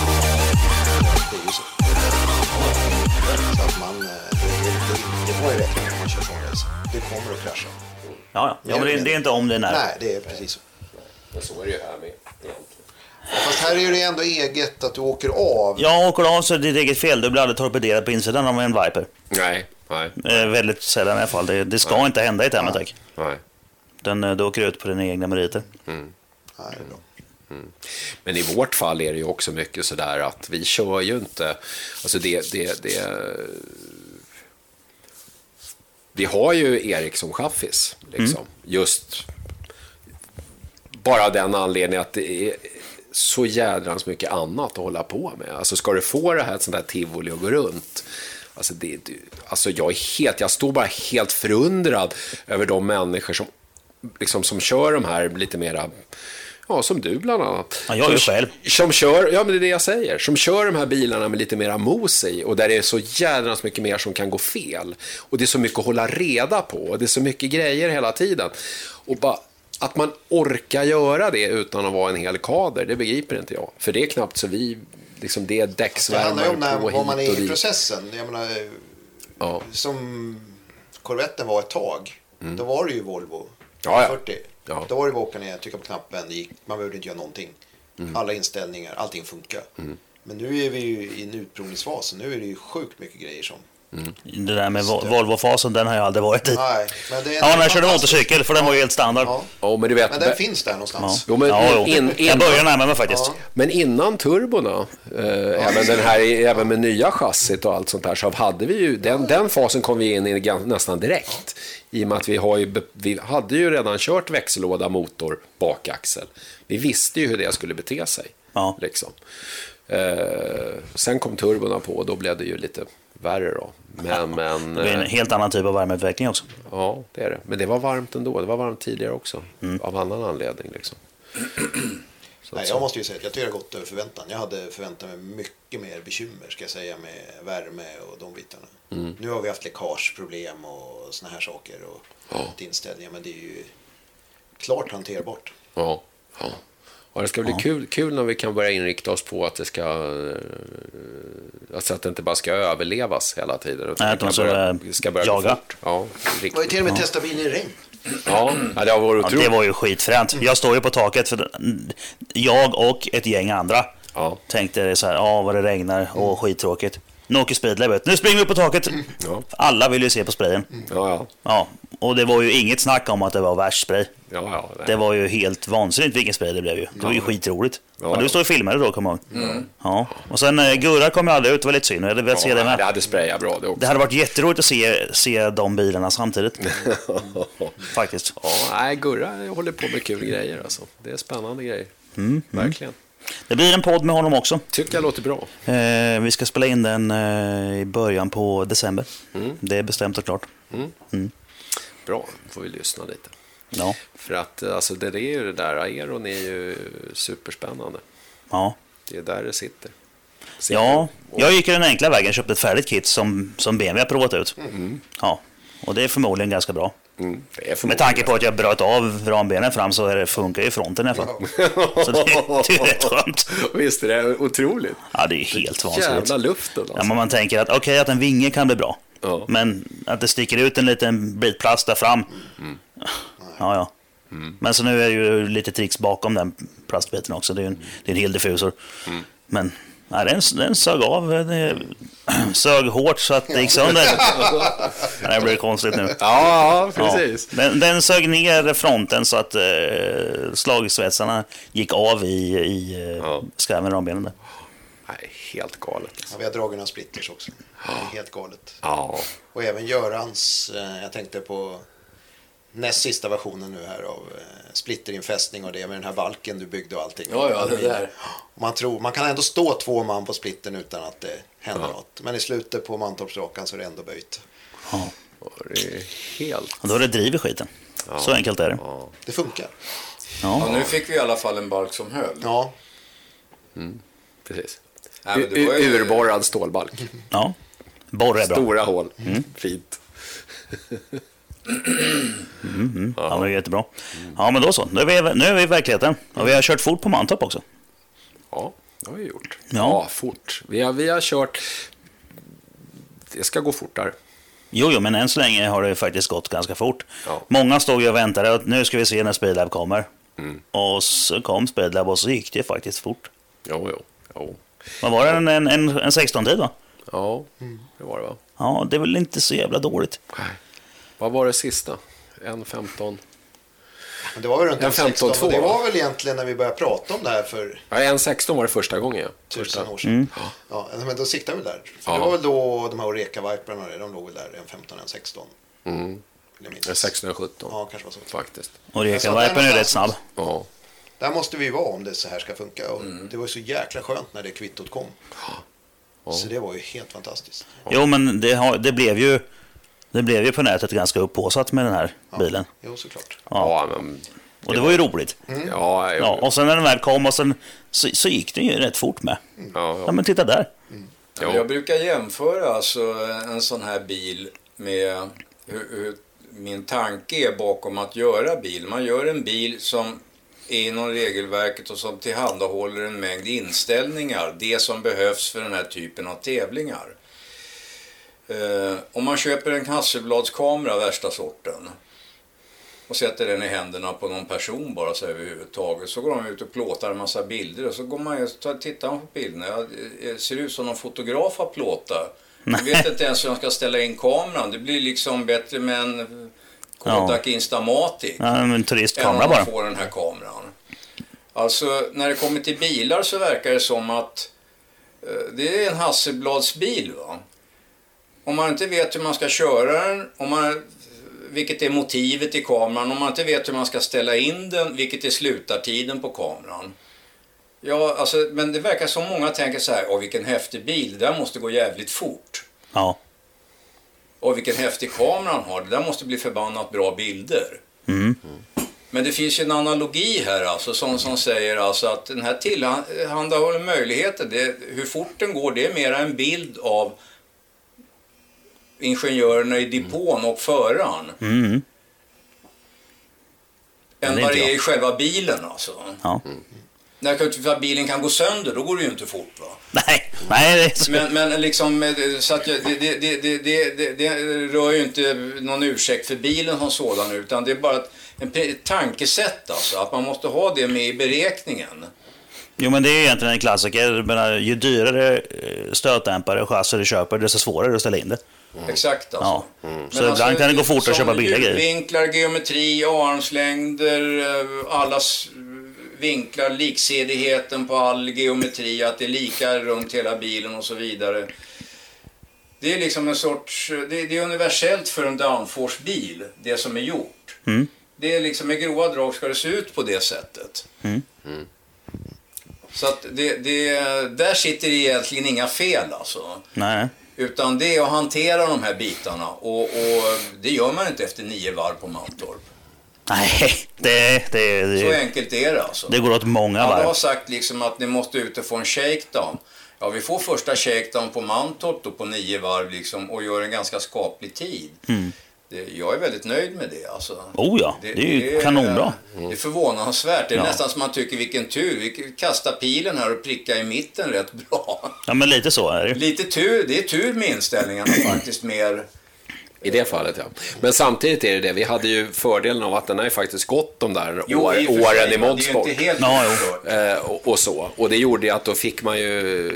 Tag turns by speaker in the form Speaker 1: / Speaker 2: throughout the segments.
Speaker 1: Det är ju så. Så att man... eh, Det, det, det går ju rätt när man kör frånräls. Du kommer att krascha.
Speaker 2: Ja, ja. ja men det, det är inte om det är när.
Speaker 1: Nej, det är precis så.
Speaker 3: Men så är det ju här med egentligen.
Speaker 1: Fast här är det ändå eget att du åker av.
Speaker 2: Jag åker av så är det ditt eget fel. Du blir aldrig torpederad på insidan av en Viper.
Speaker 3: Nej, nej,
Speaker 2: Eh, väldigt sällan i alla fall. Det, det ska inte hända i ett Amatec.
Speaker 3: nej.
Speaker 2: Den eh, du åker ut på dina egna meriter.
Speaker 1: Nej, det är bra.
Speaker 3: Men i vårt fall är det ju också mycket sådär att vi kör ju inte, alltså det, det, det vi har ju Erik som chaffis, liksom. Just bara av den anledningen att det är så jädrans mycket annat att hålla på med. Alltså ska du få det här ett sånt här tivoli att gå runt, alltså, det, du- alltså jag är helt, jag står bara helt förundrad över de människor som, liksom, som kör de här lite mera, ja som du bland annat.
Speaker 2: Ja, jag är ju
Speaker 3: Som-
Speaker 2: själv.
Speaker 3: Som kör, ja men det är det jag säger, som kör de här bilarna med lite mera mos i och där det är så jädrans mycket mer som kan gå fel. Och det är så mycket att hålla reda på och det är så mycket grejer hela tiden. Och bara, att man orkar göra det utan att vara en hel kader, det begriper inte jag. För det är knappt så vi, liksom det är
Speaker 1: Det handlar ju om när,
Speaker 3: däcksvärmare på hit
Speaker 1: vad
Speaker 3: och
Speaker 1: man är i
Speaker 3: dit.
Speaker 1: processen. Jag menar, eh,
Speaker 3: Ja.
Speaker 1: som korvetten var ett tag. Då var det ju Volvo
Speaker 3: Ja, ja.
Speaker 1: 40.
Speaker 3: Ja.
Speaker 1: Då var det bara att åka ner, trycka på knappen, det gick, man behövde inte göra någonting. Alla inställningar, allting funkar. Men nu är vi ju i en utprovningsfas. Nu är det ju sjukt mycket grejer som...
Speaker 2: Det där med Vol- Volvo-fasen, den har jag aldrig varit i.
Speaker 1: Nej, men det är
Speaker 2: Ja, när jag körde
Speaker 1: fantastiskt.
Speaker 2: motorcykel, för den var ju helt standard.
Speaker 1: Ja.
Speaker 3: Ja, men du vet,
Speaker 1: Men den finns där någonstans.
Speaker 3: Jo, men
Speaker 2: ja, jo.
Speaker 3: in-
Speaker 2: jag börjar närma mig faktiskt.
Speaker 1: Ja.
Speaker 3: Men innan turbona, eh, även, den här, även med nya chassit och allt sånt där, så hade vi ju, den, den fasen kom vi in i gan- nästan direkt. I och med att vi, har ju, be- vi hade ju redan kört växellåda, motor, bakaxel. Vi visste ju hur det skulle bete sig.
Speaker 2: Ja.
Speaker 3: Liksom. Eh, sen kom turbona på och då blev det ju lite värre då. Men, men,
Speaker 2: Det är en
Speaker 3: eh,
Speaker 2: helt annan typ av värmeutveckling också.
Speaker 3: ja, det är det. Men det var varmt ändå, det var varmt tidigare också.
Speaker 2: Mm.
Speaker 3: Av annan anledning liksom. Så att
Speaker 1: Nej,
Speaker 3: säga.
Speaker 1: jag måste ju säga att jag tycker det har gått över förväntan. Jag hade förväntat mig mycket mer bekymmer ska jag säga med värme och de bitarna.
Speaker 3: Mm.
Speaker 1: Nu har vi haft läckageproblem och såna här saker och
Speaker 3: Ja.
Speaker 1: inställningar men det är ju klart hanterbart.
Speaker 3: Ja. ja. ja det ska bli kul, kul när vi kan börja inrikta oss på att det ska... eh, Alltså att det inte bara ska överlevas hela tiden. Utan
Speaker 2: Nej,
Speaker 3: det
Speaker 2: att
Speaker 3: kan
Speaker 2: de ska
Speaker 3: börja-
Speaker 2: börja
Speaker 3: ska börja jaga.
Speaker 2: jaga.
Speaker 3: Fort. Ja,
Speaker 1: Det var ju
Speaker 3: riktigt.
Speaker 1: till och med testa bilen i regn.
Speaker 3: Ja, ja, det har varit
Speaker 2: Ja, det
Speaker 3: otroligt.
Speaker 2: var ju skitfränt. Jag står ju på taket, för jag och ett gäng andra
Speaker 3: Ja.
Speaker 2: tänkte det så här, ja vad det regnar,
Speaker 3: Mm.
Speaker 2: åh skittråkigt. Nu åker speedlab ut, nu springer vi upp på taket.
Speaker 3: Ja. Mm.
Speaker 2: Alla vill ju se på sprayen.
Speaker 3: Ja, ja.
Speaker 2: Ja, och det var ju inget snack om att det var värst spray.
Speaker 3: ja, ja nej.
Speaker 2: Det var ju helt vansinnigt vilken spray det blev ju. Det var ju skitroligt. Ja,
Speaker 3: Ja,
Speaker 2: du
Speaker 3: ja. Mm.
Speaker 2: står och filmade då, kommer jag ihåg. Ja. Och sen eh, Gurra kom ju aldrig ut, det var lite synd. Jag hade velat se det
Speaker 3: Ja, det
Speaker 2: med.
Speaker 3: hade sprayat bra det också.
Speaker 2: Det hade varit jätteroligt att se, se de bilarna samtidigt, faktiskt.
Speaker 3: Ja, nej, Gurra håller på med kul grejer alltså. Det är spännande grejer.
Speaker 2: Mm,
Speaker 3: Verkligen.
Speaker 2: Det blir en podd med honom också.
Speaker 3: Tycker jag låter bra.
Speaker 2: Eh, vi ska spela in den eh, i början på december.
Speaker 3: Mm.
Speaker 2: Det är bestämt och klart.
Speaker 3: Bra, får vi lyssna lite.
Speaker 2: Ja,
Speaker 3: För att eh, alltså, det är ju det där, aeron är ju superspännande.
Speaker 2: ja.
Speaker 3: Det är där det sitter. Sitter.
Speaker 2: ja. jag gick ju den enkla vägen och köpte ett färdigt kit som, som BMW har provat ut. Ja. Och det är förmodligen ganska bra.
Speaker 3: Mm, det är
Speaker 2: Med
Speaker 3: förmodligen-
Speaker 2: tanke på att jag bröt av rambenen fram så är det, funkar ju fronten i alla fall. Så det, det är rätt skönt.
Speaker 3: Visst är det otroligt?
Speaker 2: Ja, det är ju helt vansinnigt.
Speaker 3: Jävla luften
Speaker 2: Ja,
Speaker 3: alltså.
Speaker 2: men man tänker att okej, att en vinge kan bli bra.
Speaker 3: Ja.
Speaker 2: Men att det sticker ut en liten bit plast där fram.
Speaker 3: Mm.
Speaker 2: Ja, ja. Men så nu är det ju lite tricks bakom den plastbiten också. Det är ju en, det är en hel diffusor.
Speaker 3: Mm.
Speaker 2: Men nej, den, den sög av. Den sög hårt så att det gick sönder. det här blir konstigt nu.
Speaker 3: Ja,
Speaker 2: Ja.
Speaker 3: precis.
Speaker 2: Den, den sög ner fronten så att eh, slagsvetsarna gick av i, i eh,
Speaker 3: Ja.
Speaker 2: skarven i rambenen. där.
Speaker 3: Nej, helt galet. Alltså.
Speaker 1: Ja, vi har dragit några splitters också. Det är helt galet.
Speaker 3: Ja.
Speaker 1: Och även Görans, eh, jag tänkte på näst sista versionen nu här av eh, splitterinfästning och det med den här valken du byggde och allting.
Speaker 3: Ja, ja, det
Speaker 1: Aluminium.
Speaker 3: där.
Speaker 1: Man, tror, man kan ändå stå två man på splitten utan att det händer något. Men i slutet på Mantorpsrakan så är det ändå böjt.
Speaker 3: Det är helt...
Speaker 2: Och då är det driv i skiten. Så enkelt är det.
Speaker 1: Det funkar.
Speaker 2: Ja.
Speaker 4: Ja, nu fick vi i alla fall en balk som höll.
Speaker 1: Ja,
Speaker 3: Precis.
Speaker 4: Nej, men det
Speaker 3: U-
Speaker 4: var
Speaker 3: u-
Speaker 4: ju-
Speaker 3: Urborrad stålbalk.
Speaker 2: ja. Borre är bra.
Speaker 3: Stora hål. Fint.
Speaker 2: Ja, det är jättebra. Ja, men då så. Nu är, vi, nu är vi i verkligheten. Och vi har kört fort på Mantorp också.
Speaker 3: Ja, det har vi gjort.
Speaker 2: Ja.
Speaker 3: Ja, fort. Vi har, vi har kört... Det ska gå fortare.
Speaker 2: Jo, jo, men än så länge har det faktiskt gått ganska fort.
Speaker 3: Ja.
Speaker 2: Många stod ju och väntade att nu ska vi se när Speedlab kommer. Och så kom Speedlab och så gick det faktiskt fort.
Speaker 3: Jo, jo. jo.
Speaker 2: Vad var det? En, en, en, en 16-tid va?
Speaker 3: Ja, det var det va?
Speaker 2: Ja, det är väl inte så jävla dåligt.
Speaker 3: Vad var det sista? 1.15?
Speaker 1: men det var väl runt
Speaker 3: En
Speaker 1: 16. och
Speaker 3: 15-2,
Speaker 1: Det var
Speaker 3: va?
Speaker 1: väl egentligen när vi började prata om det här för
Speaker 3: Ja, 1.16 var det första gången. Ja.
Speaker 1: tusen
Speaker 3: Första.
Speaker 1: år sedan. Ja, men då siktade vi där. För
Speaker 3: Ja.
Speaker 1: Det var väl då de här Oreka Viperna, de låg väl där en 15, en 16. Vill jag minnas.
Speaker 3: 16 Mm. och 17
Speaker 1: Ja, kanske var så.
Speaker 3: faktiskt.
Speaker 2: Och
Speaker 1: Jag sa,
Speaker 2: Reka-vipern är
Speaker 1: där
Speaker 2: rätt snabb.
Speaker 3: Ja.
Speaker 1: Där måste vi vara om det så här ska funka. Och Det var ju så jäkla skönt när det kvittot kom. Så det var ju helt fantastiskt.
Speaker 2: Jo, men det, har, det, blev ju, det blev ju på nätet ganska upphaussat med den här bilen.
Speaker 1: Jo, såklart.
Speaker 2: Ja.
Speaker 3: Ja, men...
Speaker 2: Och det var ju roligt.
Speaker 4: Mm.
Speaker 3: Ja, jo,
Speaker 2: Ja, och sen när den väl kom och sen, så, så gick den ju rätt fort med.
Speaker 3: ja,
Speaker 2: Ja,
Speaker 3: ja.
Speaker 2: men titta där.
Speaker 3: Jo.
Speaker 4: Jag brukar jämföra alltså en sån här bil med hur, hur min tanke är bakom att göra bil. Man gör en bil som är inom regelverket och som tillhandahåller en mängd inställningar. Det som behövs för den här typen av tävlingar. Eh, om man köper en Hasselbladskamera värsta sorten och sätter den i händerna på någon person bara så överhuvudtaget. Så går de ut och plåtar en massa bilder och så går man ju och tar- tittar på bilderna. Ja, det ser ut som någon fotograf har plåtat. Jag vet inte ens hur de ska ställa in kameran. Det blir liksom bättre med en Kodak Instamatic
Speaker 2: Ja, en
Speaker 4: än
Speaker 2: turistkamera
Speaker 4: om
Speaker 2: bara.
Speaker 4: man får den här kameran. Alltså när det kommer till bilar så verkar det som att eh, det är en Hasselbladsbil. Va? Om man inte vet hur man ska köra den, om man, vilket är motivet i kameran, om man inte vet hur man ska ställa in den, vilket är slutartiden på kameran. Ja, alltså, men det verkar som många tänker så här, åh vilken häftig bil, det där måste gå jävligt fort.
Speaker 2: Ja.
Speaker 4: Och vilken häftig kamera han har. Det där måste bli förbannat bra bilder.
Speaker 2: Mm.
Speaker 4: Men det finns ju en analogi här alltså som, som säger alltså att den här tillhandahåller möjligheter. Det, hur fort den går det är mera en bild av ingenjörerna i depån och föraren.
Speaker 2: Mm. Men
Speaker 4: Än
Speaker 2: det är inte
Speaker 4: vad det är
Speaker 2: jag.
Speaker 4: i själva bilen alltså.
Speaker 2: Ja.
Speaker 4: När bilen kan gå sönder då går det ju inte fort va.
Speaker 2: Nej, nej, det är så.
Speaker 4: Men, men liksom, eh, så att jag, det, det, det, det, det, det, det rör ju inte någon ursäkt för bilen som sådan utan det är bara ett, en, pre- ett tankesätt alltså, att man måste ha det med i beräkningen.
Speaker 2: Jo, men det är ju egentligen en klassiker. Jag Menar, ju dyrare eh, stötdämpare och chassi du köper, desto svårare att ställa in det.
Speaker 4: Exakt alltså.
Speaker 2: Ja. Så ibland kan det gå fort att köpa billiga grejer.
Speaker 4: Vinklar, geometri, armslängder, eh, allas vinklar, liksidigheten på all geometri, att det är lika runt hela bilen och så vidare. Det är liksom en sorts, det, det är universellt för en downforce-bil, det som är gjort.
Speaker 2: Mm.
Speaker 4: Det är liksom i grova drag ska det se ut på det sättet.
Speaker 2: Mm.
Speaker 4: Så att det, det, där sitter egentligen inga fel alltså.
Speaker 2: Nej, nej.
Speaker 4: Utan det är att hantera de här bitarna och, och det gör man inte efter nio varv på Mantorp.
Speaker 2: nej det, det,
Speaker 4: Så
Speaker 2: det,
Speaker 4: enkelt är det alltså.
Speaker 2: det går åt många
Speaker 4: Alla har
Speaker 2: varv.
Speaker 4: sagt liksom att ni måste ut och få en shakedown. Ja, vi får första shakedown på Mantorp då på nio varv liksom och gör en ganska skaplig tid. Det, jag är väldigt nöjd med det alltså.
Speaker 2: Mm. Oh ja, det är ju kanonbra.
Speaker 4: Det är förvånansvärt. Det är
Speaker 2: Ja.
Speaker 4: nästan som man tycker vilken tur. Vi kastar pilen här och prickar i mitten rätt bra.
Speaker 2: Ja, men lite så är det ju.
Speaker 4: Lite tur, det är tur med inställningarna faktiskt mer.
Speaker 3: I det fallet, ja. Men samtidigt är det det. Vi hade ju fördelen av att den har ju faktiskt gått de där år,
Speaker 4: i och för sig,
Speaker 3: åren i
Speaker 4: men
Speaker 3: Modsport.
Speaker 4: Det är ju inte helt
Speaker 2: Ja, jo.
Speaker 4: oförstört.
Speaker 3: Eh, och, och så. Och det gjorde ju att då fick man ju...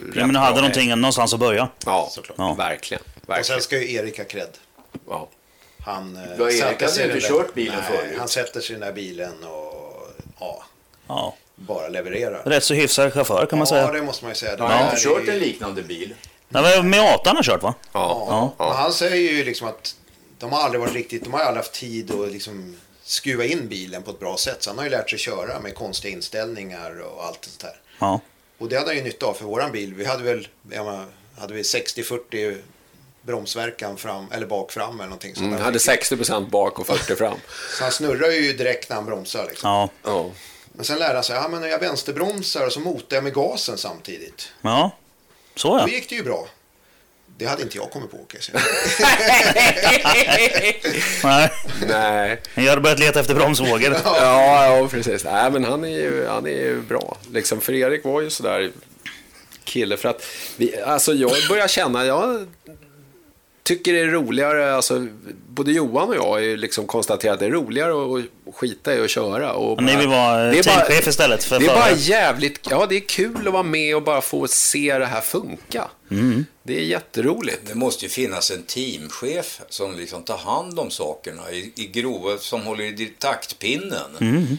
Speaker 2: Ja, men du
Speaker 3: rätt
Speaker 2: hade
Speaker 3: bra-
Speaker 2: någonting, någonstans att börja.
Speaker 3: Ja,
Speaker 1: Såklart.
Speaker 2: Ja.
Speaker 3: verkligen.
Speaker 1: Och sen
Speaker 3: verkligen.
Speaker 1: ska ju Erik ha cred.
Speaker 3: Ja.
Speaker 1: Han, eh,
Speaker 4: Erik
Speaker 1: sätter
Speaker 4: hade
Speaker 1: sig
Speaker 4: ju
Speaker 1: i
Speaker 4: inte
Speaker 1: den där-
Speaker 4: kört bilen
Speaker 1: Nej,
Speaker 4: förut.
Speaker 1: Han sätter sig i den där bilen och ja,
Speaker 2: Ja.
Speaker 1: bara levererar.
Speaker 2: Rätt så hyfsad chaufför kan man
Speaker 1: Ja,
Speaker 2: säga.
Speaker 1: det måste man ju säga. Den
Speaker 4: Jag har
Speaker 1: här
Speaker 4: inte
Speaker 1: är
Speaker 4: kört
Speaker 1: ju-
Speaker 4: en liknande bil.
Speaker 2: Nej, men Meatan har kört va?
Speaker 1: Ja.
Speaker 3: Ja.
Speaker 1: Men han säger ju liksom att de har aldrig varit riktigt, de har aldrig haft tid att liksom skruva in bilen på ett bra sätt. Så han har ju lärt sig köra med konstiga inställningar och allt sånt där.
Speaker 2: Ja.
Speaker 1: Och det hade han ju nytta av för våran bil. Vi hade väl, jag menar, hade vi 60-40 bromsverkan fram, eller bak fram eller någonting sånt.
Speaker 3: Mm,
Speaker 1: där.
Speaker 3: hade 60 bak och 40 fram.
Speaker 1: Så han snurrar ju direkt när han bromsar. Liksom.
Speaker 2: Ja.
Speaker 3: Ja.
Speaker 1: Men sen lärde han sig, ja men jag vänsterbromsar och så motar jag med gasen samtidigt.
Speaker 2: Ja. Så ja.
Speaker 1: Då gick det ju bra. Det hade inte jag kommit på kan jag säga.
Speaker 2: Nej.
Speaker 3: Nej.
Speaker 2: Jag hade börjat leta efter bromsvågor.
Speaker 3: Ja, ja, precis. Nej, men han är ju, han är ju bra. Liksom, för Erik var ju sådär kille för att vi, alltså jag börjar känna, jag tycker det är roligare, alltså både Johan och jag har ju liksom konstaterat att det är roligare att- att skita i och köra. Och
Speaker 2: Och ni vill vara, eh,
Speaker 3: Det är
Speaker 2: teamchef istället för
Speaker 3: det är bara
Speaker 2: förare.
Speaker 3: jävligt, ja det är kul att vara med och bara få se det här funka.
Speaker 2: Mm.
Speaker 3: Det är jätteroligt.
Speaker 4: Det måste ju finnas en teamchef som liksom tar hand om sakerna i, i grova, som håller i taktpinnen.
Speaker 2: Mm.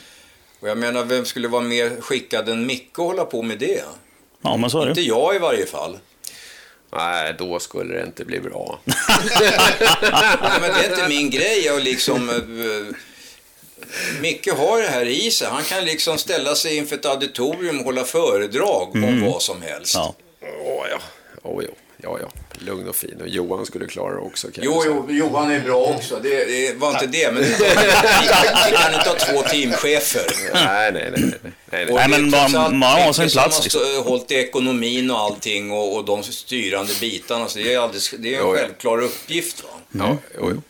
Speaker 4: Och jag menar, vem skulle vara mer skickad än Micke att hålla på med det?
Speaker 2: Ja, men så är det
Speaker 4: Inte
Speaker 2: ju.
Speaker 4: jag i varje fall.
Speaker 3: Nej, då skulle det inte bli bra.
Speaker 4: Nej, men det är inte min grej att liksom... eh, Micke har det här i sig. Han kan liksom ställa sig inför ett auditorium och hålla föredrag om vad som helst.
Speaker 2: Mm. Ja.
Speaker 3: Åh ja, åh ja, ja, ja. Lugn och fin. Och Johan skulle klara det också. Kan
Speaker 4: Jo,
Speaker 3: jag säga.
Speaker 4: jo, Johan är bra
Speaker 2: Mm.
Speaker 4: också. Det, det var inte det, men vi, vi kan inte ha två teamchefer.
Speaker 3: Nej, nej, nej. nej, nej, nej.
Speaker 2: Nej, men
Speaker 4: det är trots
Speaker 2: man-
Speaker 4: allt
Speaker 2: man har sin
Speaker 4: mycket
Speaker 2: plats, liksom.
Speaker 4: Som har stå- hållit i ekonomin och allting och, och de styrande bitarna. Så det är, alldeles, det är en
Speaker 3: Jo, ja.
Speaker 4: självklar uppgift. Va?
Speaker 3: Ja, jo, jo.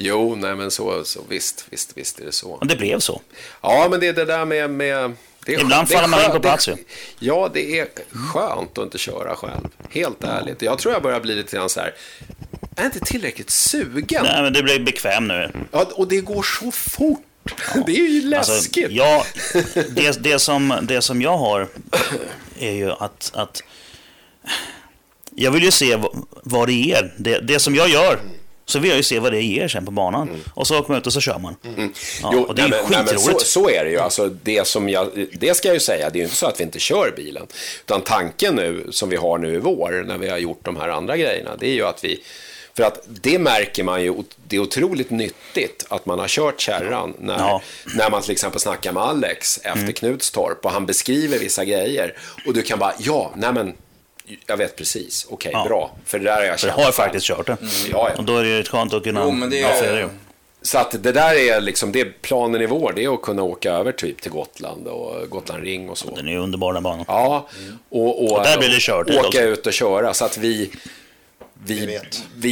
Speaker 3: Jo, nej men så, så visst, visst, visst är det så.
Speaker 2: Och det blev så.
Speaker 3: Ja, men det är det där med... med det är,
Speaker 2: Ibland
Speaker 3: det är
Speaker 2: faller man in
Speaker 3: skönt-
Speaker 2: på plats,
Speaker 3: det är-
Speaker 2: ju.
Speaker 3: Ja, det är skönt att inte köra själv. Helt ärligt. Jag tror jag börjar bli lite grann så här... Jag är inte tillräckligt sugen.
Speaker 2: Nej, men det blev bekväm nu.
Speaker 3: Ja, och det går så fort. Det är ju läskigt.
Speaker 2: Alltså, jag, det, det, som, det som jag har är ju att, att jag vill ju se v- vad det ger. Det, det som jag gör, så vill jag ju se vad det ger sen på banan. Och så åker man ut och så kör man. Ja, och det är ju
Speaker 3: Mm. nej, men- nej, men
Speaker 2: skitroligt.
Speaker 3: Så, så är det ju. Alltså, det, som jag, det ska jag ju säga, det är ju inte så att vi inte kör bilen. Utan tanken nu, som vi har nu i vår, när vi har gjort de här andra grejerna, det är ju att vi... För att det märker man ju, det är otroligt nyttigt att man har kört kärran när,
Speaker 2: Ja. Mm.
Speaker 3: när man till exempel snackar med Alex efter Knutstorp och han beskriver vissa grejer och du kan bara, ja, nej men, jag vet precis, okej,
Speaker 2: Ja.
Speaker 3: bra, för det där har jag
Speaker 2: Jag
Speaker 3: känt.
Speaker 2: har faktiskt kört det.
Speaker 3: Mm, Ja, ja.
Speaker 2: Och då är det ju skönt att kunna
Speaker 4: Jo, men det är-
Speaker 2: avföra det.
Speaker 3: Så att det där är liksom, det är planen i vår, det är att kunna åka över typ till Gotland och Gotland Ring och så.
Speaker 2: Den är ju underbar den banan.
Speaker 3: Ja, och, och,
Speaker 2: Mm. där blir det kört
Speaker 3: åka
Speaker 2: också.
Speaker 3: ut och köra så att vi, vi, vi,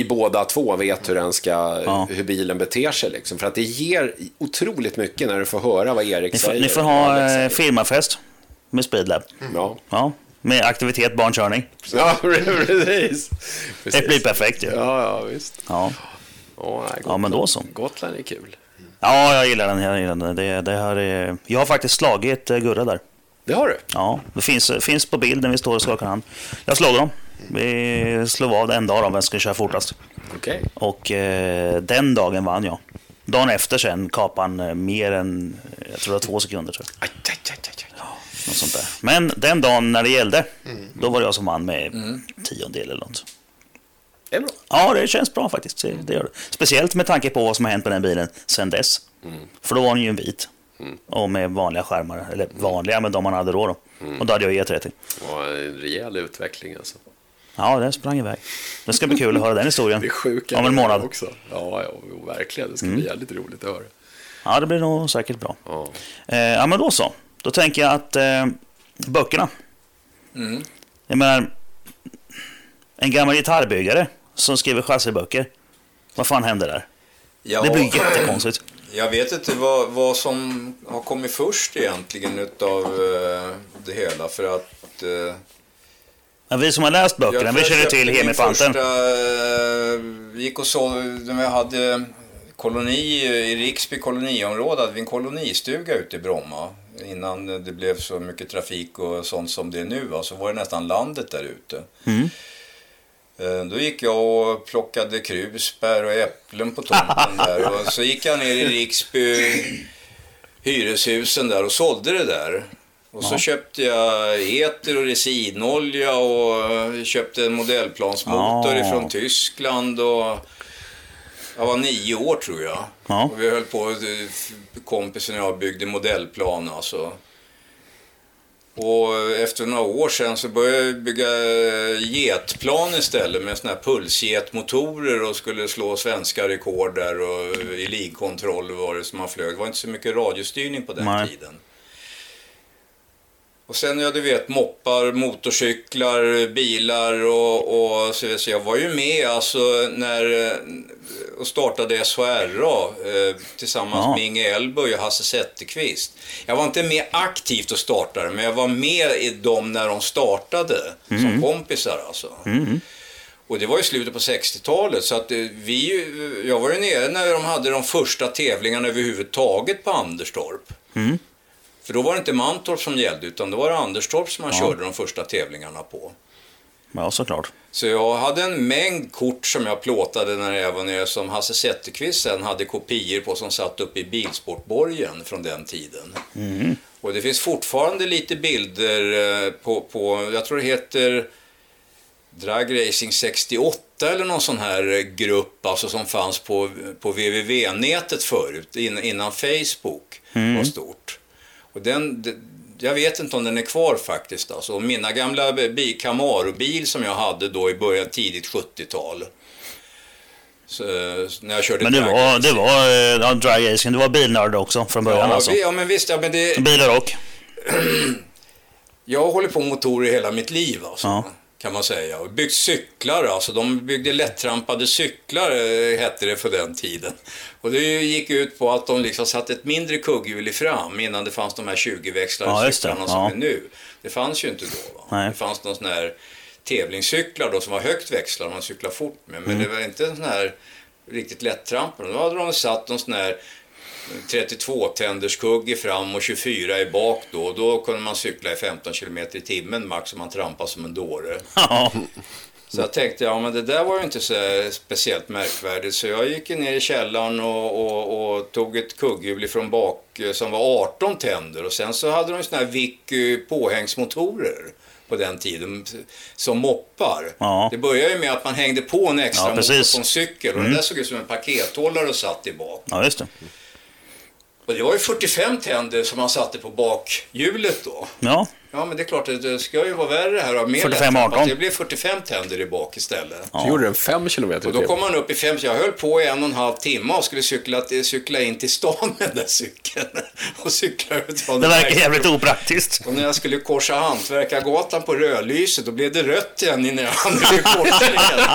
Speaker 1: vet.
Speaker 3: båda två vet hur, den ska,
Speaker 2: Ja.
Speaker 3: hur bilen beter sig. Liksom. För att det ger otroligt mycket när du får höra vad Erik
Speaker 2: Ni får,
Speaker 3: säger.
Speaker 2: ni får
Speaker 3: och
Speaker 2: ha
Speaker 3: Alex
Speaker 2: eh,
Speaker 3: säger.
Speaker 2: firmafest med speedlab.
Speaker 3: Ja,
Speaker 2: Ja, med aktivitet barnkörning.
Speaker 3: ja precis.
Speaker 2: Det blir
Speaker 3: precis.
Speaker 2: perfekt ju.
Speaker 3: Ja, ja, visst.
Speaker 2: Ja.
Speaker 3: Ja, nej,
Speaker 2: Ja, men då så.
Speaker 3: Gotland- Gotland är kul.
Speaker 2: ja, jag gillar den. Jag, gillar den. Det, det här är... jag har faktiskt slagit eh, Gurra där.
Speaker 3: Det har du.
Speaker 2: Ja, det finns, finns på bild när vi står och skakar hand. Jag slog dem. Vi slog vad en dag om vem som skulle köra fortast.
Speaker 3: Okej.
Speaker 2: Och eh, den dagen vann jag. Dagen efter sen kapade han eh, mer än, jag tror det var två sekunder. Tror jag.
Speaker 3: Aj, aj, aj, aj, aj.
Speaker 2: Något sånt där. Men den dagen när det gällde, då var det jag som vann med tiondel eller något.
Speaker 3: Det är bra.
Speaker 2: Ja, det känns bra faktiskt. Det, det gör det. Speciellt med tanke på vad som har hänt med den bilen sen dess.
Speaker 3: Mm.
Speaker 2: För då var den ju en vit. Och med vanliga skärmar, eller
Speaker 3: Mm.
Speaker 2: vanliga, men de man hade då. då. Och då hade jag E30.
Speaker 3: Ja, en rejäl utveckling alltså.
Speaker 2: Ja, den sprang iväg. Det ska bli kul att höra den historien.
Speaker 3: Det är sjuka
Speaker 2: Om en månad.
Speaker 3: också. Ja, ja jo, verkligen. Det ska
Speaker 1: Mm.
Speaker 3: bli jävligt roligt att höra.
Speaker 2: Ja, det blir nog säkert bra.
Speaker 3: Ja.
Speaker 2: Eh, ja, men då så. Då tänker jag att eh, böckerna.
Speaker 3: Mm.
Speaker 2: Jag menar, en gammal gitarrbyggare som skriver chassiböcker. Vad fan hände där?
Speaker 4: Ja,
Speaker 2: Det blir jättekonstigt.
Speaker 4: Jag vet inte vad, vad som har kommit först egentligen utav eh, det hela. För att... Eh,
Speaker 2: Ja, vi som har läst
Speaker 4: Jag
Speaker 2: böckerna,
Speaker 4: tror
Speaker 2: vi
Speaker 4: jag
Speaker 2: känner
Speaker 4: köpte
Speaker 2: till
Speaker 4: min
Speaker 2: Hemifanten.
Speaker 4: Första, eh, gick och sov när jag hade koloni eh, i Riksby koloniområde, hade vi en kolonistuga ute i Bromma. Innan det blev så mycket trafik och sånt som det är nu, va, så var det nästan landet där ute.
Speaker 2: Mm.
Speaker 4: Eh, Då gick jag och plockade krusbär och äpplen på tomten där och så gick jag ner i Riksby hyreshusen där och sålde det där. Och så köpte jag eter och resinolja och eh, köpte en modellplansmotor
Speaker 2: Ah.
Speaker 4: ifrån Tyskland och jag var nio år tror jag.
Speaker 2: Ja.
Speaker 4: Och vi höll på, eh, kompisen och jag byggde modellplan alltså. Och efter några år sedan så började jag bygga jetplan istället med sådana här pulsjetmotorer och skulle slå svenska rekord där och i ligkontroll var det som man flög. Det var inte så mycket radiostyrning på den
Speaker 2: Nej.
Speaker 4: tiden. Och sen, ja du vet, moppar, motorcyklar, bilar och, och så vidare. Så jag var ju med alltså när, eh, och startade SHRA eh, tillsammans
Speaker 2: Ja.
Speaker 4: med Inge Elberg och Hasse Zetterqvist. Jag var inte med aktivt och startade, men jag var med i dem när de startade, som kompisar alltså. Och det var i slutet på 60-talet, så att eh, vi, ju- jag var ju nere när de hade de första tävlingarna överhuvudtaget på Anderstorp. För då var det inte Mantorp som gällde, utan då var det Anderstorp som man körde de första tävlingarna på.
Speaker 2: Ja, såklart.
Speaker 4: Så jag hade en mängd kort som jag plåtade när jag var nere, som Hasse Zetterqvist sen hade kopior på som satt uppe i Bilsportborgen från den tiden. Och det finns fortfarande lite bilder eh, på, på jag tror det heter Drag Racing 68 eller någon sån här eh, grupp alltså som fanns på, på www-nätet förut, in, innan Facebook
Speaker 2: Mm.
Speaker 4: var stort. Och den, d- jag vet inte om den är kvar faktiskt. Alltså. Och Mina gamla bi- Camaro-bil som jag hade då i början, tidigt 70-tal. Så, eh, när jag körde
Speaker 2: Men det
Speaker 4: drag-
Speaker 2: var, det var eh, ja, dragracing, det var bilnörd också från början
Speaker 4: Ja,
Speaker 2: alltså.
Speaker 4: vi, ja, men visst. Ja, men det,
Speaker 2: Bilar och?
Speaker 4: Jag har hållit på med motorer hela mitt liv alltså.
Speaker 2: Ja.
Speaker 4: Kan man säga. Och byggt cyklar alltså. De byggde lättrampade cyklar eh, hette det för den tiden. Och det gick ut på att de liksom satte ett mindre kugghjul i fram innan det fanns de här 20-växlade
Speaker 2: Ja, just det.
Speaker 4: cyklarna
Speaker 2: Ja.
Speaker 4: som är nu. Det fanns ju inte då. Va?
Speaker 2: Nej.
Speaker 4: Det fanns någon sån här tävlingscyklar då som var högt växlade man cyklar fort med.
Speaker 2: Mm.
Speaker 4: Men det var inte en sån här riktigt lättrampade. Då hade de satt någon sån här 32-tänders kugg i fram och 24 i bak då. Då kunde man cykla i 15 km i timmen max om man trampade som en dåre.
Speaker 2: Ja,
Speaker 4: Så jag tänkte, ja men det där var ju inte så speciellt märkvärdigt. Så jag gick ju ner i källaren och, och, och tog ett kugghjul från bak eh, som var 18 tänder. Och sen så hade de såna här Vicky påhängsmotorer på den tiden som moppar.
Speaker 2: Ja.
Speaker 4: Det började ju med att man hängde på en extra
Speaker 2: Ja, precis. Mm.
Speaker 4: motor på en cykel och den där såg ut som en pakethållare och satt i bak.
Speaker 2: ja just det.
Speaker 4: Och det var ju 45 tänder som man satte på bakhjulet då.
Speaker 2: Ja,
Speaker 4: Ja, men det är klart att det ska ju vara värre här. av mer
Speaker 2: 45,
Speaker 4: lätt, för att
Speaker 2: 18.
Speaker 4: Det blev 45 tänder i bak istället.
Speaker 3: Så gjorde den fem kilometer
Speaker 4: Och då kom man upp i 50. Jag höll på i en och en halv timme och skulle cykla, eh, cykla in till stan med den där cykeln. Och cykla ut från
Speaker 2: det
Speaker 4: den
Speaker 2: verkar
Speaker 4: här-
Speaker 2: jävligt opraktiskt.
Speaker 4: och när jag skulle korsa Hantverkargatan på Rödlyset, då blev det rött igen innan jag hann över korsningen.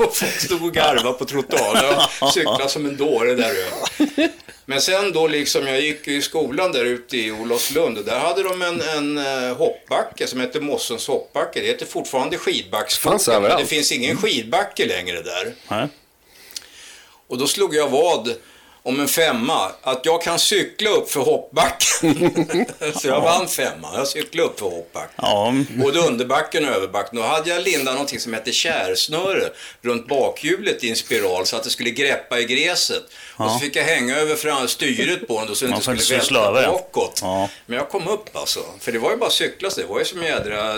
Speaker 4: och folk stod och garvade på trottoaren och cyklade som en dåre där över. Men sen då liksom, jag gick ju i skolan där ute i Olofslund och där hade de en, en eh, hoppbacke som hette Mossens hoppbacke. Det heter fortfarande skidbackskogen,
Speaker 3: Fanns
Speaker 4: men det
Speaker 3: överallt.
Speaker 4: finns ingen skidbacke längre där.
Speaker 2: Nej.
Speaker 4: Och då slog jag vad om en femma, att jag kan cykla upp för hoppbacken. så jag vann femman, jag cyklade upp för hoppbacken.
Speaker 2: Ja,
Speaker 4: Både underbacken och överbacken. Då hade jag lindat någonting som hette kärsnöre runt bakhjulet i en spiral så att det skulle greppa i gräset. Och så fick jag hänga över fram styret på den då så det
Speaker 2: Ja,
Speaker 4: inte
Speaker 2: för att
Speaker 4: skulle
Speaker 2: det skulle
Speaker 4: välta
Speaker 2: slå över, ja.
Speaker 4: bakåt.
Speaker 2: Ja.
Speaker 4: Men jag kom upp alltså. För det var ju bara att cykla, så det var ju som jädra,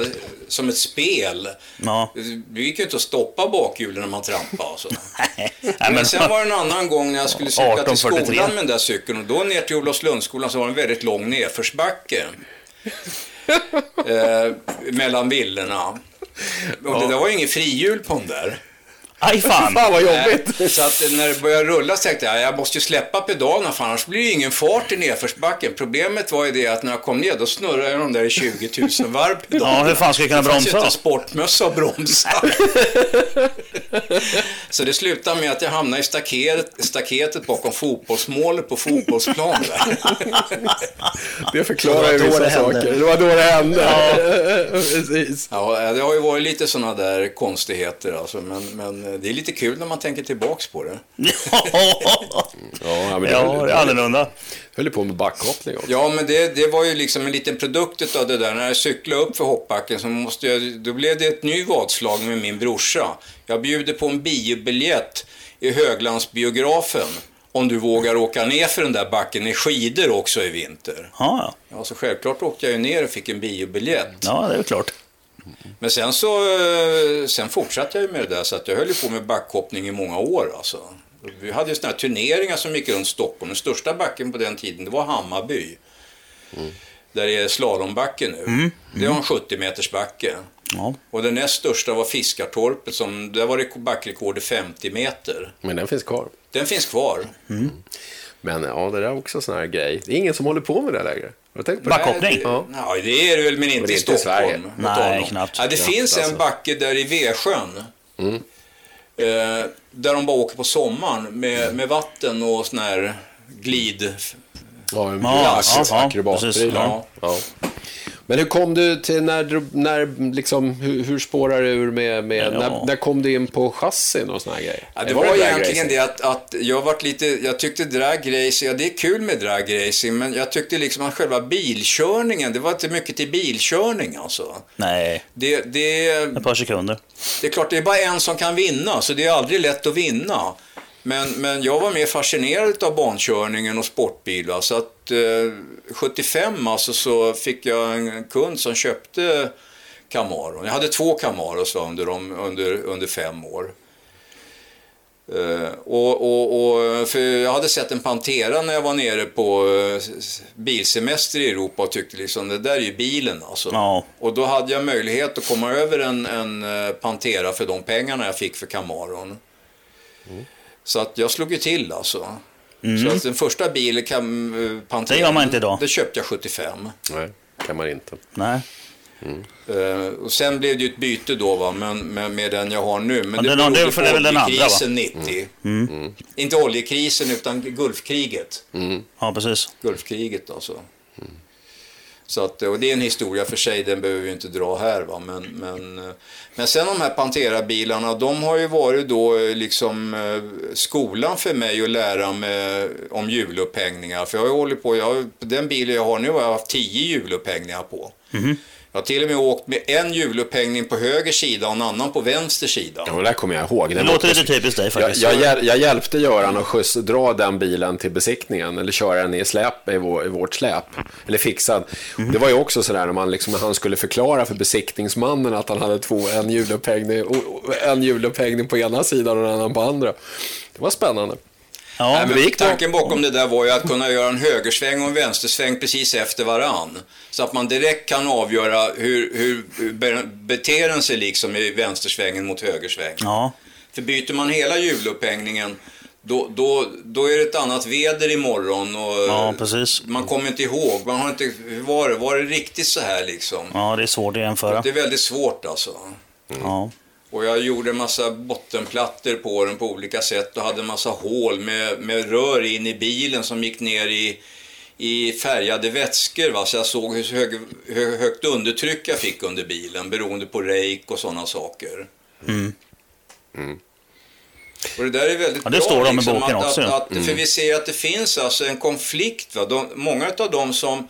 Speaker 4: som ett spel.
Speaker 2: ja.
Speaker 4: Det gick ju inte att stoppa bakhjulen när man trampade alltså.
Speaker 2: Nej,
Speaker 4: Men,
Speaker 2: men,
Speaker 4: sen var det en annan gång när jag skulle cykla till
Speaker 2: 18.43.
Speaker 4: skolan med den där cykeln och då ner till Olofslundsskolan så var det en väldigt lång nedförsbacke. eh, mellan villorna. Och det där var ju inget frihjul på den där.
Speaker 2: Aj fan!
Speaker 3: Fan vad jobbigt!
Speaker 4: Så att när det började rulla så tänkte jag, jag måste ju släppa pedalerna för annars blir det ju ingen fart i nedförsbacken. Problemet var ju det att när jag kom ner då snurrade jag de där i 20 000 varv pedalerna.
Speaker 2: Ja, hur fan ska jag kunna
Speaker 4: Det fanns ju
Speaker 2: bromsa
Speaker 4: inte
Speaker 2: då?
Speaker 4: en sportmössa att bromsa. så det slutade med att jag hamnade i staket, staketet bakom fotbollsmålet på fotbollsplanen.
Speaker 3: Det förklarar ju
Speaker 1: Det var då
Speaker 3: vissa
Speaker 1: det hände.
Speaker 3: saker. Det var då det hände. Precis.
Speaker 4: ja, det har ju varit lite sådana där konstigheter alltså, men, men det är lite kul när man tänker tillbaks på det.
Speaker 3: Ja, men det
Speaker 2: Ja,
Speaker 3: höll,
Speaker 2: det är annorlunda.
Speaker 3: höll ju på med backhoppning också.
Speaker 4: Ja, men det, det var ju liksom en liten produkt av det där. När jag cyklade upp för hoppbacken så måste jag, då blev det ett ny vadslag med min brorsa. Jag bjuder på en biobiljett i Höglandsbiografen om du vågar åka ner för den där backen i skidor också i vinter.
Speaker 2: Ja,
Speaker 4: Ja, så självklart åkte jag ju ner och fick en biobiljett.
Speaker 2: ja, det är ju klart.
Speaker 4: Men sen så, eh, sen fortsatte jag ju med det där så att jag höll ju på med backhoppning i många år alltså. Vi hade ju sådana här turneringar som gick runt Stockholm. Den största backen på den tiden, det var Hammarby. där det är slalombacke nu. Det var en 70 meters backe.
Speaker 2: Ja.
Speaker 4: Och den näst största var Fiskartorpet, som, där var det backrekord i 50 meter.
Speaker 3: Men den finns kvar.
Speaker 4: Den finns kvar.
Speaker 3: Men ja, det där är också en sån här grej. Det är ingen som håller på med det här längre. Har du tänkt på det?
Speaker 2: Backhopp. Backhoppning?
Speaker 4: Ja. Nej, det är det väl, men inte
Speaker 3: Men det är inte
Speaker 4: i
Speaker 3: i
Speaker 4: Stockholm.
Speaker 3: Sverige.
Speaker 4: mot
Speaker 2: Nej,
Speaker 4: honom.
Speaker 2: knappt.
Speaker 4: Ja, det
Speaker 3: Knappt,
Speaker 4: finns en
Speaker 3: alltså.
Speaker 4: backe där i Vesjön. Eh, där de bara åker på sommaren med, med vatten och sån här glid...
Speaker 3: Ja, en
Speaker 2: Ja,
Speaker 3: plats,
Speaker 2: ja, ja, precis,
Speaker 3: akrobatprylar.
Speaker 4: ja.
Speaker 3: Ja. Men hur kom du till, när, du- när liksom, hur, hur spårar du ur med, med
Speaker 2: Ja.
Speaker 3: när, när kom du in på chassin och såna här grejer?
Speaker 4: Ja, det
Speaker 3: Eller
Speaker 4: var,
Speaker 3: drag
Speaker 4: egentligen
Speaker 3: racing?
Speaker 4: det att, att jag vart lite, jag tyckte dragracing, ja det är kul med dragracing, men jag tyckte liksom att själva bilkörningen, det var inte mycket till bilkörning alltså.
Speaker 2: Nej,
Speaker 4: Det, det,
Speaker 2: ett par sekunder.
Speaker 4: Det är klart, det är bara en som kan vinna, så det är aldrig lätt att vinna. Men, men jag var mer fascinerad av bankörningen och sportbilar. Så att eh, 75 alltså, så fick jag en kund som köpte Camaro. Jag hade två Camaros va, under, de, under, under fem år. Eh, och, och, och, för jag hade sett en Pantera när jag var nere på eh, s- s- bilsemester i Europa och tyckte liksom det där är ju bilen alltså.
Speaker 2: Ja.
Speaker 4: Och då hade jag möjlighet att komma över en, en eh, Pantera för de pengarna jag fick för Camaron.
Speaker 2: Mm.
Speaker 4: Så att jag slog ju till alltså. Så att den första bilen, Cam, eh, Pantera,
Speaker 2: Det gör man inte idag.
Speaker 4: det köpte jag 75.
Speaker 3: Nej, kan man inte.
Speaker 2: Nej.
Speaker 4: Eh, och sen blev det ju ett byte då va, men, men, med den jag har nu. Men
Speaker 2: Ja,
Speaker 4: det
Speaker 2: den-
Speaker 4: berodde
Speaker 2: det- för det är väl den andra, va? Mm.
Speaker 4: oljekrisen 90. Inte oljekrisen utan Gulfkriget.
Speaker 2: Ja, precis.
Speaker 4: Gulfkriget alltså. Så att, och det är en historia för sig, den behöver vi inte dra här. Va? Men, men, eh, men sen de här Pantera-bilarna, de har ju varit då eh, liksom eh, skolan för mig att lära mig eh, om hjulupphängningar. För jag har ju hållit på, jag, har- den bilen jag har nu har jag haft tio hjulupphängningar på. Jag har till och med åkt med en hjulupphängning på höger sida och en annan på vänster sida.
Speaker 3: Ja, men det där kommer jag ihåg.
Speaker 2: Det
Speaker 3: Den
Speaker 2: låter
Speaker 3: var-
Speaker 2: lite typiskt dig
Speaker 3: jag,
Speaker 2: faktiskt.
Speaker 3: jag, hjäl- jag hjälpte Göran att skjuts, dra den bilen till besiktningen, eller köra den i, släp, i, vår, i vårt släp, eller fixad.
Speaker 2: Mhm.
Speaker 3: Det var ju också sådär när, man liksom, när han skulle förklara för besiktningsmannen att han hade två, en hjulupphängning, och- och en hjulupphängning på ena sidan och en annan på andra. Det var spännande.
Speaker 2: Ja,
Speaker 4: Nej, men
Speaker 2: det gick bra.
Speaker 4: tanken bakom det där var ju att kunna göra en högersväng och en vänstersväng precis efter varann. Så att man direkt kan avgöra hur, hur be- beter den sig liksom i vänstersvängen mot högersväng.
Speaker 2: Ja,
Speaker 4: För byter man hela hjulupphängningen, då, då, då är det ett annat väder imorgon och
Speaker 2: ja, precis.
Speaker 4: man kommer inte ihåg. Man har inte, hur var det? Var det riktigt så här liksom?
Speaker 2: Ja, det är svårt att jämföra.
Speaker 4: Det är väldigt svårt alltså.
Speaker 2: Ja.
Speaker 4: Och jag gjorde en massa bottenplattor på den på olika sätt och hade en massa hål med, med rör in i bilen som gick ner i, i färgade vätskor. Va? Så jag såg hur hög, hö, högt undertryck jag fick under bilen beroende på rejk och sådana saker. Och det där är väldigt
Speaker 2: Mm. Ja, det
Speaker 4: bra. liksom,
Speaker 2: står de i boken
Speaker 4: att,
Speaker 2: också, Mm.
Speaker 4: Att,
Speaker 2: ja.
Speaker 4: att, För vi ser att det finns alltså en konflikt. Va? De, många av dem som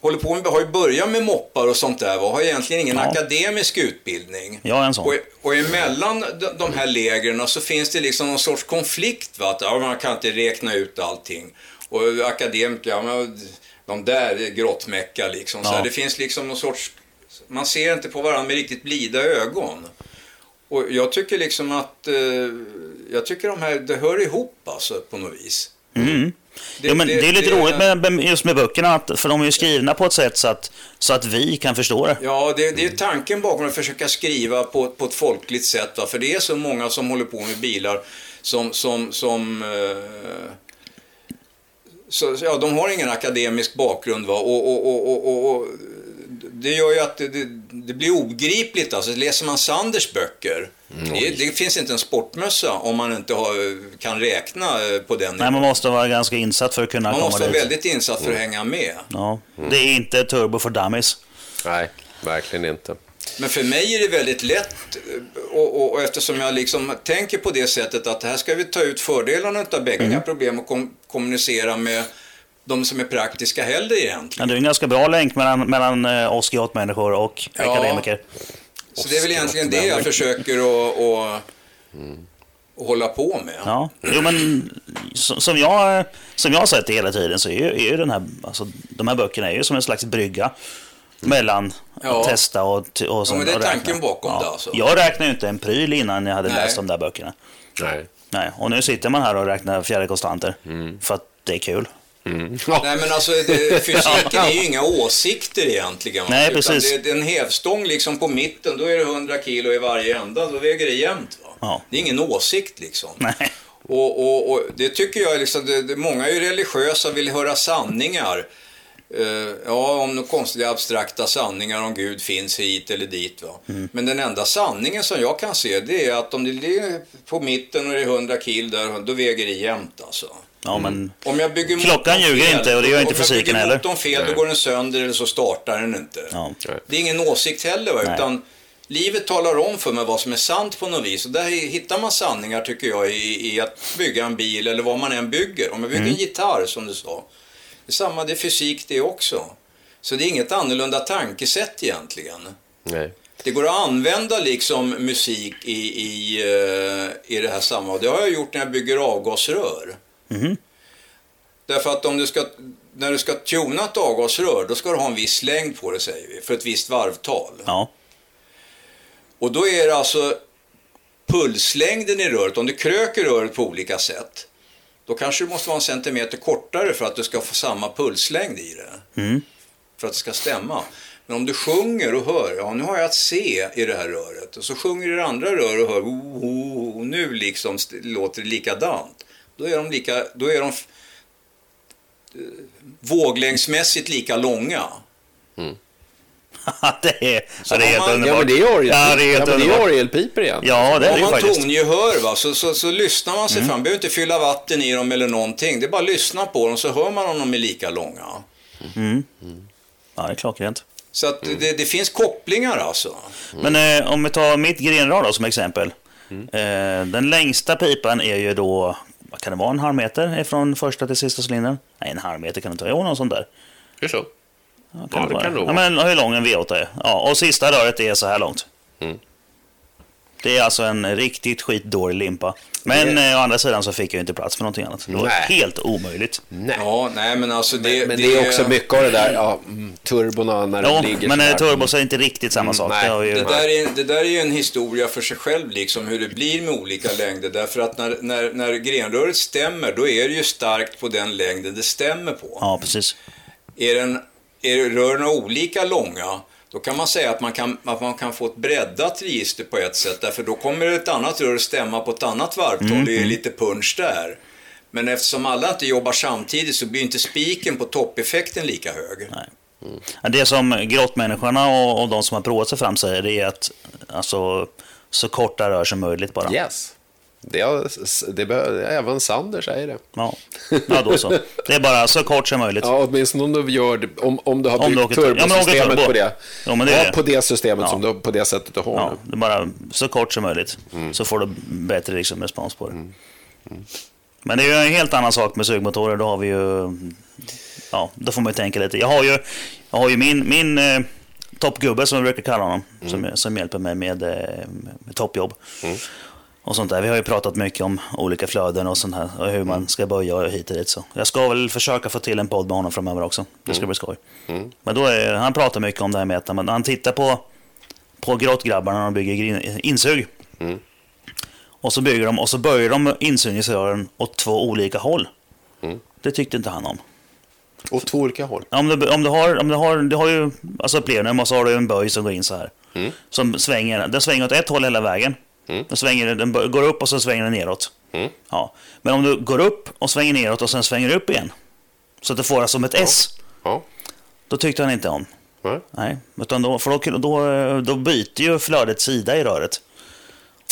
Speaker 4: håller på med, har ju börjat med moppar och sånt där va? har egentligen ingen
Speaker 2: Ja.
Speaker 4: akademisk utbildning.
Speaker 2: Jag är en sån.
Speaker 4: Och, och emellan de, de här lägren så finns det liksom någon sorts konflikt. Va? Att, ja, man kan inte räkna ut allting. Och akademiker, ja, men, de där är grottmäcka liksom. Så
Speaker 2: Ja.
Speaker 4: här, det finns liksom någon sorts... Man ser inte på varandra med riktigt blida ögon. Och jag tycker liksom att... Eh, jag tycker de här, det hör ihop alltså på något vis. Det-
Speaker 2: Mm. jo, men det,
Speaker 4: det-
Speaker 2: är lite
Speaker 4: det-
Speaker 2: roligt med, med- just med böckerna, att, för de är ju skrivna på ett sätt så att, så att vi kan förstå det.
Speaker 4: Ja, det, det är tanken bakom att försöka skriva på, på ett folkligt sätt. Va? För det är så många som håller på med bilar som... som, som eh, så, så, ja, de har ingen akademisk bakgrund. Va? Och, och, och, och, och, och, det gör ju att det, det, det blir obegripligt. Alltså, läser man Sanders böcker, det, det finns inte en sportmössa om man inte har, kan räkna eh, på den
Speaker 2: Nej,
Speaker 4: nivån.
Speaker 2: man måste vara ganska insatt för att kunna
Speaker 4: Man
Speaker 2: komma
Speaker 4: måste vara
Speaker 2: dit.
Speaker 4: väldigt insatt för att hänga med.
Speaker 2: Ja. Det är inte turbo för dummies.
Speaker 3: Nej, verkligen inte.
Speaker 4: Men för mig är det väldigt lätt eh, och, och, och eftersom jag liksom tänker på det sättet att här ska vi ta ut fördelarna utav bägge. Inga problem att kom, kommunicera med de som är praktiska heller egentligen.
Speaker 2: Men det är en ganska bra länk mellan, mellan eh, oss människor och
Speaker 4: Ja.
Speaker 2: akademiker.
Speaker 4: Så det är väl egentligen det jag försöker att att- att hålla på med.
Speaker 2: Ja. Jo, men som, som, jag, som jag har sett det hela tiden så är ju, är ju den här, alltså, de här böckerna är ju som en slags brygga mellan
Speaker 4: Ja.
Speaker 2: att testa och, t- och sen
Speaker 4: men det är
Speaker 2: och räkna.
Speaker 4: tanken bakom det, alltså.
Speaker 2: Jag räknade ju inte en pryl innan jag hade
Speaker 4: Nej.
Speaker 2: läst de där böckerna.
Speaker 3: Nej.
Speaker 2: Mm. Nej. Och nu sitter man här och räknar fjärdekonstanter för att det är kul.
Speaker 4: Nej men alltså det, fysiken är ju inga åsikter egentligen. va?
Speaker 2: Nej,
Speaker 4: Utan
Speaker 2: precis.
Speaker 4: Det, det är en hävstång liksom på mitten, då är det 100 kilo i varje ända, då väger det jämnt. Va?
Speaker 2: Ja.
Speaker 4: Det är ingen åsikt liksom.
Speaker 2: Nej.
Speaker 4: Och, och, och det tycker jag, är liksom, det, det, många är ju religiösa vill höra sanningar. Eh, ja, om några konstiga abstrakta sanningar om Gud finns hit eller dit. Va?
Speaker 2: Mm.
Speaker 4: Men den enda sanningen som jag kan se det är att om det ligger på mitten och det är 100 kilo där, då väger det jämnt alltså.
Speaker 2: Ja, men...
Speaker 4: Om jag bygger motorn
Speaker 2: Klockan ljuger
Speaker 4: fel,
Speaker 2: inte och det gör inte fysiken
Speaker 4: Om jag
Speaker 2: heller.
Speaker 4: bygger motorn fel då går den sönder eller så startar den inte.
Speaker 2: Ja.
Speaker 4: Det är ingen åsikt heller va?
Speaker 2: Nej.
Speaker 4: utan livet talar om för mig vad som är sant på något vis. Och där hittar man sanningar tycker jag i, i att bygga en bil eller vad man än bygger. Om jag
Speaker 2: Mm.
Speaker 4: bygger en gitarr som du sa. Det är samma, det är fysik det också. Så det är inget annorlunda tankesätt egentligen.
Speaker 3: Nej.
Speaker 4: Det går att använda liksom musik i, i, eh, i det här sammanhanget. Det har jag gjort när jag bygger avgasrör.
Speaker 2: Mhm.
Speaker 4: Därför att om du ska, när du ska tuna ett avgasrör, då ska du ha en viss längd på det säger vi, för ett visst varvtal.
Speaker 2: Ja.
Speaker 4: Och då är det alltså pulslängden i röret, om du kröker röret på olika sätt, då kanske du måste vara en centimeter kortare för att du ska få samma pulslängd i det.
Speaker 2: Mm.
Speaker 4: För att det ska stämma. Men om du sjunger och hör, ja nu har jag ett C i det här röret, och så sjunger du i det andra röret och hör, oh, oh, och nu liksom st- låter det likadant. Då är de, lika, då är de f- eh, våglängdsmässigt lika långa.
Speaker 2: det är,
Speaker 4: Så
Speaker 2: ja, det är helt
Speaker 4: om man-
Speaker 2: underbart.
Speaker 3: Ja, men det är orgelpipor
Speaker 2: Ja, det är helt underbart.
Speaker 3: igen.
Speaker 2: Ja, det är det
Speaker 4: Har
Speaker 2: ju
Speaker 4: man
Speaker 2: faktiskt.
Speaker 4: tongehör va, så, så, så lyssnar man sig fram. Man behöver inte fylla vatten i dem eller någonting. Det är bara att lyssna på dem så hör man om de är lika långa.
Speaker 2: Ja, det är klockrent.
Speaker 4: Så att det, det finns kopplingar alltså.
Speaker 2: Men eh, om vi tar mitt grenrör då som exempel. Eh, den längsta pipan är ju då, vad kan det vara, en halv meter från första till sista cylindern? Nej, en halv meter kan det inte vara. Jo, någon sån där.
Speaker 5: Är det så?
Speaker 2: Ja,
Speaker 5: Ja, det
Speaker 2: vara.
Speaker 5: kan det
Speaker 2: ja,
Speaker 5: vara.
Speaker 2: men hur lång en V8 är. Ja, och sista röret är så här långt. Det är alltså en riktigt skitdålig limpa. Men eh, å andra sidan så fick jag ju inte plats för någonting annat. Det var
Speaker 3: Nej.
Speaker 2: helt omöjligt.
Speaker 3: Nej.
Speaker 4: Ja, nej men alltså det...
Speaker 3: Men det är också mycket av det där, ja, mm, turbona när
Speaker 2: Jo,
Speaker 3: de ligger
Speaker 2: men
Speaker 3: sådär.
Speaker 2: eh, turbo så är det inte riktigt samma sak.
Speaker 3: nej,
Speaker 2: det har ju...
Speaker 4: Det där, är, det där är ju en historia för sig själv, liksom hur det blir med olika längder. Därför att när, när, när grenröret stämmer, då är det ju starkt på den längden det stämmer på.
Speaker 2: Ja, precis.
Speaker 4: Är, den, är rören olika långa, då kan man säga att man kan, att man kan få ett breddat register på ett sätt. Därför då kommer ett annat rör att stämma på ett annat varvtal.
Speaker 2: Mm,
Speaker 4: Det är lite punch där. Men eftersom alla inte jobbar samtidigt så blir inte spiken på toppeffekten lika hög.
Speaker 2: Ja, Det som grottmänniskorna och, och de som har provat sig fram säger det är att alltså, så korta rör som möjligt bara.
Speaker 3: Yes. Det, har- det behöver, även Sander säger det.
Speaker 2: Ja. ja, då så. Det är bara så kort som möjligt.
Speaker 3: Ja, åtminstone om du, gör, det- om, om du har
Speaker 2: Om du
Speaker 3: byggt
Speaker 2: åker tur- ja, men åker
Speaker 3: turbosystemet
Speaker 2: turbo.
Speaker 3: på det.
Speaker 2: Ja, men det är det.
Speaker 3: på det systemet
Speaker 2: Ja.
Speaker 3: som du, på det sättet du har
Speaker 2: Ja,
Speaker 3: nu.
Speaker 2: det är bara så kort som möjligt. Så får du bättre liksom, respons på det. Men det är ju en helt annan sak med sugmotorer. Då har vi ju... Ja, då får man ju tänka lite. Jag har ju, jag har ju min, min eh, toppgubbe, som jag brukar kalla honom, som, som hjälper mig med, eh, med toppjobb. Och sånt där. Vi har ju pratat mycket om olika flöden och sånt här. Och hur man ska böja och hit och dit. Så. Jag ska väl försöka få till en podd med honom framöver också. Det ska bli skoj. Men då är, han pratar mycket om det här med att men han tittar på på grottgrabbarna när de bygger grin- insug. Mm. Och så bygger de och så böjer de insugningsrören åt två olika håll. Det tyckte inte han om.
Speaker 3: Åt två olika håll.
Speaker 2: Om du, om du har, om du har, du har ju alltså plenum och så har du en böj som går in så här. Som svänger, den svänger åt ett håll hela vägen. Den, svänger, den bö- går upp och så svänger den neråt. Ja. Men om du går upp och svänger neråt och sen svänger upp igen. Så att du får det som ett S.
Speaker 3: Ja.
Speaker 2: Då tyckte han inte om.
Speaker 3: Nej.
Speaker 2: Nej, utan då, för då, då, då byter ju flödet sida i röret.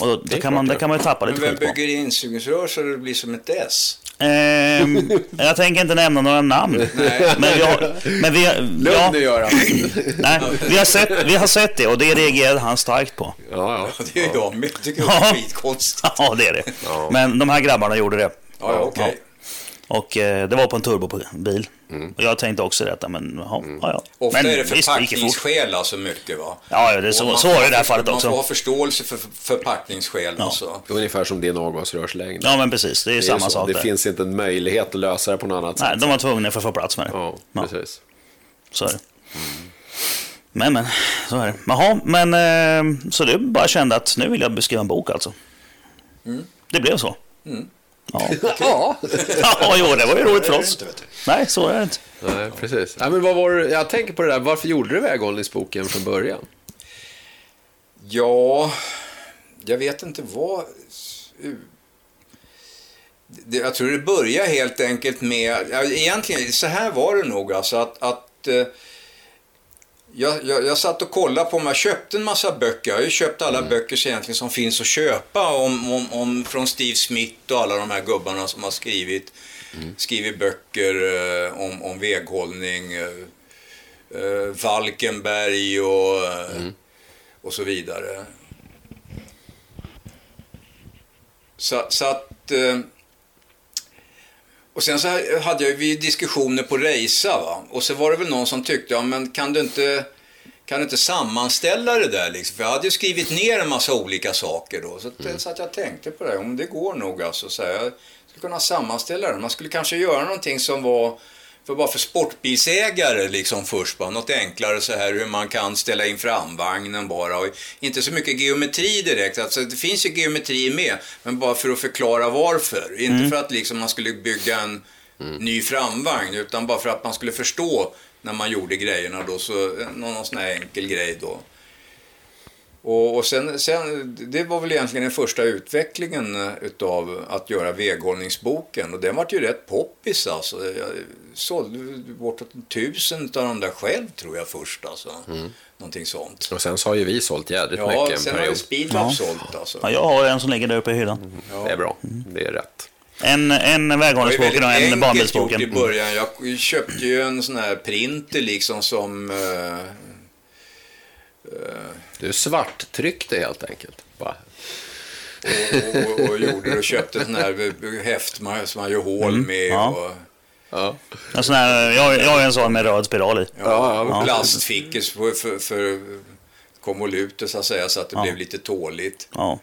Speaker 2: Och då, då
Speaker 3: är
Speaker 2: kan man,
Speaker 3: klart,
Speaker 2: där kan man ju tappa
Speaker 4: Men
Speaker 2: lite
Speaker 4: vem
Speaker 2: skit på.
Speaker 4: bygger insugningsrör så det blir som ett S?
Speaker 2: Ehm, jag tänker inte nämna några namn. Men vi har, men vi, ja,
Speaker 3: Lugn nu, Göran.
Speaker 2: nej, vi, har sett, vi har sett det och det reagerade han starkt på.
Speaker 3: Ja, ja.
Speaker 4: Ja, det är jag med. Jag tycker det är
Speaker 2: Ja.
Speaker 4: skitkonstigt.
Speaker 2: Ja, det är det. Men de här grabbarna gjorde det.
Speaker 4: Ja, ja, okej.
Speaker 2: Och eh, det var på en turbobil. Och jag tänkte också detta, men jaha, ja, ja.
Speaker 4: Ofta
Speaker 2: men,
Speaker 4: är det
Speaker 2: visst, gick ju fort.
Speaker 4: förpackningsskäl alltså mycket va?
Speaker 2: Ja, ja, det är så-
Speaker 4: Och man
Speaker 2: så var det i
Speaker 4: får-
Speaker 2: det här fallet
Speaker 4: Man
Speaker 2: också.
Speaker 4: får ha förståelse för för- förpackningsskäl alltså.
Speaker 3: Ungefär som din avgasrörslängd.
Speaker 2: Ja, men precis. Det är ju
Speaker 3: Det är
Speaker 2: samma
Speaker 3: så.
Speaker 2: sak
Speaker 3: Det
Speaker 2: där.
Speaker 3: finns inte en möjlighet att lösa det på något annat
Speaker 2: Nej,
Speaker 3: sätt.
Speaker 2: de var tvungna för att få plats med det.
Speaker 3: Ja, precis.
Speaker 2: Så är det. Men, men, så är det. Jaha, men eh, så du bara kände att nu vill jag beskriva en bok alltså? Det blev så? Ja,
Speaker 3: Ja.
Speaker 2: ja jo, det var ju roligt för oss.
Speaker 1: Inte, vet du.
Speaker 2: Nej, så är det inte.
Speaker 3: Nej, precis. Nej, men vad var, det- jag tänker på det där, varför gjorde du väghållningsboken från början?
Speaker 4: Ja, jag vet inte vad... Det- Jag tror det börjar helt enkelt med... ja, Egentligen, så här var det nog alltså att... att eh, jag, jag, jag satt och kollade på om jag köpte en massa böcker. Jag har ju köpt alla böcker så egentligen som finns att köpa om, om, om, från Steve Smith och alla de här gubbarna som har skrivit, skrivit böcker eh, om, om väghållning. Eh, eh, Valkenberg och... eh, och så vidare. Så, så att... eh, Och sen så här hade jag, vi diskussioner på Reisa va. Och så var det väl någon som tyckte, ja men kan du inte, kan du inte sammanställa det där liksom? För jag hade ju skrivit ner en massa olika saker då. Så, att- så att jag tänkte på det, om det går nog alltså. Så här, jag skulle kunna sammanställa det. Man skulle kanske göra någonting som var för bara för sportbilsägare liksom först bara, något enklare så här hur man kan ställa in framvagnen bara och inte så mycket geometri direkt, alltså det finns ju geometri med, men bara för att förklara varför, inte för att liksom man skulle bygga en ny framvagn utan bara för att man skulle förstå när man gjorde grejerna då, så eh, någon sån här enkel grej då. Och, och sen, sen, det var väl egentligen den första utvecklingen eh, utav att göra väghållningsboken och den vart ju rätt poppis alltså. Jag sålde bortåt tusen utav de där själv tror jag först alltså. Någonting sånt.
Speaker 3: Och sen så har ju vi sålt jädrigt
Speaker 4: Ja,
Speaker 3: Mm. mycket en
Speaker 4: sen har ju
Speaker 3: period.
Speaker 4: Speedlab
Speaker 2: Ja.
Speaker 4: sålt alltså.
Speaker 2: Ja, jag har en som ligger där uppe i hyllan.
Speaker 3: Det är bra,
Speaker 2: Mm.
Speaker 3: det är rätt.
Speaker 2: En, en
Speaker 4: Det var ju
Speaker 2: väghållningsboken och
Speaker 4: väldigt
Speaker 2: en
Speaker 4: enkelt
Speaker 2: barnbilsboken. Mm.
Speaker 4: gjort i början. Jag köpte ju en sån här printer liksom som... eh,
Speaker 3: Du svarttryckte helt enkelt. Bara.
Speaker 4: och, och, och gjorde och köpte sån här eh, häft man- som man gör hål med.
Speaker 2: Mm. ja.
Speaker 4: Och,
Speaker 3: Ja.
Speaker 2: En sån här, jag, jag har en sån med röd spiral i.
Speaker 3: Ja, ja.
Speaker 4: och plastfickor för, för, för konvoluter så att säga, så att det blev lite tåligt.
Speaker 2: Ja.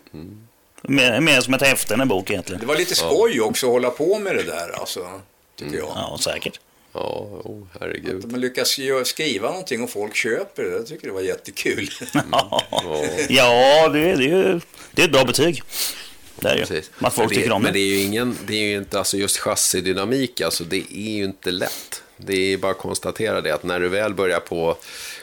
Speaker 2: Mer, mer som ett häfte än en bok egentligen.
Speaker 4: Det var lite skoj också att hålla på med det där, alltså, tycker
Speaker 3: Mm.
Speaker 4: jag.
Speaker 2: Ja, säkert.
Speaker 3: Ja, oh,
Speaker 4: Att
Speaker 3: herregud.
Speaker 4: man lyckas gö- skriva någonting och folk köper det, jag tycker det var jättekul.
Speaker 2: ja, det, är- det, är ju- det är ett bra betyg. Det är det ju.
Speaker 3: Precis.
Speaker 2: Att folk
Speaker 3: men det,
Speaker 2: tycker om
Speaker 3: Men det
Speaker 2: det.
Speaker 3: är ju ingen, det är ju inte, alltså just chassidynamik, alltså det är ju inte lätt. Det är bara att konstatera det, att när du väl börjar på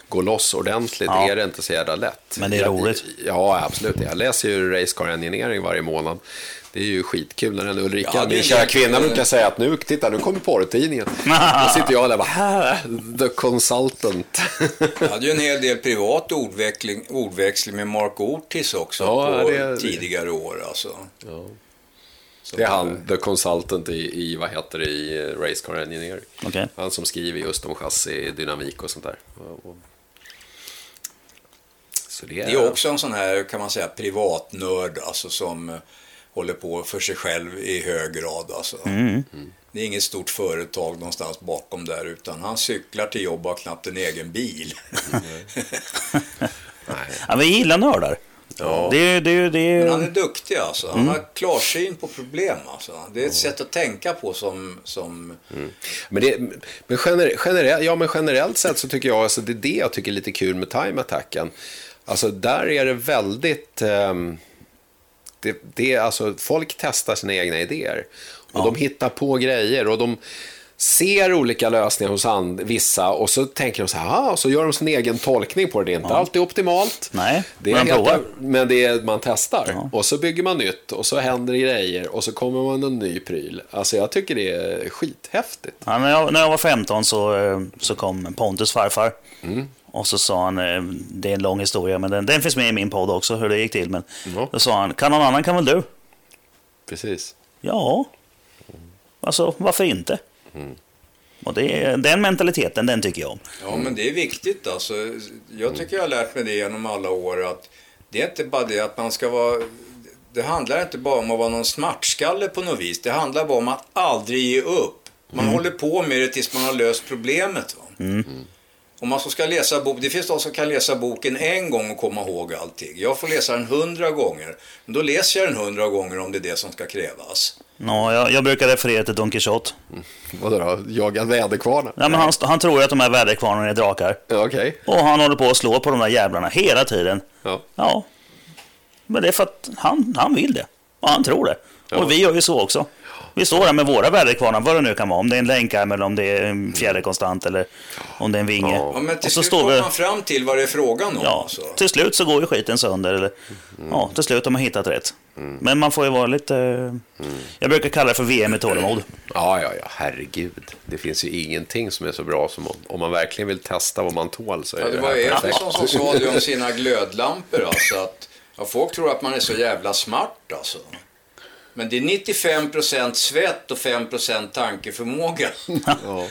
Speaker 3: gå loss ordentligt
Speaker 2: Ja.
Speaker 3: är det inte så jävla lätt.
Speaker 2: Men det är
Speaker 3: Jag-
Speaker 2: roligt.
Speaker 3: Ja, absolut. Jag läser ju Race Car Engineering varje månad. Det är ju skitkul när den Ulrika,
Speaker 4: Ja, det är
Speaker 3: min
Speaker 4: ju-
Speaker 3: kära kvinna, brukar säga att nu, titta, nu kommer porrtidningen. Då sitter jag där och bara, "Hä? the consultant.
Speaker 4: Jag hade ju en hel del privat ordväxling, ordväxling med Mark Ortiz också
Speaker 3: Ja,
Speaker 4: på
Speaker 3: det-
Speaker 4: tidigare år. Alltså. Så
Speaker 3: Det är han, the consultant i, i vad heter det, i eh, Race Car Engineering.
Speaker 2: Okej.
Speaker 3: Han som skriver just om chassi, dynamik och sånt där. Och- och- Så det är,
Speaker 4: Det är också en sån här, kan man säga, privatnörd alltså, som eh, håller på för sig själv i hög grad. Alltså. Det är inget stort företag någonstans bakom där, utan han cyklar till jobb och har knappt en egen bil.
Speaker 2: Ja, vi gillar nördar. Det är ju... Det är, ju- det är,
Speaker 4: Men
Speaker 2: ju-
Speaker 4: han är duktig alltså. Han har klarsyn på problem alltså. Det är ett sätt att tänka på som... som
Speaker 3: Men, det, men, gener, generell, ja, men generellt sett så tycker jag, alltså, det är det jag tycker är lite kul med time-attacken. Alltså där är det väldigt, ehm, det, det, är alltså, folk testar sina egna idéer. Och de hittar på grejer och de ser olika lösningar hos and, vissa och så tänker de så här, "Ah", och så gör de sin egen tolkning på det. Det är inte alltid optimalt.
Speaker 2: Nej,
Speaker 3: det är
Speaker 2: men de
Speaker 3: helt-
Speaker 2: provar.
Speaker 3: men det är, man testar.
Speaker 2: Ja.
Speaker 3: Och så bygger man nytt och så händer det grejer och så kommer man en ny pryl. Alltså jag tycker det är skithäftigt.
Speaker 2: Ja, när, jag, när jag var 15 så, eh, så kom Pontus farfar. Och så sa han, eh, det är en lång historia, men den, den finns med i min podd också, hur det gick till. Men
Speaker 3: Ja.
Speaker 2: då sa han, kan någon annan kan väl du?
Speaker 3: Precis.
Speaker 2: Ja, alltså varför inte? Och det, är- den mentaliteten, den tycker jag om.
Speaker 4: ja, men det är viktigt alltså. Jag tycker jag har lärt mig det genom alla år att det är inte bara det att man ska vara... Det handlar inte bara om att vara någon smartskalle på något vis. Det handlar bara om att aldrig ge upp. Man
Speaker 2: Mm.
Speaker 4: håller på med det tills man har löst problemet. Va? Om man så ska läsa bok, det finns de som kan läsa boken en gång och komma ihåg allting. Jag får läsa den hundra gånger. Men då läser jag den hundra gånger om det är det som ska krävas.
Speaker 2: Ja, jag, jag brukar referera till Don Quijote.
Speaker 3: Vadå då? Jaga väderkvarnar?
Speaker 2: Ja, men han, han tror ju att de här väderkvarnarna är drakar.
Speaker 3: Ja, Okej.
Speaker 2: Och han håller på att slå på de där jävlarna hela tiden.
Speaker 3: Ja.
Speaker 2: Ja, men det är för att han, han vill det. Och han tror det. Och vi gör ju så också. Vi står där med våra väderkvarnar, vad det nu kan vara. Om det är en länkarm eller om det är en fjäderkonstant eller om det är en vinge.
Speaker 4: Ja, men till
Speaker 2: och så
Speaker 4: slut
Speaker 2: står
Speaker 4: kommer
Speaker 2: vi...
Speaker 4: man fram till vad det är frågan om.
Speaker 2: Ja,
Speaker 4: alltså.
Speaker 2: till slut så går ju skiten sönder. Eller, Ja, till slut har man hittat rätt. Men man får ju vara lite... Jag brukar kalla det för VM i tålamod.
Speaker 3: Ja, ja, ja, herregud. Det finns ju ingenting som är så bra som om, om man verkligen vill testa vad man tål så är
Speaker 4: Ja, det
Speaker 3: det
Speaker 4: var
Speaker 3: här perfekt.
Speaker 4: Effersson som sa det om sina glödlampor. Alltså, att, ja, folk tror att man är så jävla smart alltså. Men det är 95% svett och 5% tankeförmåga.
Speaker 3: Ja.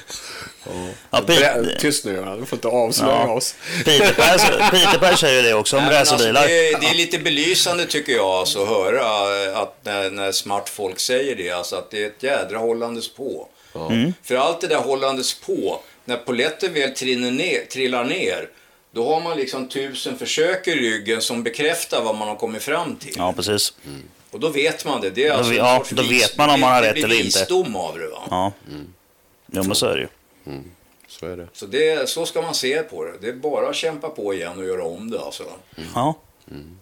Speaker 2: Ja,
Speaker 3: Brä-
Speaker 2: Peter,
Speaker 3: Tyst nu Göran, du får inte avslöja
Speaker 2: Ja.
Speaker 3: oss.
Speaker 2: Peter, Per, Peter Per säger ju det också om
Speaker 4: Nej, men
Speaker 2: racerbilar.
Speaker 4: Alltså, det, är- det är lite belysande tycker jag alltså, att höra eh, att när, när smart folk säger det, alltså, att det är ett jädra hållandes på. Mm. För allt det där hållandes på, när poletten väl trinner ner, trillar ner, då har man liksom tusen försök i ryggen som bekräftar vad man har kommit fram till.
Speaker 2: Ja, precis.
Speaker 4: Och då vet man det. det är alltså en
Speaker 2: ja,
Speaker 4: sorts
Speaker 2: då
Speaker 4: vis-
Speaker 2: vet man om man har
Speaker 4: det
Speaker 2: rätt
Speaker 4: blir
Speaker 2: eller inte.
Speaker 4: visdom av det. Va?
Speaker 2: Ja, jo, men så är det ju.
Speaker 3: Så är det.
Speaker 4: Så, det, så ska man se på det. Det är bara att kämpa på igen och göra om det. Alltså.
Speaker 2: Ja.
Speaker 3: Mm.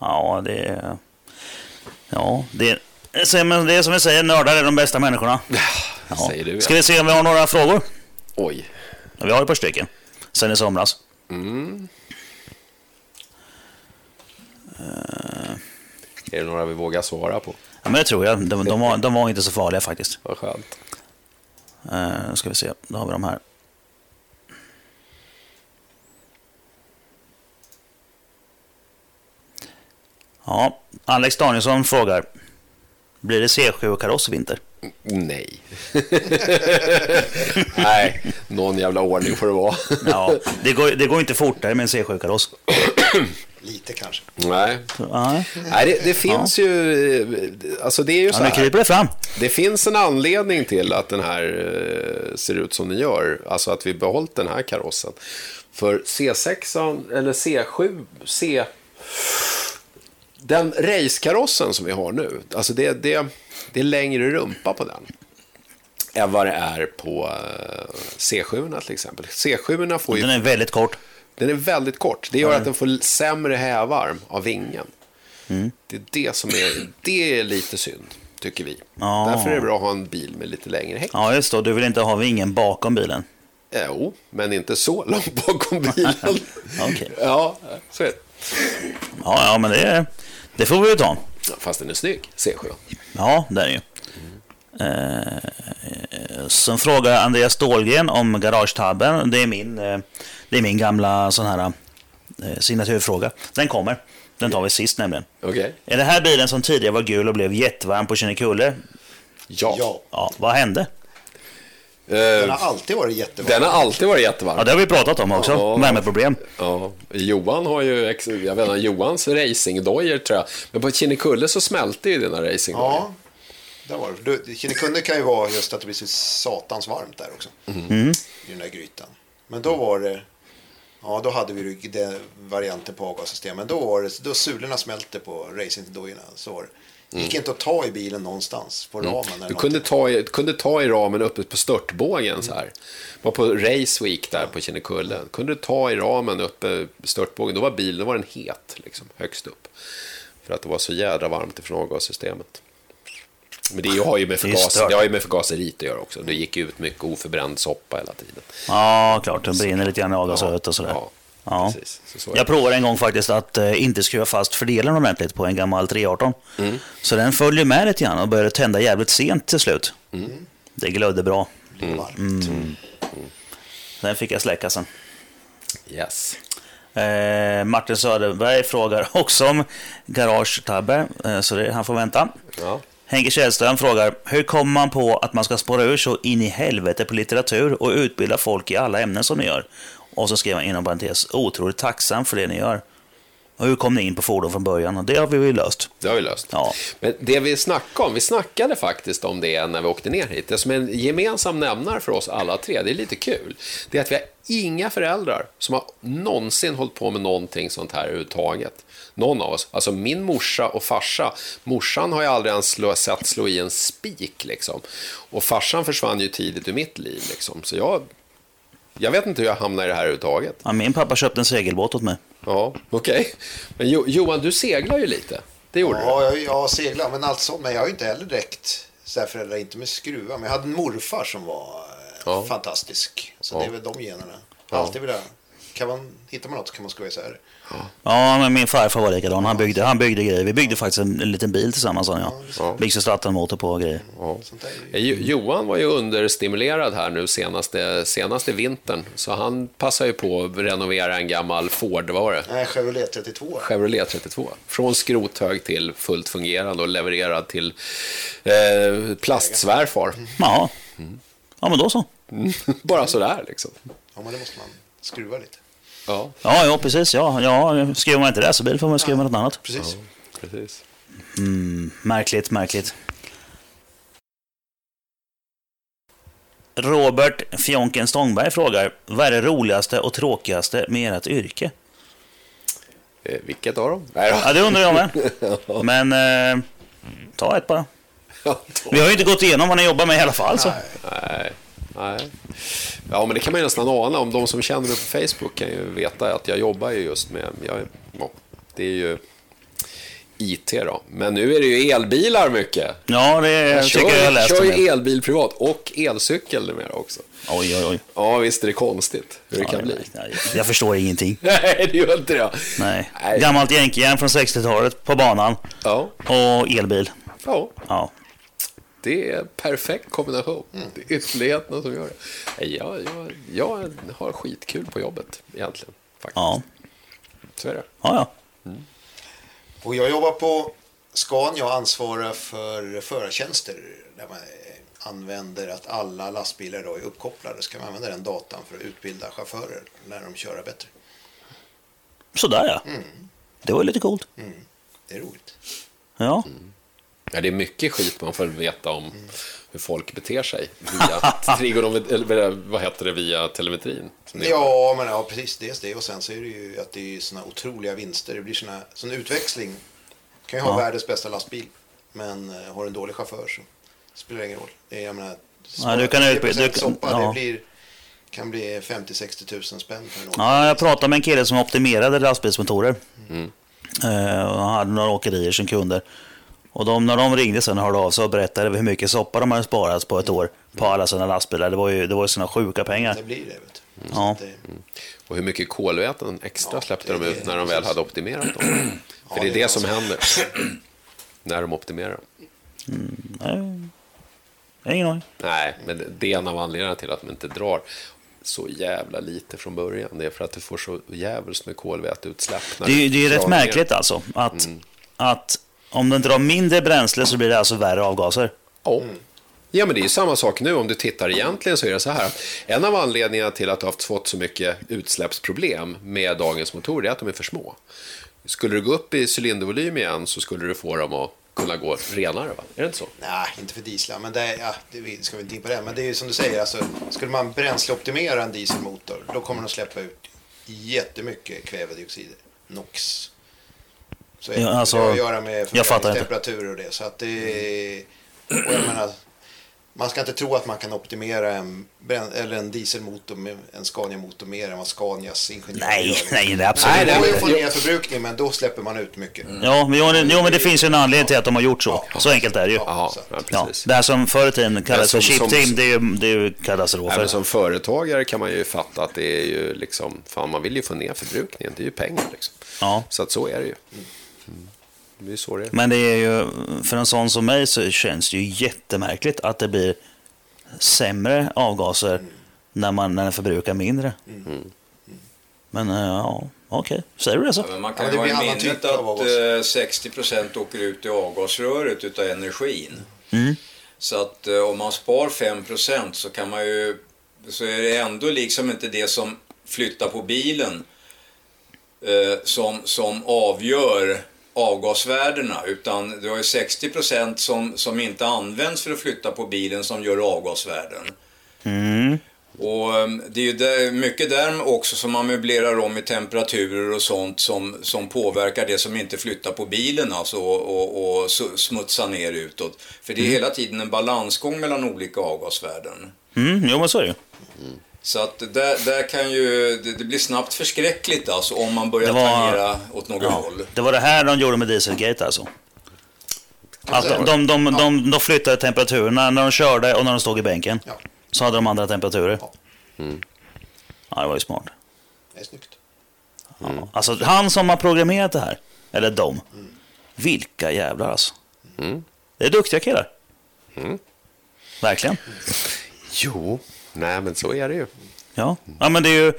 Speaker 2: Ja, det är... Ja, det är... Så, men det är som vi säger, nördar är de bästa människorna. Ja.
Speaker 3: Säger du
Speaker 2: Ska
Speaker 3: ja.
Speaker 2: vi se om vi har några frågor?
Speaker 3: Oj.
Speaker 2: Ja, Vi har ett par stycken. Sen i somras.
Speaker 3: Är det några vi vågar svara på?
Speaker 2: Ja, men det tror jag. De, de, var, de var inte så farliga faktiskt.
Speaker 3: Vad skönt.
Speaker 2: Eh, nu ska vi se, då har vi de här. Ja, Alex Danielsson frågar. Blir det C7-kaross i vinter?
Speaker 3: Nej. Nej, någon jävla ordning får det vara.
Speaker 2: Ja, det går, det går inte fortare med en C7-kaross.
Speaker 1: Lite kanske.
Speaker 3: Nej,
Speaker 2: Ja,
Speaker 3: Nej det, det finns ju... Alltså det är ju så
Speaker 2: nu
Speaker 3: här.
Speaker 2: kryper det fram.
Speaker 3: Det finns en anledning till att den här eh, ser ut som den gör. Alltså att vi behållit den här karossen. För C6, eller C7, C... Den racekarossen som vi har nu, alltså det, det, det är längre rumpa på den än vad det är på eh, C7 till exempel. C7 får ju
Speaker 2: Den är väldigt kort.
Speaker 3: den är väldigt kort. Det gör att den får sämre hävarm av vingen.
Speaker 2: Mm.
Speaker 3: Det är det som är, det är lite synd, tycker vi.
Speaker 2: Ja.
Speaker 3: Därför är det bra att ha en bil med lite längre häck.
Speaker 2: Ja, just det. Du vill inte ha vingen bakom bilen.
Speaker 3: Jo, oh, men inte så långt bakom bilen.
Speaker 2: Okej.
Speaker 3: Ja, så är det.
Speaker 2: Ja, ja men det, det får vi ju ta.
Speaker 3: Fast den är snygg, C7.
Speaker 2: Ja, det är det ju. Eh, sen frågar Andreas Dahlgren om garagetabben. Det är min, eh, det är min gamla sån här eh, signaturfråga. Den kommer. Den tar vi sist nämligen.
Speaker 3: Okej.
Speaker 2: Är det här bilen som tidigare var gul och blev jättevarm på Kinnekulle?
Speaker 3: Ja.
Speaker 1: Ja.
Speaker 2: Ja, vad hände?
Speaker 1: Den
Speaker 3: Eh,
Speaker 1: har alltid varit jättebra.
Speaker 3: den har alltid varit jättevarm.
Speaker 2: Ja, det har vi pratat om också.
Speaker 3: Ja.
Speaker 2: Värmeproblem.
Speaker 3: Ja, Johan har ju, ex- jag vet inte, Johans racingdojor tror jag. Men på Kinnekulle så smälte ju dina racingdojor.
Speaker 1: Ja, där var det. Du, Kinnekunde kan ju vara just att det blir så satans varmt där också.
Speaker 3: Mm.
Speaker 1: I den där grytan. Men då var det... Ja, då hade vi ju den varianten på avgassystemet. Men då var det... Då sulorna smälte på racingdojorna. Så var det. Det gick inte att ta i bilen någonstans. På ramen eller
Speaker 3: Mm. Du kunde
Speaker 1: någonting.
Speaker 3: ta, i, kunde ta i ramen uppe på störtbågen så här. Var på Race Week där på Kinnekulle. Kunde du ta i ramen uppe på störtbågen. Då var bilen då var den het, liksom, högst upp. För att det var så jädra varmt ifrån avgassystemet. Men det har ju med,
Speaker 2: är ju
Speaker 3: förgas,
Speaker 2: stört.
Speaker 3: det har ju med förgaseriet att göra också. Det gick ut mycket oförbränd soppa hela tiden.
Speaker 2: Ja, klart. Den brinner lite grann i avgasröret och sådär.
Speaker 3: Ja,
Speaker 2: Ja.
Speaker 3: precis. Så, så är
Speaker 2: Jag provade en gång faktiskt att eh, inte skruva fast fördelaren ordentligt på en gammal 318.
Speaker 3: Mm.
Speaker 2: Så den följer med lite grann och började tända jävligt sent till slut.
Speaker 3: Mm.
Speaker 2: Det glödde bra.
Speaker 1: Det blev varmt.
Speaker 2: Den fick jag släcka sen.
Speaker 3: det. Yes.
Speaker 2: Eh, Martin Söderberg frågar också om garagetabbe, eh, så det, han får vänta.
Speaker 3: Ja.
Speaker 2: Henke Källström frågar, hur kommer man på att man ska spåra ur så in i helvete på litteratur och utbilda folk i alla ämnen som ni gör? Och så skriver han inom parentes, otroligt tacksam för det ni gör. Och hur kom ni in på fordon från början? Och det har vi ju löst.
Speaker 3: Det har vi löst.
Speaker 2: Ja.
Speaker 3: Men det vi snackade om, vi snackade faktiskt om det när vi åkte ner hit. Det som är en gemensam nämnare för oss alla tre, det är lite kul, det är att vi har inga föräldrar som har någonsin hållit på med någonting sånt här överhuvudtaget. Någon av oss. Alltså min morsa och farsa, morsan har jag aldrig ens slå, sett slå i en spik liksom. Och farsan försvann ju tidigt ur mitt liv liksom. Så jag, jag vet inte hur jag hamnade i det här överhuvudtaget.
Speaker 2: Ja, min pappa köpte en segelbåt åt mig.
Speaker 3: Ja, okej. Men jo, Johan, du seglar ju lite. Det gjorde du?
Speaker 1: Ja, jag, jag seglar, men alltså, men jag har ju inte heller direkt så här föräldrar, inte med skruvar. Men jag hade en morfar som var eh,
Speaker 3: Ja.
Speaker 1: fantastisk. Så
Speaker 3: Ja.
Speaker 1: det är väl de generna.
Speaker 3: Ja.
Speaker 1: Alltid vill jag. Kan man, hittar man något så kan man skoja så här.
Speaker 2: Ja, men min farfar var likadan. Han byggde, han byggde grejer. Vi byggde faktiskt en, en liten bil tillsammans, han och
Speaker 3: Ja.
Speaker 2: jag. Vigselstrattan-motor på och grejer.
Speaker 3: Ja. Eh,
Speaker 1: Sånt där är ju-
Speaker 3: Jo- Johan var ju understimulerad här nu senaste, senaste vintern, så han passar ju på att renovera en gammal Ford, vad var det?
Speaker 1: Nej, Chevrolet 32.
Speaker 3: Chevrolet 32. Från skrothög till fullt fungerande och levererad till eh, plastsvärfar.
Speaker 2: Ja. ja, men då så.
Speaker 1: Mm.
Speaker 3: Bara sådär liksom.
Speaker 1: Ja, men det måste man skruva lite.
Speaker 3: Ja,
Speaker 2: Ja, ja precis. Ja, ja, skriver man inte racerbil får man skriva något annat.
Speaker 1: Precis.
Speaker 3: precis. Mm.
Speaker 2: Märkligt, märkligt. Robert Fjonken Stångberg frågar, vad är det roligaste och tråkigaste med ert yrke?
Speaker 3: Eh, vilket av dem? Nej,
Speaker 2: Ja, det undrar jag med. Men eh, ta ett bara.
Speaker 3: då.
Speaker 2: Vi har ju inte gått igenom vad ni jobbar med i alla fall. Så.
Speaker 3: Nej. Nej. Ja, men det kan man ju nästan ana. Om de som känner mig på Facebook kan ju veta att jag jobbar ju just med... Jag, ja, det är ju IT då. Men nu är det ju elbilar mycket.
Speaker 2: Ja, det tycker jag jag läste.
Speaker 3: kör
Speaker 2: om
Speaker 3: ju
Speaker 2: det.
Speaker 3: elbil privat och elcykel numera också.
Speaker 2: Oj, oj, oj.
Speaker 3: Ja, visst är det konstigt hur det
Speaker 2: Ja,
Speaker 3: kan bli.
Speaker 2: nej, Jag förstår ingenting.
Speaker 3: Nej, det gör inte det.
Speaker 2: Nej.
Speaker 3: Nej.
Speaker 2: Gammalt jänkejärn från 60-talet på banan
Speaker 3: Ja,
Speaker 2: och elbil.
Speaker 3: ja,
Speaker 2: Ja.
Speaker 3: det är en perfekt kombination. Mm, Det är ytterligheterna som gör det. Nej, Jag, jag, jag har skitkul på jobbet egentligen. Faktiskt.
Speaker 2: Ja,
Speaker 3: Så är det.
Speaker 2: ja. ja.
Speaker 1: Och jag jobbar på Scania och ansvarar för förartjänster där man eh, använder att alla lastbilar då är uppkopplade. Så kan man använda den datan för att utbilda chaufförer, lära dem köra bättre.
Speaker 2: Sådär ja.
Speaker 3: Mm.
Speaker 2: Det var ju lite coolt.
Speaker 1: Det är roligt.
Speaker 2: Ja.
Speaker 3: Ja, det är mycket skit man får veta om hur folk beter sig via trigonometri, eller vad heter det, via telemetrin.
Speaker 1: Ja, men ja, precis. Dels det. Och sen så är det ju att det är såna otroliga vinster. Det blir såna, sån utväxling. kan ju ha världens bästa lastbil, men eh, har du en dålig chaufför så spelar det ingen roll. Det är, jag menar, spara
Speaker 2: du kan
Speaker 1: 10%
Speaker 2: utbilda- du kan-
Speaker 1: soppa,
Speaker 2: ja.
Speaker 1: det blir, kan bli 50-60 000 spänn för en åker.
Speaker 2: ja, jag pratade med en kille som optimerade lastbilsmotorer. Eh, och han hade några åkerier som kunder. Och de, när de ringde sen och hörde av sig och berättade hur mycket soppa de hade sparat på ett år på alla sina lastbilar. Det var ju, det var ju sina sjuka pengar.
Speaker 1: Det blir det. Vet du. Så
Speaker 2: Ja.
Speaker 1: att det-
Speaker 3: Och hur mycket kolväten extra
Speaker 1: Ja,
Speaker 3: släppte
Speaker 1: det-
Speaker 3: de ut när de väl hade optimerat dem. För det är det som händer när de optimerar dem.
Speaker 2: Nej. Jag har Ingen aning.
Speaker 3: Nej, men det är en av anledningarna till att de inte drar så jävla lite från början. Det är för att du får så jävligt med kolväteutsläpp. när
Speaker 2: Det, är-
Speaker 3: du
Speaker 2: det är
Speaker 3: drar
Speaker 2: rätt
Speaker 3: ner.
Speaker 2: märkligt alltså. Att, att om den drar mindre bränsle så blir det alltså värre avgaser.
Speaker 3: Ja. Mm. ja, men det är ju samma sak nu. Om du tittar egentligen så är det så här. att En av anledningarna till att du har fått så mycket utsläppsproblem med dagens motorer är att de är för små. Skulle du gå upp i cylindervolym igen så skulle du få dem att kunna gå renare. Va? Är det inte så?
Speaker 1: Nej, inte för dieslar, men det, är- ja, det vi ska vi inte in på det. Men det är ju som du säger, alltså, skulle man bränsleoptimera en dieselmotor, då kommer den släppa ut jättemycket kvävedioxider, NOx. Så är det.
Speaker 2: Ja, alltså,
Speaker 1: det har att göra med
Speaker 2: jag fattar inte.
Speaker 1: förbränningstemperatur och det. Så att det och jag menar, man ska inte tro att man kan optimera en, brän- eller en dieselmotor, med en Scania-motor mer än vad Scanias ingenjörer
Speaker 2: Nej,
Speaker 1: gör.
Speaker 2: nej, det är absolut
Speaker 1: Nej, det går ju
Speaker 3: inte.
Speaker 1: att få ner förbrukningen, men då släpper man ut mycket.
Speaker 2: Ja, men, jo, men- jo, men det finns ju en anledning till att de har gjort så. Så enkelt är det ju.
Speaker 3: Ja,
Speaker 1: sant.
Speaker 3: ja
Speaker 2: Ja,
Speaker 3: precis.
Speaker 2: det här som förr i tiden
Speaker 3: Men
Speaker 2: kallades för
Speaker 3: som- som-
Speaker 2: chip team, det är ju, det är ju katastrofer.
Speaker 3: Även som företagare kan man ju fatta att det är ju liksom, fan man vill ju få ner förbrukningen, det är ju pengar liksom.
Speaker 2: Ja.
Speaker 3: Så att så är det ju. Mm. Det är ju så det är.
Speaker 2: Men det är ju, för en sån som mig så känns det ju jättemärkligt att det blir sämre avgaser när man när den förbrukar mindre. Men eh, ja, okej. Säger du det så?
Speaker 4: Ja, men man
Speaker 1: Ja,
Speaker 4: kan
Speaker 1: det
Speaker 4: ju ha
Speaker 1: blir
Speaker 4: i
Speaker 1: annan
Speaker 4: minnet
Speaker 1: typ av
Speaker 4: att eh, 60 åker ut i avgasröret utav energin. Så att eh, om man spar 5 så kan man ju så är det ändå liksom inte det som flyttar på bilen eh, som, som avgör avgasvärdena utan du har ju 60 som, som inte används för att flytta på bilen som gör avgasvärden. Och eh, det är ju där, mycket där också som man möblerar om i temperaturer och sånt som, som påverkar det som inte flyttar på bilen alltså och, och, och su- smutsar ner utåt.
Speaker 2: Mm.
Speaker 4: För det är hela tiden en balansgång mellan olika avgasvärden.
Speaker 2: Mm, jo, men så är det ju.
Speaker 4: Så att där, där kan ju, det, det blir snabbt förskräckligt alltså om man börjar
Speaker 2: Det var-
Speaker 4: tangera åt något
Speaker 2: Ja.
Speaker 4: håll.
Speaker 2: Det var det här de gjorde med Dieselgate alltså. Att de, de, de, de, de flyttade temperaturerna när de körde och när de stod i bänken.
Speaker 1: Ja.
Speaker 2: Så hade de andra temperaturer.
Speaker 1: Ja.
Speaker 2: Ja, det var ju smart.
Speaker 1: Det är snyggt.
Speaker 2: Ja. Alltså han som har programmerat det här, eller de. Vilka jävlar alltså. Det är duktiga killar. Verkligen.
Speaker 3: Jo, nej men så är det ju.
Speaker 2: Ja. ja, men det är ju,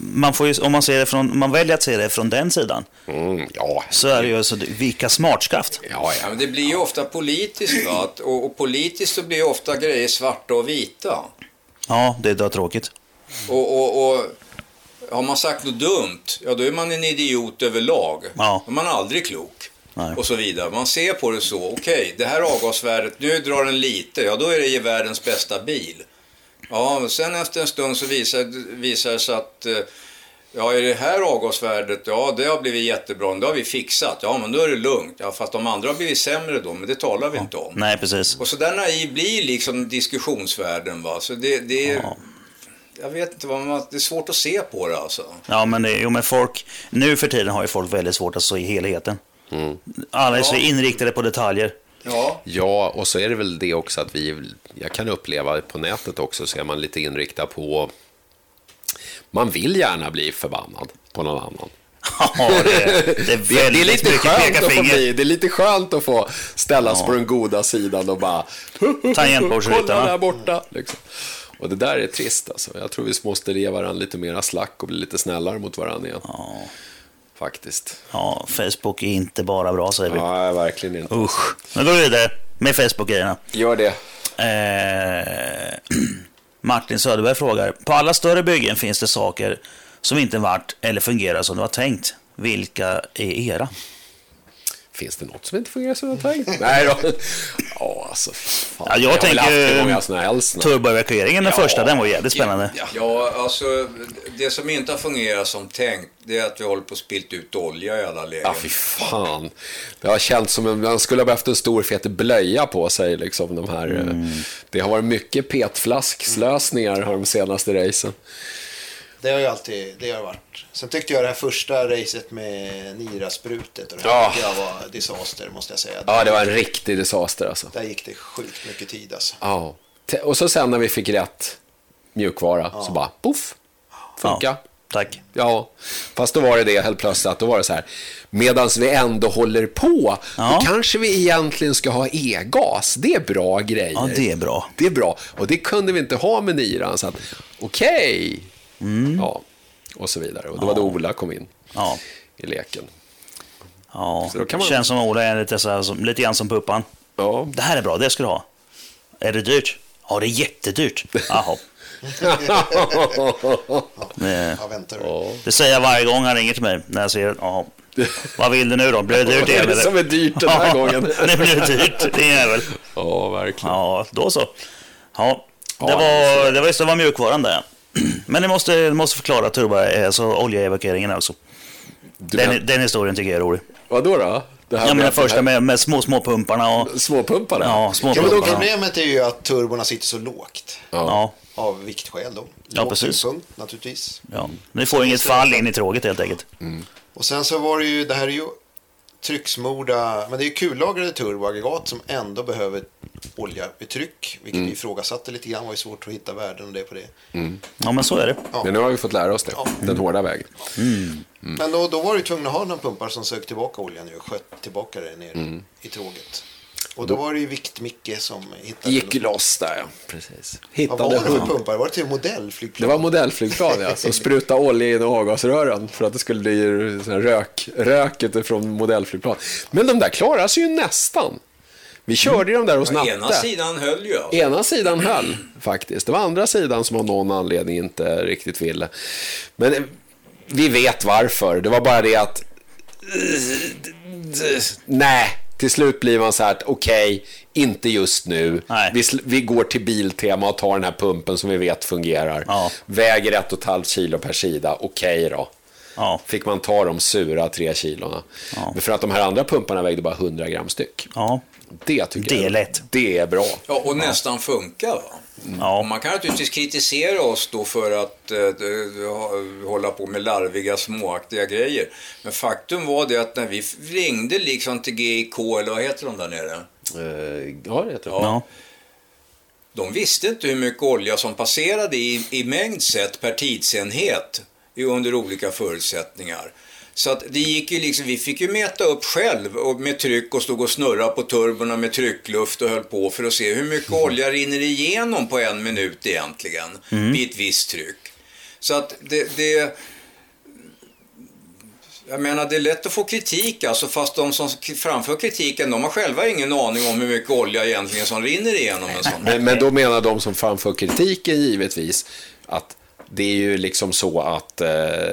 Speaker 2: man får ju, om man, ser det från, man väljer att se det från den sidan,
Speaker 3: Mm, ja.
Speaker 2: så är det ju, så, vilka smartskaft.
Speaker 3: Ja,
Speaker 4: Ja,
Speaker 3: ja.
Speaker 4: men det blir ju ofta politiskt va? Att- Och, och politiskt så blir ju ofta grejer svarta och vita.
Speaker 2: Ja, det är dötråkigt. Mm.
Speaker 4: Och, och, och har man sagt något dumt, ja då är man en idiot överlag.
Speaker 2: Ja.
Speaker 4: Då är man aldrig klok.
Speaker 2: Nej.
Speaker 4: Och så vidare. Man ser på det så, okej, det här avgasvärdet, nu drar den lite, ja då är det ju världens bästa bil. Ja, men sen efter en stund så visar, visar det sig att eh, Ja, är det här avgasvärdet? Ja, det har blivit jättebra. Det har vi fixat. Ja, men då är det lugnt. Ja, fast de andra har blivit sämre då, men det talar vi inte om.
Speaker 2: Nej, precis.
Speaker 4: Och så där naiv blir liksom diskussionsvärlden. Va? Så det, det är,
Speaker 2: Ja.
Speaker 4: Jag vet inte, vad man, det är svårt att se på det alltså.
Speaker 2: Ja, men, det, jo, men folk, nu för tiden har ju folk väldigt svårt att se helheten.
Speaker 3: Mm.
Speaker 2: Alla är så
Speaker 4: Ja.
Speaker 2: inriktade på detaljer.
Speaker 4: Ja,
Speaker 3: Ja, och så är det väl det också att vi, jag kan uppleva på nätet också, så är man lite inriktad på, man vill gärna bli förbannad på någon annan.
Speaker 2: Ja, det, det är väldigt
Speaker 3: Det, det, är lite
Speaker 2: mycket
Speaker 3: skönt
Speaker 2: peka
Speaker 3: att få
Speaker 2: finger.
Speaker 3: bli, det är lite skönt att få ställas på den goda sidan och bara
Speaker 2: Tangentbordsryttarna.
Speaker 3: kolla där borta. Liksom. Och det där är trist alltså. Jag tror vi måste ge varandra lite mera slack och bli lite snällare mot varandra igen.
Speaker 2: Ja,
Speaker 3: Faktiskt.
Speaker 2: ja, Facebook är inte bara bra, säger vi.
Speaker 3: Nej, verkligen inte.
Speaker 2: Usch. Nu går vi vidare med Facebook-grejerna.
Speaker 3: Gör det.
Speaker 2: Eh, Martin Söderberg frågar. På alla större byggen finns det saker som inte varit eller fungerar som det var tänkt. Vilka är era?
Speaker 3: Finns det något som inte fungerar som jag tänkt? Nej då. Ja, alltså. Fan.
Speaker 2: Ja, jag
Speaker 3: har väl
Speaker 2: tänker-
Speaker 3: haft hur många som helst. nu.
Speaker 2: Turboevakueringen, den
Speaker 3: Ja.
Speaker 2: första, den var jävligt spännande.
Speaker 4: Ja, ja, alltså det som inte har fungerat som tänkt, det är att vi håller på att spilt ut olja i alla lägen.
Speaker 3: Ja, fy fan. Det har känts som en, man skulle ha behövt en stor fet blöja på sig. Liksom, de här, eh,
Speaker 2: Mm.
Speaker 3: Det har varit mycket petflaskslösningar här de senaste racen.
Speaker 1: Det har ju alltid det har varit. Sen tyckte jag det här första racet med Nira-sprutet och det,
Speaker 3: Ja.
Speaker 1: här, det var disaster måste jag säga.
Speaker 3: Ja, det var en riktig disaster alltså.
Speaker 1: Där gick det sjukt mycket tid alltså.
Speaker 3: Ja. Te- Och så sen när vi fick rätt mjukvara så bara poff, funka.
Speaker 2: Ja, tack.
Speaker 3: Ja, fast då var det det helt plötsligt att då var det så här, medan vi ändå håller på,
Speaker 2: Ja.
Speaker 3: då kanske vi egentligen ska ha e-gas. Det är bra grejer.
Speaker 2: Ja, det är bra.
Speaker 3: Det är bra. Och det kunde vi inte ha med niran, så att okej. Ja, och så vidare. Och då var det Ola kom in
Speaker 2: Mm. Ja.
Speaker 3: i leken.
Speaker 2: Ja,
Speaker 3: Så då kan man-
Speaker 2: känns som Ola är lite, så här, som, lite grann som Puppan.
Speaker 3: Ja,
Speaker 2: Det här är bra, det ska du ha. Är det dyrt? Ja, det är jättedyrt. Jaha. Eh,
Speaker 1: Ja, väntar du?
Speaker 2: Det säger jag varje gång han ringer till mig när jag ser Jaha. Vad vill du nu då? Blir det dyrt
Speaker 3: Vad är det
Speaker 2: igen eller?
Speaker 3: som är dyrt den här
Speaker 2: Ja,
Speaker 3: gången?
Speaker 2: det blir dyrt, det är väl.
Speaker 3: ja verkligen.
Speaker 2: Ja, då så. Ja, det,
Speaker 3: Ja,
Speaker 2: var, det, var, just- det var mjukvaran där. ja. Men ni måste, ni måste förklara turbo, alltså oljeevakueringen också.
Speaker 3: Du men,
Speaker 2: Den, den historien tycker jag är rolig.
Speaker 3: vadå då? Det här
Speaker 2: Ja, men den
Speaker 3: att-
Speaker 2: första med, med små, småpumparna och...
Speaker 3: Småpumparna?
Speaker 2: Ja,
Speaker 1: Ja, men då
Speaker 2: småpumparna.
Speaker 1: problemet är ju att turborna sitter så lågt.
Speaker 2: Ja,
Speaker 1: Av viktskäl då.
Speaker 2: Ja, precis.
Speaker 1: Lågsynpunkt, naturligtvis.
Speaker 2: ja. Ni får inget fall in i tråget helt enkelt.
Speaker 1: Och sen så var det ju, det här är ju trycksmorda, men det är ju kullagrade turboaggregat som ändå behöver olja vid tryck, vilket
Speaker 3: Mm.
Speaker 1: vi ifrågasatte lite grann, var ju svårt att hitta värden och det på det.
Speaker 2: Ja, men så är det.
Speaker 3: Men nu har vi fått lära oss det, den hårda vägen.
Speaker 1: Men då, då var du tvungen att ha några pumpar som sög tillbaka oljan ju och sköt tillbaka den ner
Speaker 3: Mm.
Speaker 1: i tåget. Och då var det ju Vikt-Micke som hittade...
Speaker 3: Gick loss där, ja. Precis.
Speaker 1: Vad var det
Speaker 3: Hittade
Speaker 1: för
Speaker 3: hund.
Speaker 1: pumpar? Var det till
Speaker 3: Det
Speaker 1: modellflygplan?
Speaker 3: var modellflygplan, ja, som sprutade olja in i avgasrören för att det skulle bli sån här rök, rök utifrån modellflygplan. Men de där klarade sig ju nästan. Vi körde ju de där hos
Speaker 4: Å
Speaker 3: Natte.
Speaker 4: ena sidan höll ju. Alltså.
Speaker 3: Ena sidan höll faktiskt. Det var andra sidan som av någon anledning inte riktigt ville. Men eh, vi vet varför. Det var bara det att... Nej, till slut blir man så här att okej, inte just nu.
Speaker 2: Nej.
Speaker 3: Vi, sl- vi går till Biltema och tar den här pumpen som vi vet fungerar.
Speaker 2: Ja.
Speaker 3: Väger ett och ett halvt kilo per sida. Okej då.
Speaker 2: Ja,
Speaker 3: Fick man ta de sura tre kilona. Men för att de här andra pumparna vägde bara 100 gram styck.
Speaker 2: ja.
Speaker 3: Det tycker
Speaker 2: Det är
Speaker 3: jag.
Speaker 2: lätt.
Speaker 3: Det är bra.
Speaker 4: Ja, och nästan funkar. Va? Och
Speaker 2: Ja,
Speaker 4: man kan naturligtvis kritisera oss då för att eh, eh, ha- hålla på med larviga, småaktiga grejer. Men faktum var det att när vi ringde liksom till GIK, eller vad heter de där nere?
Speaker 3: Eh, Ja, det heter det.
Speaker 2: ja.
Speaker 4: De visste inte hur mycket olja som passerade i, i mängd sett per tidsenhet i- under olika förutsättningar. Så att det gick ju liksom, vi fick ju mäta upp själv och med tryck och stod och snurra på turborna med tryckluft och höll på för att se hur mycket olja rinner igenom på en minut egentligen vid ett visst tryck. Så att det, det, jag menar, det är lätt att få kritik alltså, fast de som k- framför kritiken, de har själva ingen aning om hur mycket olja egentligen som rinner igenom en sån.
Speaker 3: Men, men då menar de som framför kritiken givetvis att det är ju liksom så att eh,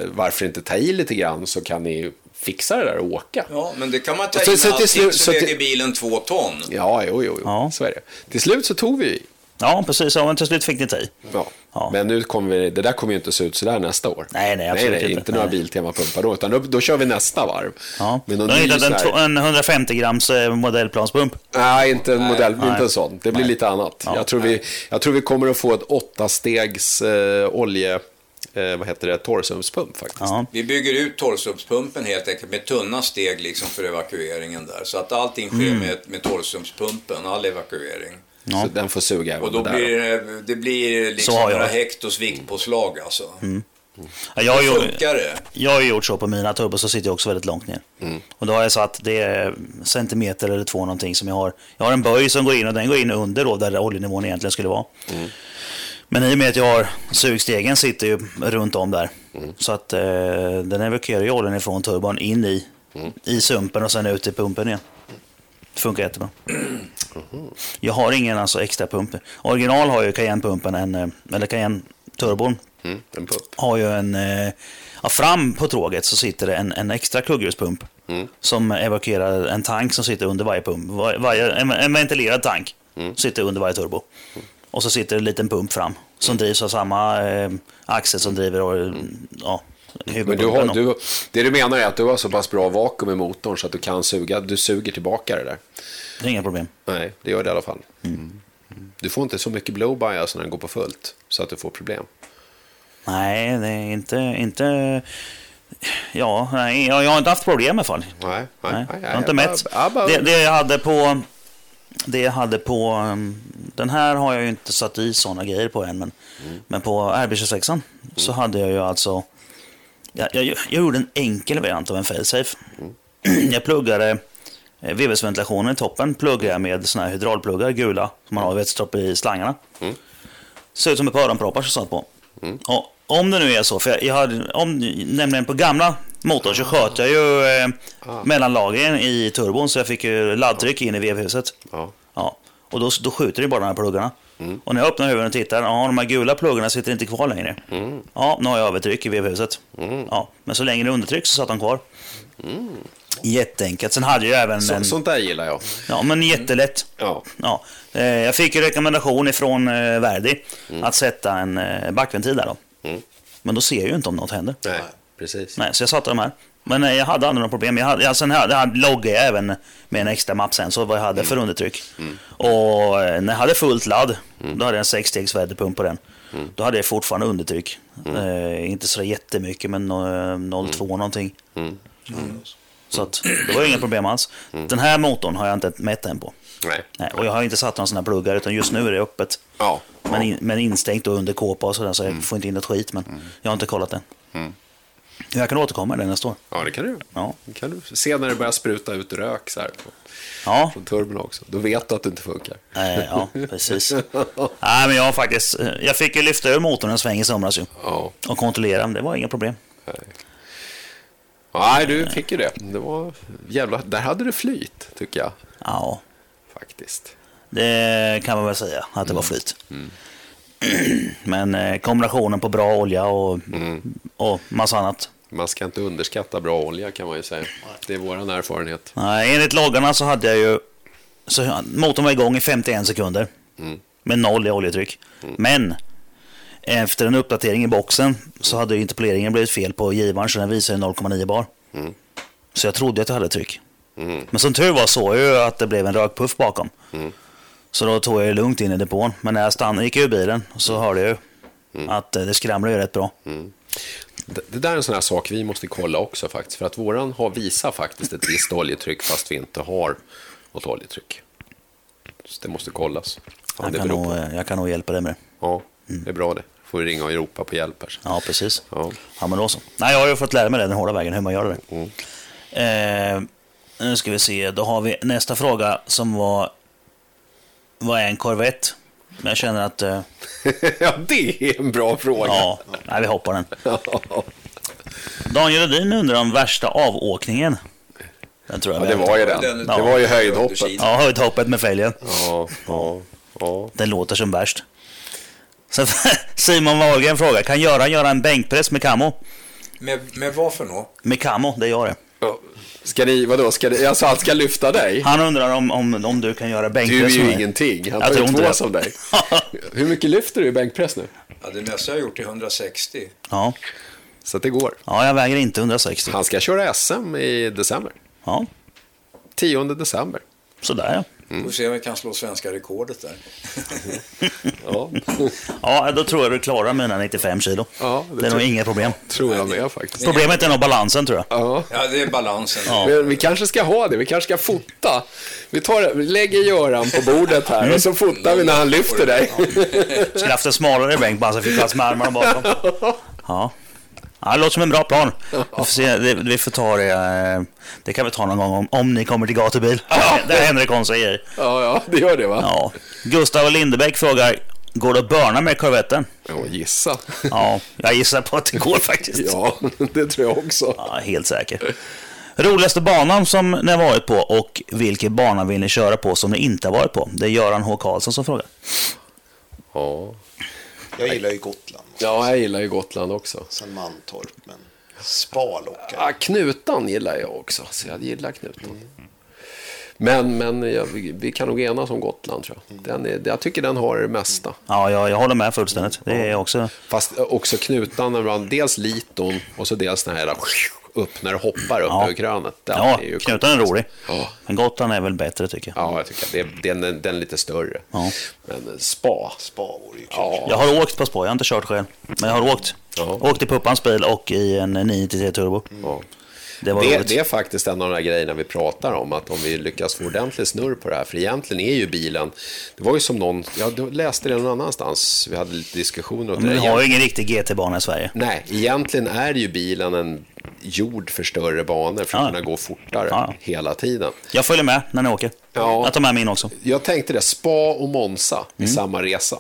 Speaker 3: varför inte ta i lite grann så kan ni fixa det där och åka.
Speaker 4: Ja, men det kan man ta
Speaker 3: Och så-
Speaker 4: in
Speaker 3: så till
Speaker 4: allting
Speaker 3: slut-
Speaker 4: så,
Speaker 3: så till-
Speaker 4: väger bilen två ton.
Speaker 3: Ja, jo, jo, jo.
Speaker 2: Ja.
Speaker 3: så är det. Till slut så tog vi i.
Speaker 2: ja precis. Ja, men till slut fick ni ta i.
Speaker 3: Ja.
Speaker 2: Ja.
Speaker 3: Men nu kommer vi, det där kommer ju inte se ut sådär nästa år.
Speaker 2: Nej, nej, absolut
Speaker 3: nej, nej,
Speaker 2: inte.
Speaker 3: inte. några
Speaker 2: Nej.
Speaker 3: Biltema-pumpar då, utan då, då kör vi nästa varv.
Speaker 2: Ja.
Speaker 3: Men
Speaker 2: De
Speaker 3: någon
Speaker 2: har
Speaker 3: ny
Speaker 2: hittat
Speaker 3: sån
Speaker 2: en,
Speaker 3: här-
Speaker 2: två- en 150 grams eh, modellplanspump.
Speaker 3: Nej, inte en modell,
Speaker 2: Nej.
Speaker 3: inte en sån. Det blir lite annat.
Speaker 2: Ja.
Speaker 3: Jag, tror vi, jag tror vi kommer att få ett åtta stegs eh, olje... Eh, vad heter det? Torrsumspump faktiskt.
Speaker 2: Ja.
Speaker 4: Vi bygger ut torrsumpspumpen helt enkelt med tunna steg liksom för evakueringen där. Så att allting sker med, med torrsumpspumpen, all evakuering.
Speaker 3: Så den får suga även
Speaker 4: Och då
Speaker 3: där.
Speaker 4: blir det, det blir liksom
Speaker 2: Så har jag
Speaker 4: några
Speaker 2: det.
Speaker 4: hektos viktpåslag alltså.
Speaker 2: Ja, jag, har ju,
Speaker 4: Funkar det?
Speaker 2: jag har ju gjort så på mina turbos, så sitter jag också väldigt långt ner. Och då har jag satt, det är centimeter eller två någonting som jag har. Jag har en böj som går in och den går in under då, där oljenivån egentligen skulle vara. Men i och med att jag har sugstegen sitter ju runt om där. Så att eh, den evakuerar ju oljan ifrån turbon in i, i sumpen och sen ut i pumpen igen. Det funkar jättebra. Jag har ingen alltså extra pump. Original har ju Cayenne-pumpen, en, eh, eller Cayenne-turbon
Speaker 3: Mm, en pump.
Speaker 2: har ju en... eh, Ja, fram på tråget så sitter det en, en extra kugghjulspump
Speaker 3: Mm.
Speaker 2: som evakuerar en tank som sitter under varje pump. Var, varje, en, en ventilerad tank
Speaker 3: Mm.
Speaker 2: sitter under varje turbo. Och så sitter en liten pump fram som
Speaker 3: Mm.
Speaker 2: drivs av samma eh, axel som driver och, ja,
Speaker 3: Men du har,
Speaker 2: huvudpumpen.
Speaker 3: du, det du menar är att du har så pass bra vakuum i motorn så att du kan suga, du suger tillbaka det där.
Speaker 2: Det är inga problem.
Speaker 3: Nej, det gör det i alla fall. Mm. Du får inte så mycket blow bias när den går på fullt, så att du får problem.
Speaker 2: Nej, det är inte... inte ja, nej, jag, jag har inte haft problem i alla fall.
Speaker 3: Nej, nej,
Speaker 2: Nej,
Speaker 3: nej,
Speaker 2: jag har inte
Speaker 3: nej.
Speaker 2: mätt.
Speaker 3: Ja, bara-
Speaker 2: Det, det jag hade på... Det jag hade på... um, Den här har jag ju inte satt i sådana grejer på än, men,
Speaker 3: Mm.
Speaker 2: men på RB26 så hade jag ju alltså... Jag, jag, jag gjorde en enkel variant av en failsafe.
Speaker 3: Mm.
Speaker 2: Jag pluggade eh, vevelsventilationen i toppen pluggade jag med såna här hydraulpluggar, gula, som man har
Speaker 3: Mm.
Speaker 2: vätstopp i slangarna. Ser ut som ett par öronproppar som satt på.
Speaker 3: Mm.
Speaker 2: Och om det nu är så, för jag, jag hade, om, nämligen på gamla motorn så sköt jag ju eh,
Speaker 3: Ah.
Speaker 2: mellanlagren i turbon så jag fick ju laddtryck in i vevhuset.
Speaker 3: Ja.
Speaker 2: Ja. Och då, då skjuter det bara de här pluggarna.
Speaker 3: Mm.
Speaker 2: Och när jag öppnar huvudet och tittar, ja, de här gula pluggarna sitter inte kvar längre.
Speaker 3: Mm.
Speaker 2: Ja, nu har jag övertryck i vevhuset. Ja, men så länge det är undertryck så satt de kvar. Jätteenkelt. Sen hade jag ju även
Speaker 3: Mm. Så,
Speaker 2: en...
Speaker 3: Sånt där gillar jag.
Speaker 2: Ja, men jättelätt.
Speaker 3: Ja.
Speaker 2: Ja. Eh, Jag fick ju rekommendation ifrån eh, Verdi att sätta en eh, backventil där då. Men då ser jag ju inte om något händer.
Speaker 3: Nej, precis.
Speaker 2: Nej, så jag satte de här. Men eh, jag hade aldrig några problem. Jag hade, alltså, jag, sen hade, jag loggade jag även med en extra mapp sen, så vad jag hade för undertryck. Och eh, när jag hade fullt ladd, då hade jag en sexstegs väderpump på den. Då hade jag fortfarande undertryck. Eh, inte så där jättemycket, men eh, 0,2 någonting.
Speaker 1: Mm.
Speaker 2: Så att, det var ju inga problem alls. Den här motorn har jag inte mätt än på.
Speaker 3: Nej.
Speaker 2: Nej, och jag har inte satt några sådana pluggar, utan just nu är det öppet.
Speaker 3: Ja.
Speaker 2: Men, in, men instängt och under kåpa och sådär, så jag får inte in något skit. Men jag har inte kollat den. Jag kan återkomma med den nästa år.
Speaker 3: ja, det kan du
Speaker 2: Ja.
Speaker 3: Det kan du se när det börjar spruta ut rök så här på,
Speaker 2: Ja,
Speaker 3: från turbon också. Då vet du att det inte funkar.
Speaker 2: eh, ja precis. Nej, men jag har faktiskt... eh, Jag fick ju lyfta ur motorn en sväng i somras ju.
Speaker 3: Ja.
Speaker 2: Och kontrollera, men det var inga problem.
Speaker 3: Nej, du fick ju det. Det var jävla... Där hade du flyt, tycker jag.
Speaker 2: Ja,
Speaker 3: Faktiskt.
Speaker 2: det kan man väl säga att det var flyt. Men eh, kombinationen på bra olja och, och massa annat.
Speaker 3: Man ska inte underskatta bra olja kan man ju säga. Det är vår erfarenhet.
Speaker 2: Nej, enligt loggarna så hade jag ju... Så motorn var igång i 51 sekunder.
Speaker 3: Mm.
Speaker 2: Med noll i oljetryck. Men efter en uppdatering i boxen så hade ju
Speaker 3: Mm.
Speaker 2: interpoleringen blivit fel på givaren så den visade 0,9 bar. Så jag trodde att jag hade tryck. Men som tur var såg jag ju att det blev en rökpuff bakom.
Speaker 3: Mm.
Speaker 2: Så då tog jag det lugnt in i depån. Men när jag stannade, gick jag ur bilen och så
Speaker 3: Mm.
Speaker 2: hörde jag ju att eh, det skramlade ju rätt bra.
Speaker 3: Det, det där är en sån här sak vi måste kolla också faktiskt. För att våran har, visar faktiskt ett visst oljetryck fast vi inte har något oljetryck. Så det måste kollas. Fan,
Speaker 2: Jag
Speaker 3: det
Speaker 2: kan,
Speaker 3: beror
Speaker 2: nog,
Speaker 3: på.
Speaker 2: eh, mm. jag kan nog hjälpa dig med det.
Speaker 3: Ja, det är bra det. Får vi ringa och ropa på hjälp här.
Speaker 2: Ja, precis.
Speaker 3: Ja. Mm.
Speaker 2: Ja, men då så. Nej, jag har ju fått lära mig det den hårda vägen, hur man gör det. Eh, nu ska vi se, då har vi nästa fråga som var... Vad är en korvett? Men Jag känner att... Eh,
Speaker 3: ja, det är en bra fråga.
Speaker 2: ja, nej, vi hoppar den. Daniel Rudin undrar om värsta avåkningen. Den tror jag
Speaker 3: Ja, det
Speaker 2: vi-
Speaker 3: var ju den.
Speaker 4: Ja.
Speaker 3: Det var ju höjdhoppet.
Speaker 2: Ja, höjdhoppet med fälgen.
Speaker 3: Ja, ja, ja.
Speaker 2: Den låter som värst. Sen Simon Wahlgren frågar, kan Göran göra en bänkpress med kammo?
Speaker 4: Med, med vad för något?
Speaker 2: Med kammo, det gör det.
Speaker 3: Ja. Ska ni, vadå, ska ni, alltså han ska lyfta dig?
Speaker 2: Han undrar om, om, om du kan göra
Speaker 3: Du är
Speaker 2: bänkpress
Speaker 3: ju
Speaker 2: med
Speaker 3: ingenting. Han
Speaker 2: Jag
Speaker 3: tar
Speaker 2: tror
Speaker 3: ju
Speaker 2: inte
Speaker 3: två
Speaker 2: det.
Speaker 3: som dig. Hur mycket lyfter du i bänkpress nu?
Speaker 4: Ja, det mesta jag har gjort är 160.
Speaker 2: Ja.
Speaker 3: Så att det går.
Speaker 2: ja, jag väger inte 160.
Speaker 3: Han ska köra SM i december.
Speaker 2: Ja,
Speaker 3: 10 december.
Speaker 2: sådär ja.
Speaker 3: Mm.
Speaker 4: Får se om vi kan slå svenska rekordet där.
Speaker 3: Ja,
Speaker 2: Ja, då tror jag du klarar mina 95 kilo.
Speaker 3: Ja, det
Speaker 2: det, är nog
Speaker 3: tror-
Speaker 2: inga problem.
Speaker 3: tror jag med faktiskt.
Speaker 2: Problemet är nog balansen tror jag.
Speaker 3: Ja.
Speaker 4: Ja, det är balansen.
Speaker 3: Men vi kanske ska ha det, vi kanske ska fota. Vi, tar, vi lägger Göran på bordet här och så fotar vi när han lyfter dig.
Speaker 2: Skulle haft en smalare bänk bara så jag fick plats med armarna bakom. Ja. ja, det låter som en bra plan. Vi får, se, det, vi får ta det. eh, Det kan vi ta någon gång om, om ni kommer till gatubil. Det är Henrik säger.
Speaker 3: Ja, ja, det gör det va?
Speaker 2: Ja. Gustav Lindebäck frågar, går det att börna med korvetten?
Speaker 3: Ja, gissa.
Speaker 2: Ja, jag gissar på att det går faktiskt.
Speaker 3: Ja, det tror jag också.
Speaker 2: Ja, helt säker. Roligaste banan som ni har varit på och vilken bana vill ni köra på som ni inte har varit på? Det är Göran H. Karlsson som frågar.
Speaker 3: Ja,
Speaker 1: Jag gillar ju Gotland.
Speaker 3: ja jag gillar ju Gotland också.
Speaker 1: Sen Mantorp, men spa lockar.
Speaker 3: Ja, knutan gillar jag också, så jag gillar knutan. Men, men jag, vi vi kan nog enas om Gotland tror
Speaker 2: Mm.
Speaker 3: jag. Den är, jag tycker den har det mesta.
Speaker 2: Ja, jag, jag håller med fullständigt. Det är jag också.
Speaker 3: Fast också knutan, när man- dels liton och så dels den här upp när det hoppar upp
Speaker 2: Ja.
Speaker 3: över krönet. Den
Speaker 2: Ja,
Speaker 3: är ju
Speaker 2: Knutan är rolig.
Speaker 3: Ja.
Speaker 2: Men Gotland är väl bättre tycker jag.
Speaker 3: Ja, jag tycker att det, den, den, den är lite större.
Speaker 2: Ja.
Speaker 3: Men spa.
Speaker 1: Spa vore ju kul.
Speaker 3: Ja.
Speaker 2: Jag har åkt på spår, jag har inte kört själv. Men jag har åkt.
Speaker 3: Ja.
Speaker 2: Åkt i Puppans bil och i en 993 Turbo.
Speaker 3: Ja.
Speaker 2: Det var
Speaker 3: Det,
Speaker 2: roligt.
Speaker 3: det är faktiskt en av de här grejerna vi pratar om, att om vi lyckas få ordentlig snurr på det här, för egentligen är ju bilen, det var ju som någon, jag läste det någon annanstans, vi hade lite diskussioner om det.
Speaker 2: Men
Speaker 3: där.
Speaker 2: vi har ju ingen riktig GT-bana i Sverige.
Speaker 3: Nej, egentligen är ju bilen en jord för större banor för att
Speaker 2: Ja.
Speaker 3: kunna gå fortare
Speaker 2: Ja.
Speaker 3: hela tiden.
Speaker 2: Jag följer med när ni åker.
Speaker 3: Ja.
Speaker 2: Jag tar med min också.
Speaker 3: Jag tänkte det, Spa och Monza i
Speaker 2: Mm.
Speaker 3: samma resa.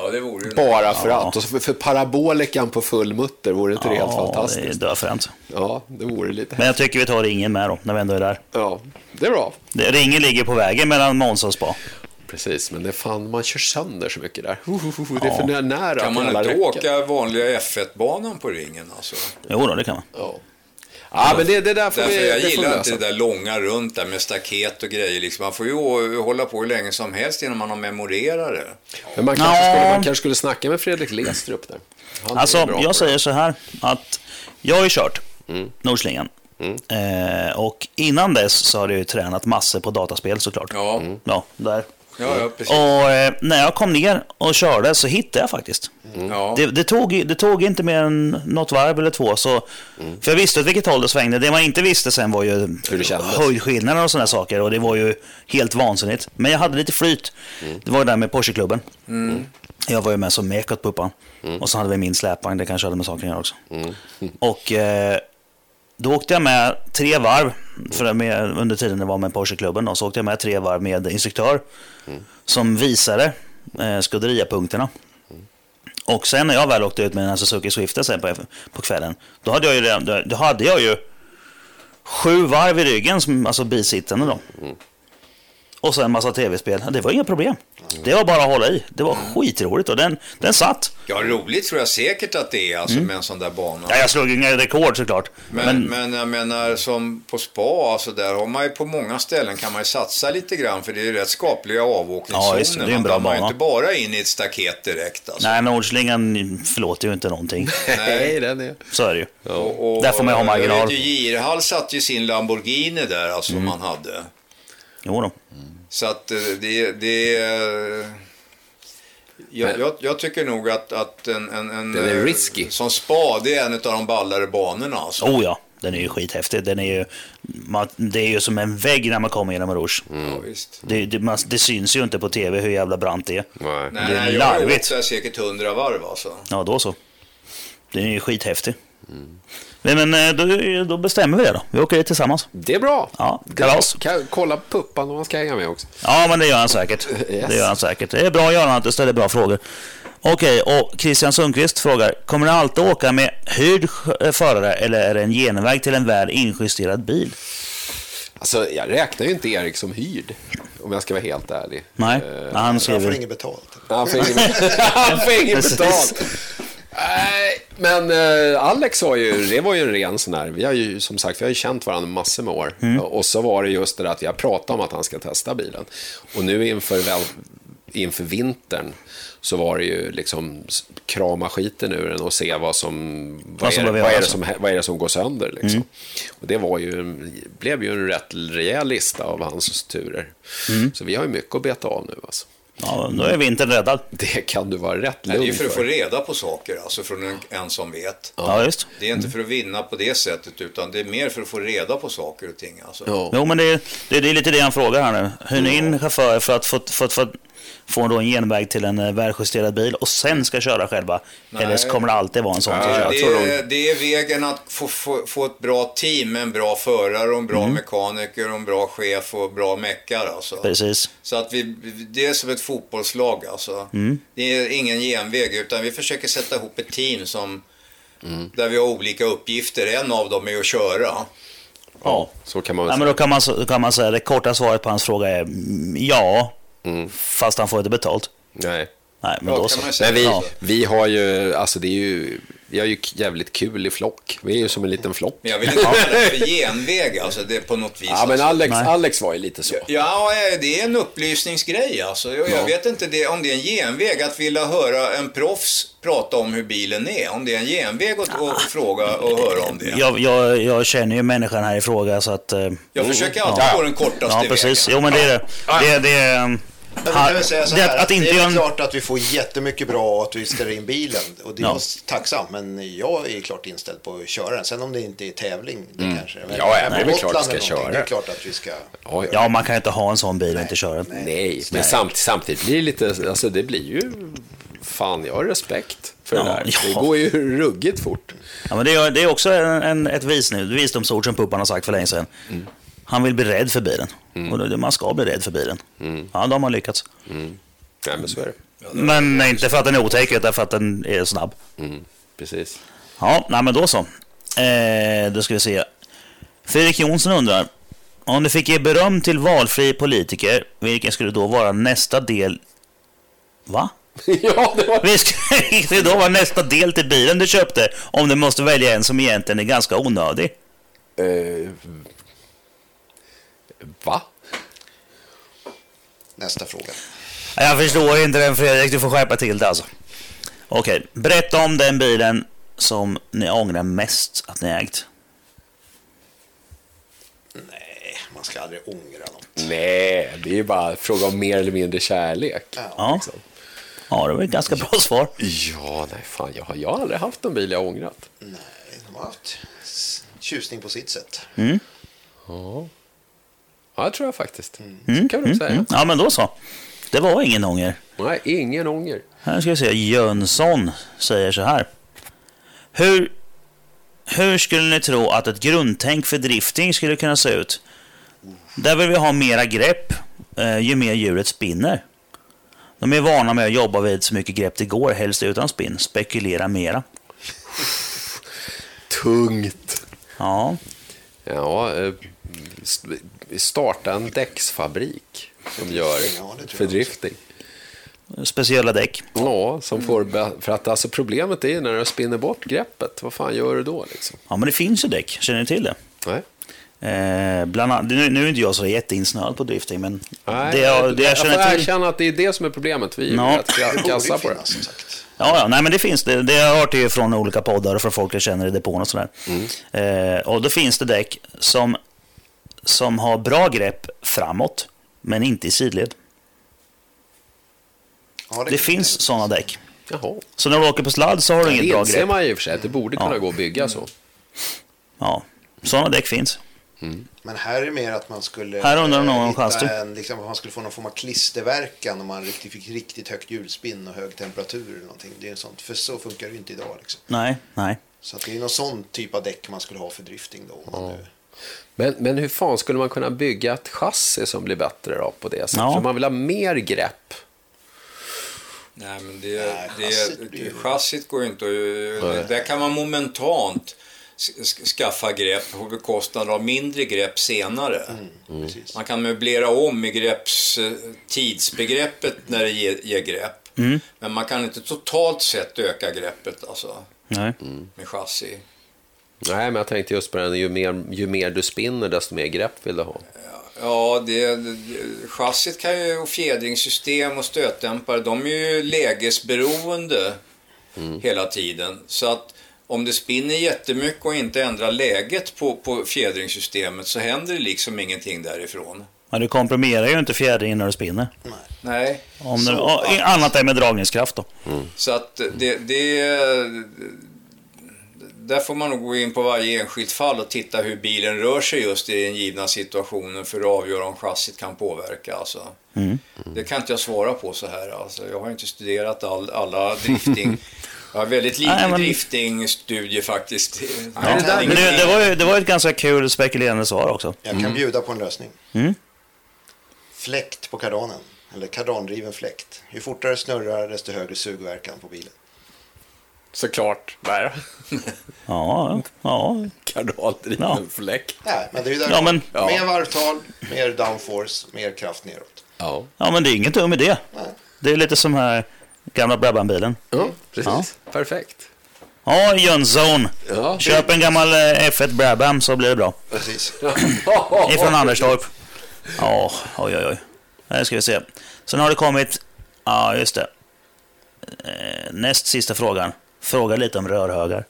Speaker 4: Ja, det vore ju
Speaker 3: Bara för att. Och så för, för parabolikan på full mutter, vore inte det helt
Speaker 2: det är
Speaker 3: fantastiskt?
Speaker 2: döfränt.
Speaker 3: Ja, det vore lite
Speaker 2: Men jag tycker vi tar ringen med då, när vi ändå är där.
Speaker 3: Ja, det är bra.
Speaker 2: Det- Ringen ligger på vägen mellan Måns och Spa.
Speaker 3: Precis, men det är fan, man kör sönder så mycket där. Hohoho, Det är för nära.
Speaker 4: Kan
Speaker 3: till
Speaker 4: man
Speaker 3: alla
Speaker 4: inte
Speaker 3: räcken.
Speaker 4: åka vanliga F1-banan på ringen alltså?
Speaker 2: Jo då, det kan man.
Speaker 3: Ja, ja men det, det där får
Speaker 4: Därför
Speaker 3: vi
Speaker 4: jag
Speaker 3: det får vi
Speaker 4: gillar inte
Speaker 3: lösa.
Speaker 4: det där långa runt där med staket och grejer. Liksom. Man får ju å- hålla på hur länge som helst innan man har memorerat det.
Speaker 3: Men man kanske, skulle,
Speaker 2: Ja.
Speaker 3: man kanske skulle snacka med Fredrik Lestrup där. Han är
Speaker 2: Alltså,
Speaker 3: bra på det. Mm.
Speaker 2: jag säger så här att jag har ju kört Nordslingan. Eh, och innan dess så har jag ju tränat massor på dataspel såklart.
Speaker 4: Ja,
Speaker 2: Ja, där.
Speaker 4: ja, ja precis.
Speaker 2: Och eh, när jag kom ner och körde så hittade jag faktiskt.
Speaker 3: Mm.
Speaker 4: Ja.
Speaker 2: Det, det, tog, det tog inte mer än något varv eller två. Så,
Speaker 3: Mm.
Speaker 2: För jag visste åt vilket håll det svängde. Det man inte visste sen var ju
Speaker 3: det kändes.
Speaker 2: höjdskillnader och sådana saker. Och det var ju helt vansinnigt. Men jag hade lite flyt.
Speaker 3: Mm.
Speaker 2: Det var ju där med Porscheklubben. Mm. Jag var ju med som mek åt puppan.
Speaker 3: Mm.
Speaker 2: Och så hade vi min släpvagn. Det kanske hade med saken att göra också. Och eh, då åkte jag med tre varv. För det med, under tiden det var med Porscheklubben. då, Så åkte jag med tre varv med instruktör.
Speaker 3: Mm.
Speaker 2: Som visade eh, skudderiapunkterna.
Speaker 3: Mm.
Speaker 2: Och sen när jag väl åkte ut med den här Suzuki Swiften sen på, på kvällen, då hade jag ju, redan, då- då hade jag ju sju varv i ryggen, som, alltså bisittande då. Och sen massa tv-spel. Det var inga problem. Det var bara att hålla i. Det var skitroligt och den, den satt.
Speaker 4: Ja, roligt tror jag säkert att det är alltså med en sån där bana.
Speaker 2: Mm. Ja, jag slog inga rekord såklart.
Speaker 4: Men, men... jag menar som på spa, alltså där har man ju på många ställen kan man ju satsa lite grann för det är ju rätt skapliga avåkningszoner.
Speaker 2: Ja, visst, det är en
Speaker 4: man
Speaker 2: bra
Speaker 4: dammar ju
Speaker 2: bana.
Speaker 4: inte bara in i ett staket direkt. Alltså.
Speaker 2: Nej, Nordslingan förlåter ju inte någonting.
Speaker 3: Nej, den är...
Speaker 2: Så är det ju.
Speaker 4: Och, och,
Speaker 2: Där får man ju ha marginal. Mm.
Speaker 4: Jag vet ju, Girhall satte ju sin Lamborghini där, alltså som han hade.
Speaker 2: Jo då.
Speaker 4: Så att eh, det... det eh, jag,
Speaker 3: Men-
Speaker 4: jag, jag tycker nog att, att en, en, en...
Speaker 3: Den är
Speaker 4: eh,
Speaker 3: risky.
Speaker 4: Som spa, det är en av de ballare banorna alltså.
Speaker 2: Oh ja, den är ju skithäftig. Den är ju, man, det är ju som en vägg när man kommer genom Rouge.
Speaker 4: Ja, visst.
Speaker 2: Det, det, man, det syns ju inte på tv hur jävla brant det är.
Speaker 3: Nej.
Speaker 4: Nej,
Speaker 2: Det är
Speaker 4: nej, jag har
Speaker 2: larvigt.
Speaker 4: åkt så här säkert hundra varv alltså.
Speaker 2: Ja, då så. Den är ju skithäftig. Men, men eh, då, då bestämmer vi det då. Vi åker dit tillsammans.
Speaker 3: Det är bra.
Speaker 2: Ja, kalas.
Speaker 3: Kan, kolla puppan om man ska hänga med också.
Speaker 2: Ja, men det gör han säkert.
Speaker 3: Yes.
Speaker 2: Det gör han säkert. Det är bra Göran att du ställer bra frågor. Okej, och Christian Sundqvist frågar. Kommer du alltid åka med hyrd sj- eh, förare eller är det en genväg till en väl injusterad bil?
Speaker 3: Alltså, jag räknar ju inte Erik som hyrd, om jag ska vara helt ärlig.
Speaker 2: Nej, Nej, han
Speaker 1: Han får
Speaker 2: skriver.
Speaker 1: inget betalt.
Speaker 3: Han får inget- han får inget
Speaker 2: Precis.
Speaker 3: betalt. Nej, men eh, Alex har ju, det var ju en ren sån här, vi har ju som sagt, vi har ju känt varandra massor med år.
Speaker 2: Mm.
Speaker 3: Och så var det just det där att jag pratade om att han ska testa bilen. Och nu inför, väl, inför vintern så var det ju liksom s- krama skiten ur den och se vad som, vad,
Speaker 2: som
Speaker 3: är, det-
Speaker 2: behöver
Speaker 3: vad, är det
Speaker 2: göras. Mm.
Speaker 3: som, hä- vad är det som går sönder liksom. Och det var ju, en- blev ju en rätt rejäl lista av hans turer.
Speaker 2: Mm.
Speaker 3: Så vi har ju mycket att beta av nu alltså.
Speaker 2: Ja, då är vintern räddad.
Speaker 3: Det kan du vara rätt
Speaker 4: Det är ju
Speaker 3: lugn
Speaker 4: för
Speaker 3: för.
Speaker 4: att få reda på saker alltså från en, en som vet.
Speaker 2: Ja, just.
Speaker 4: Det är inte för att vinna på det sättet utan det är mer för att få reda på saker och ting alltså.
Speaker 3: Ja.
Speaker 2: Jo, men det är, det är det är lite det han frågar här nu. Hyr ni in chaufförer för att få, för, att- för att få då en genväg till en eh, väljusterad bil och sen ska köra själva? Eller så kommer det alltid vara en sån som
Speaker 3: Nej,
Speaker 2: kör?
Speaker 4: Eh, Det
Speaker 3: tror
Speaker 4: är, det är vägen att få, få, få ett bra team med en bra förare och en bra mekaniker och en bra chef och bra meckar alltså.
Speaker 2: Precis.
Speaker 4: Så att vi, det är som ett fotbollslag alltså.
Speaker 2: Mm.
Speaker 4: Det är ingen genväg utan vi försöker sätta ihop ett team som
Speaker 3: Mm.
Speaker 4: Där vi har olika uppgifter. En av dem är att köra.
Speaker 2: Ja.
Speaker 3: Så kan man väl
Speaker 2: Nej,
Speaker 3: säga.
Speaker 2: men då kan man, då kan man säga det korta svaret på hans fråga är mm, ja,
Speaker 3: Mm.
Speaker 2: fast han får inte betalt.
Speaker 3: Nej.
Speaker 2: Nej, men
Speaker 4: Ja,
Speaker 2: då
Speaker 4: kan
Speaker 2: så.
Speaker 4: man ju säga.
Speaker 3: Men vi,
Speaker 2: Ja.
Speaker 3: vi har ju, alltså det är ju, vi har ju k- jävligt kul i flock. Vi är ju som en liten flock.
Speaker 4: Men jag vill inte kalla det för genväg alltså. Det är på något vis.
Speaker 3: Ja, men
Speaker 4: alltså.
Speaker 3: Alex,
Speaker 2: Nej.
Speaker 3: Alex var ju lite så.
Speaker 4: Ja, det är en upplysningsgrej alltså. Jag, jag vet inte det, om det är en genväg att vilja höra en proffs prata om hur bilen är. Om det är en genväg att att fråga och höra om det.
Speaker 2: Jag, jag, jag känner ju människan här i fråga så att... eh,
Speaker 4: Jag försöker alltid
Speaker 2: ja.
Speaker 4: gå den kortaste
Speaker 2: Ja, precis.
Speaker 4: vägen.
Speaker 2: Jo, men det är det. Det, är- det, är, eh,
Speaker 1: Men vi
Speaker 2: han-
Speaker 1: kan väl säga så
Speaker 2: det
Speaker 1: här,
Speaker 2: är att inte
Speaker 1: det är
Speaker 2: göra
Speaker 1: väl
Speaker 2: en...
Speaker 1: klart att vi får jättemycket bra och att vi ställer in bilen. Och det är
Speaker 2: Ja.
Speaker 1: jag tacksam, men jag är klart inställd på att köra den. Sen om det inte är tävling, det kanske men
Speaker 3: Mm. Ja, ja,
Speaker 1: på
Speaker 3: det är väl klart vi
Speaker 1: Gotland
Speaker 3: ska
Speaker 1: eller någonting,
Speaker 3: köra.
Speaker 1: Det är klart att vi ska...
Speaker 3: Ja, ja.
Speaker 2: Ja, man kan ju inte ha en sån bil och inte köra den.
Speaker 3: Nej, men samt, samtidigt blir det lite, alltså det blir ju, fan jag har respekt för det
Speaker 2: Ja,
Speaker 3: där. Det
Speaker 2: ja.
Speaker 3: går ju ruggigt fort.
Speaker 2: Ja, men det, är, det är också en, en, ett vis nu, ett visdomsord som Puppan har sagt för länge sedan.
Speaker 3: Mm.
Speaker 2: Han vill bli rädd för bilen. Och då, man ska bli rädd för bilen.
Speaker 3: Mm.
Speaker 2: Ja, då har man lyckats.
Speaker 3: Nej, men så är det.
Speaker 2: Men inte för att den är otäck, utan för att den är snabb.
Speaker 3: Mm, precis.
Speaker 2: Ja, nej, men då så. Eh, då ska vi se. Fredrik Jonsson undrar. Om du fick ge beröm till valfri politiker, vilken skulle då vara nästa del... Va?
Speaker 3: ja, det var...
Speaker 2: Vilken skulle då vara nästa del till bilen du köpte om du måste välja en som egentligen är ganska onödig?
Speaker 3: Eh, va?
Speaker 1: Nästa fråga.
Speaker 2: Jag förstår inte den Fredrik, du får skärpa till det alltså. Okej, berätta om den bilen som ni ångrar mest att ni ägt.
Speaker 1: Nej, man ska aldrig ångra något.
Speaker 3: Nej, det är ju bara fråga om mer eller mindre kärlek.
Speaker 2: Ja,
Speaker 3: liksom.
Speaker 2: ja det var ett ganska bra svar.
Speaker 3: Ja, nej fan, jag har, jag har aldrig haft någon bil jag ångrat.
Speaker 1: Nej, de har haft s- tjusning på sitt sätt.
Speaker 3: Ja, det tror jag faktiskt. Så kan du säga.
Speaker 2: Mm. Ja, men då så. Det var ingen ånger.
Speaker 3: Nej, ingen ånger.
Speaker 2: Här ska vi se. Jönsson säger så här. Hur, hur skulle ni tro att ett grundtänk för drifting skulle kunna se ut? Där vill vi ha mera grepp eh, ju mer djuret spinner. De är vana med att jobba vid så mycket grepp det går, helst utan spinn. Spekulera mera.
Speaker 3: Tungt.
Speaker 2: Ja,
Speaker 3: Ja, eh, st- starta en däcksfabrik. som gör
Speaker 1: Ja, det tror jag
Speaker 3: fördrifting.
Speaker 2: Speciella däck.
Speaker 3: Ja, som får...
Speaker 1: Mm.
Speaker 3: be- För att alltså problemet är ju när du spinner bort greppet, vad fan gör du då liksom?
Speaker 2: Ja, men det finns ju däck. Känner ni till det?
Speaker 3: Nej.
Speaker 2: Eh, bland annat, nu, nu är inte jag så jätteinsnöad på drifting, men
Speaker 3: Nej,
Speaker 2: det, jag, det jag
Speaker 3: får
Speaker 2: känner till...
Speaker 3: erkänna att det är det som är problemet. Vi är
Speaker 2: Ja.
Speaker 3: no. rätt
Speaker 1: Det
Speaker 3: ka-
Speaker 1: borde
Speaker 3: kassa
Speaker 1: ju
Speaker 3: på det.
Speaker 1: finnas som sagt.
Speaker 2: Ja, ja, nej men det finns det. Det har jag hört ju från olika poddar och från folk jag känner i depån och sådär. Eh, och då finns det däck som, som har bra grepp framåt, men inte i sidled.
Speaker 1: Ja,
Speaker 2: Det finns sådana däck.
Speaker 3: Jaha.
Speaker 2: Så när du åker på sladd så har du inget
Speaker 3: Det
Speaker 2: bra
Speaker 3: inser
Speaker 2: grepp.
Speaker 3: man ju i och för sig, att det borde kunna gå att bygga så.
Speaker 2: Ja, sådana däck finns.
Speaker 1: Men här är det mer att man skulle...
Speaker 2: Här undrar någon om
Speaker 1: eh, hitta
Speaker 2: chassi.
Speaker 1: en, liksom, Man skulle få någon form av klisterverkan om man riktigt, fick riktigt högt hjulspinn och hög temperatur eller någonting. Det är sånt, för så funkar det ju inte idag liksom.
Speaker 2: Nej, nej.
Speaker 1: Så att det är någon sån typ av däck man skulle ha för drifting då. Om man nu...
Speaker 3: Men, men hur fan skulle man kunna bygga ett chassi som blir bättre då på det sättet?
Speaker 2: Ja.
Speaker 3: För man vill ha mer grepp.
Speaker 4: Nej, men det,
Speaker 1: Nej,
Speaker 4: det,
Speaker 1: chassit blir ju-
Speaker 4: chassit går ju inte att... Där kan man momentant s- s- skaffa grepp på bekostnad av mindre grepp senare.
Speaker 1: Mm.
Speaker 2: Mm.
Speaker 1: Precis.
Speaker 4: Man kan möblera om i grepps, eh, tidsbegreppet när det ger, ger grepp. Men man kan inte totalt sett öka greppet alltså,
Speaker 2: nej.
Speaker 4: med chassi.
Speaker 3: Nej, men jag tänkte just på den, ju mer, ju mer du spinner desto mer grepp vill du ha.
Speaker 4: Ja, det, det, chassit kan ju, och fjädringssystem och stötdämpare, de är ju lägesberoende hela tiden. Så att om det spinner jättemycket och inte ändrar läget på, på fjädringssystemet så händer det liksom ingenting därifrån.
Speaker 2: Men du komprimerar ju inte fjädringen när du spinner.
Speaker 4: Nej.
Speaker 2: Om du,
Speaker 4: Så
Speaker 2: och,
Speaker 4: att-
Speaker 2: annat är med dragningskraft då.
Speaker 4: Så att det, det... Där får man nog gå in på varje enskilt fall och titta hur bilen rör sig just i den givna situationen för att avgöra om chassit kan påverka. Alltså.
Speaker 2: Mm.
Speaker 4: Det kan inte jag svara på så här. Alltså. Jag har inte studerat all, alla drifting. Jag har väldigt lite
Speaker 2: Nej, men-
Speaker 4: driftingstudier faktiskt.
Speaker 2: Ja.
Speaker 4: Jag kan
Speaker 2: Men
Speaker 4: ingenting-
Speaker 2: det, det, var ju, det var ju ett ganska kul spekulerande svar också.
Speaker 1: Jag kan bjuda på en lösning.
Speaker 2: Mm.
Speaker 1: Fläkt på kardanen. Eller kardandriven fläkt. Ju fortare det snurrar desto högre sugverkan på bilen.
Speaker 3: Såklart. Nej,
Speaker 2: Ja, ja.
Speaker 3: kardaldriven
Speaker 2: Ja.
Speaker 3: fläkt.
Speaker 1: Nej, men det är ju där
Speaker 2: Ja, men-
Speaker 3: Ja.
Speaker 1: Mer varvtal, mer downforce, mer kraft neråt.
Speaker 3: Ja,
Speaker 2: ja, men det är inget dum idé.
Speaker 1: Nej.
Speaker 2: Det är lite som här gamla Brabham-bilen.
Speaker 3: ja precis. Perfekt.
Speaker 2: Ja, Jönzone.
Speaker 3: Ja.
Speaker 2: Köp en gammal eh, F1 Brabham så blir det bra.
Speaker 1: Precis.
Speaker 2: Ifrån Anderstorp. Ja, oj oj oj. Här ska vi se. Sen har det kommit... Ja, just det. Eh, Näst sista frågan. Fråga lite om rörhögar.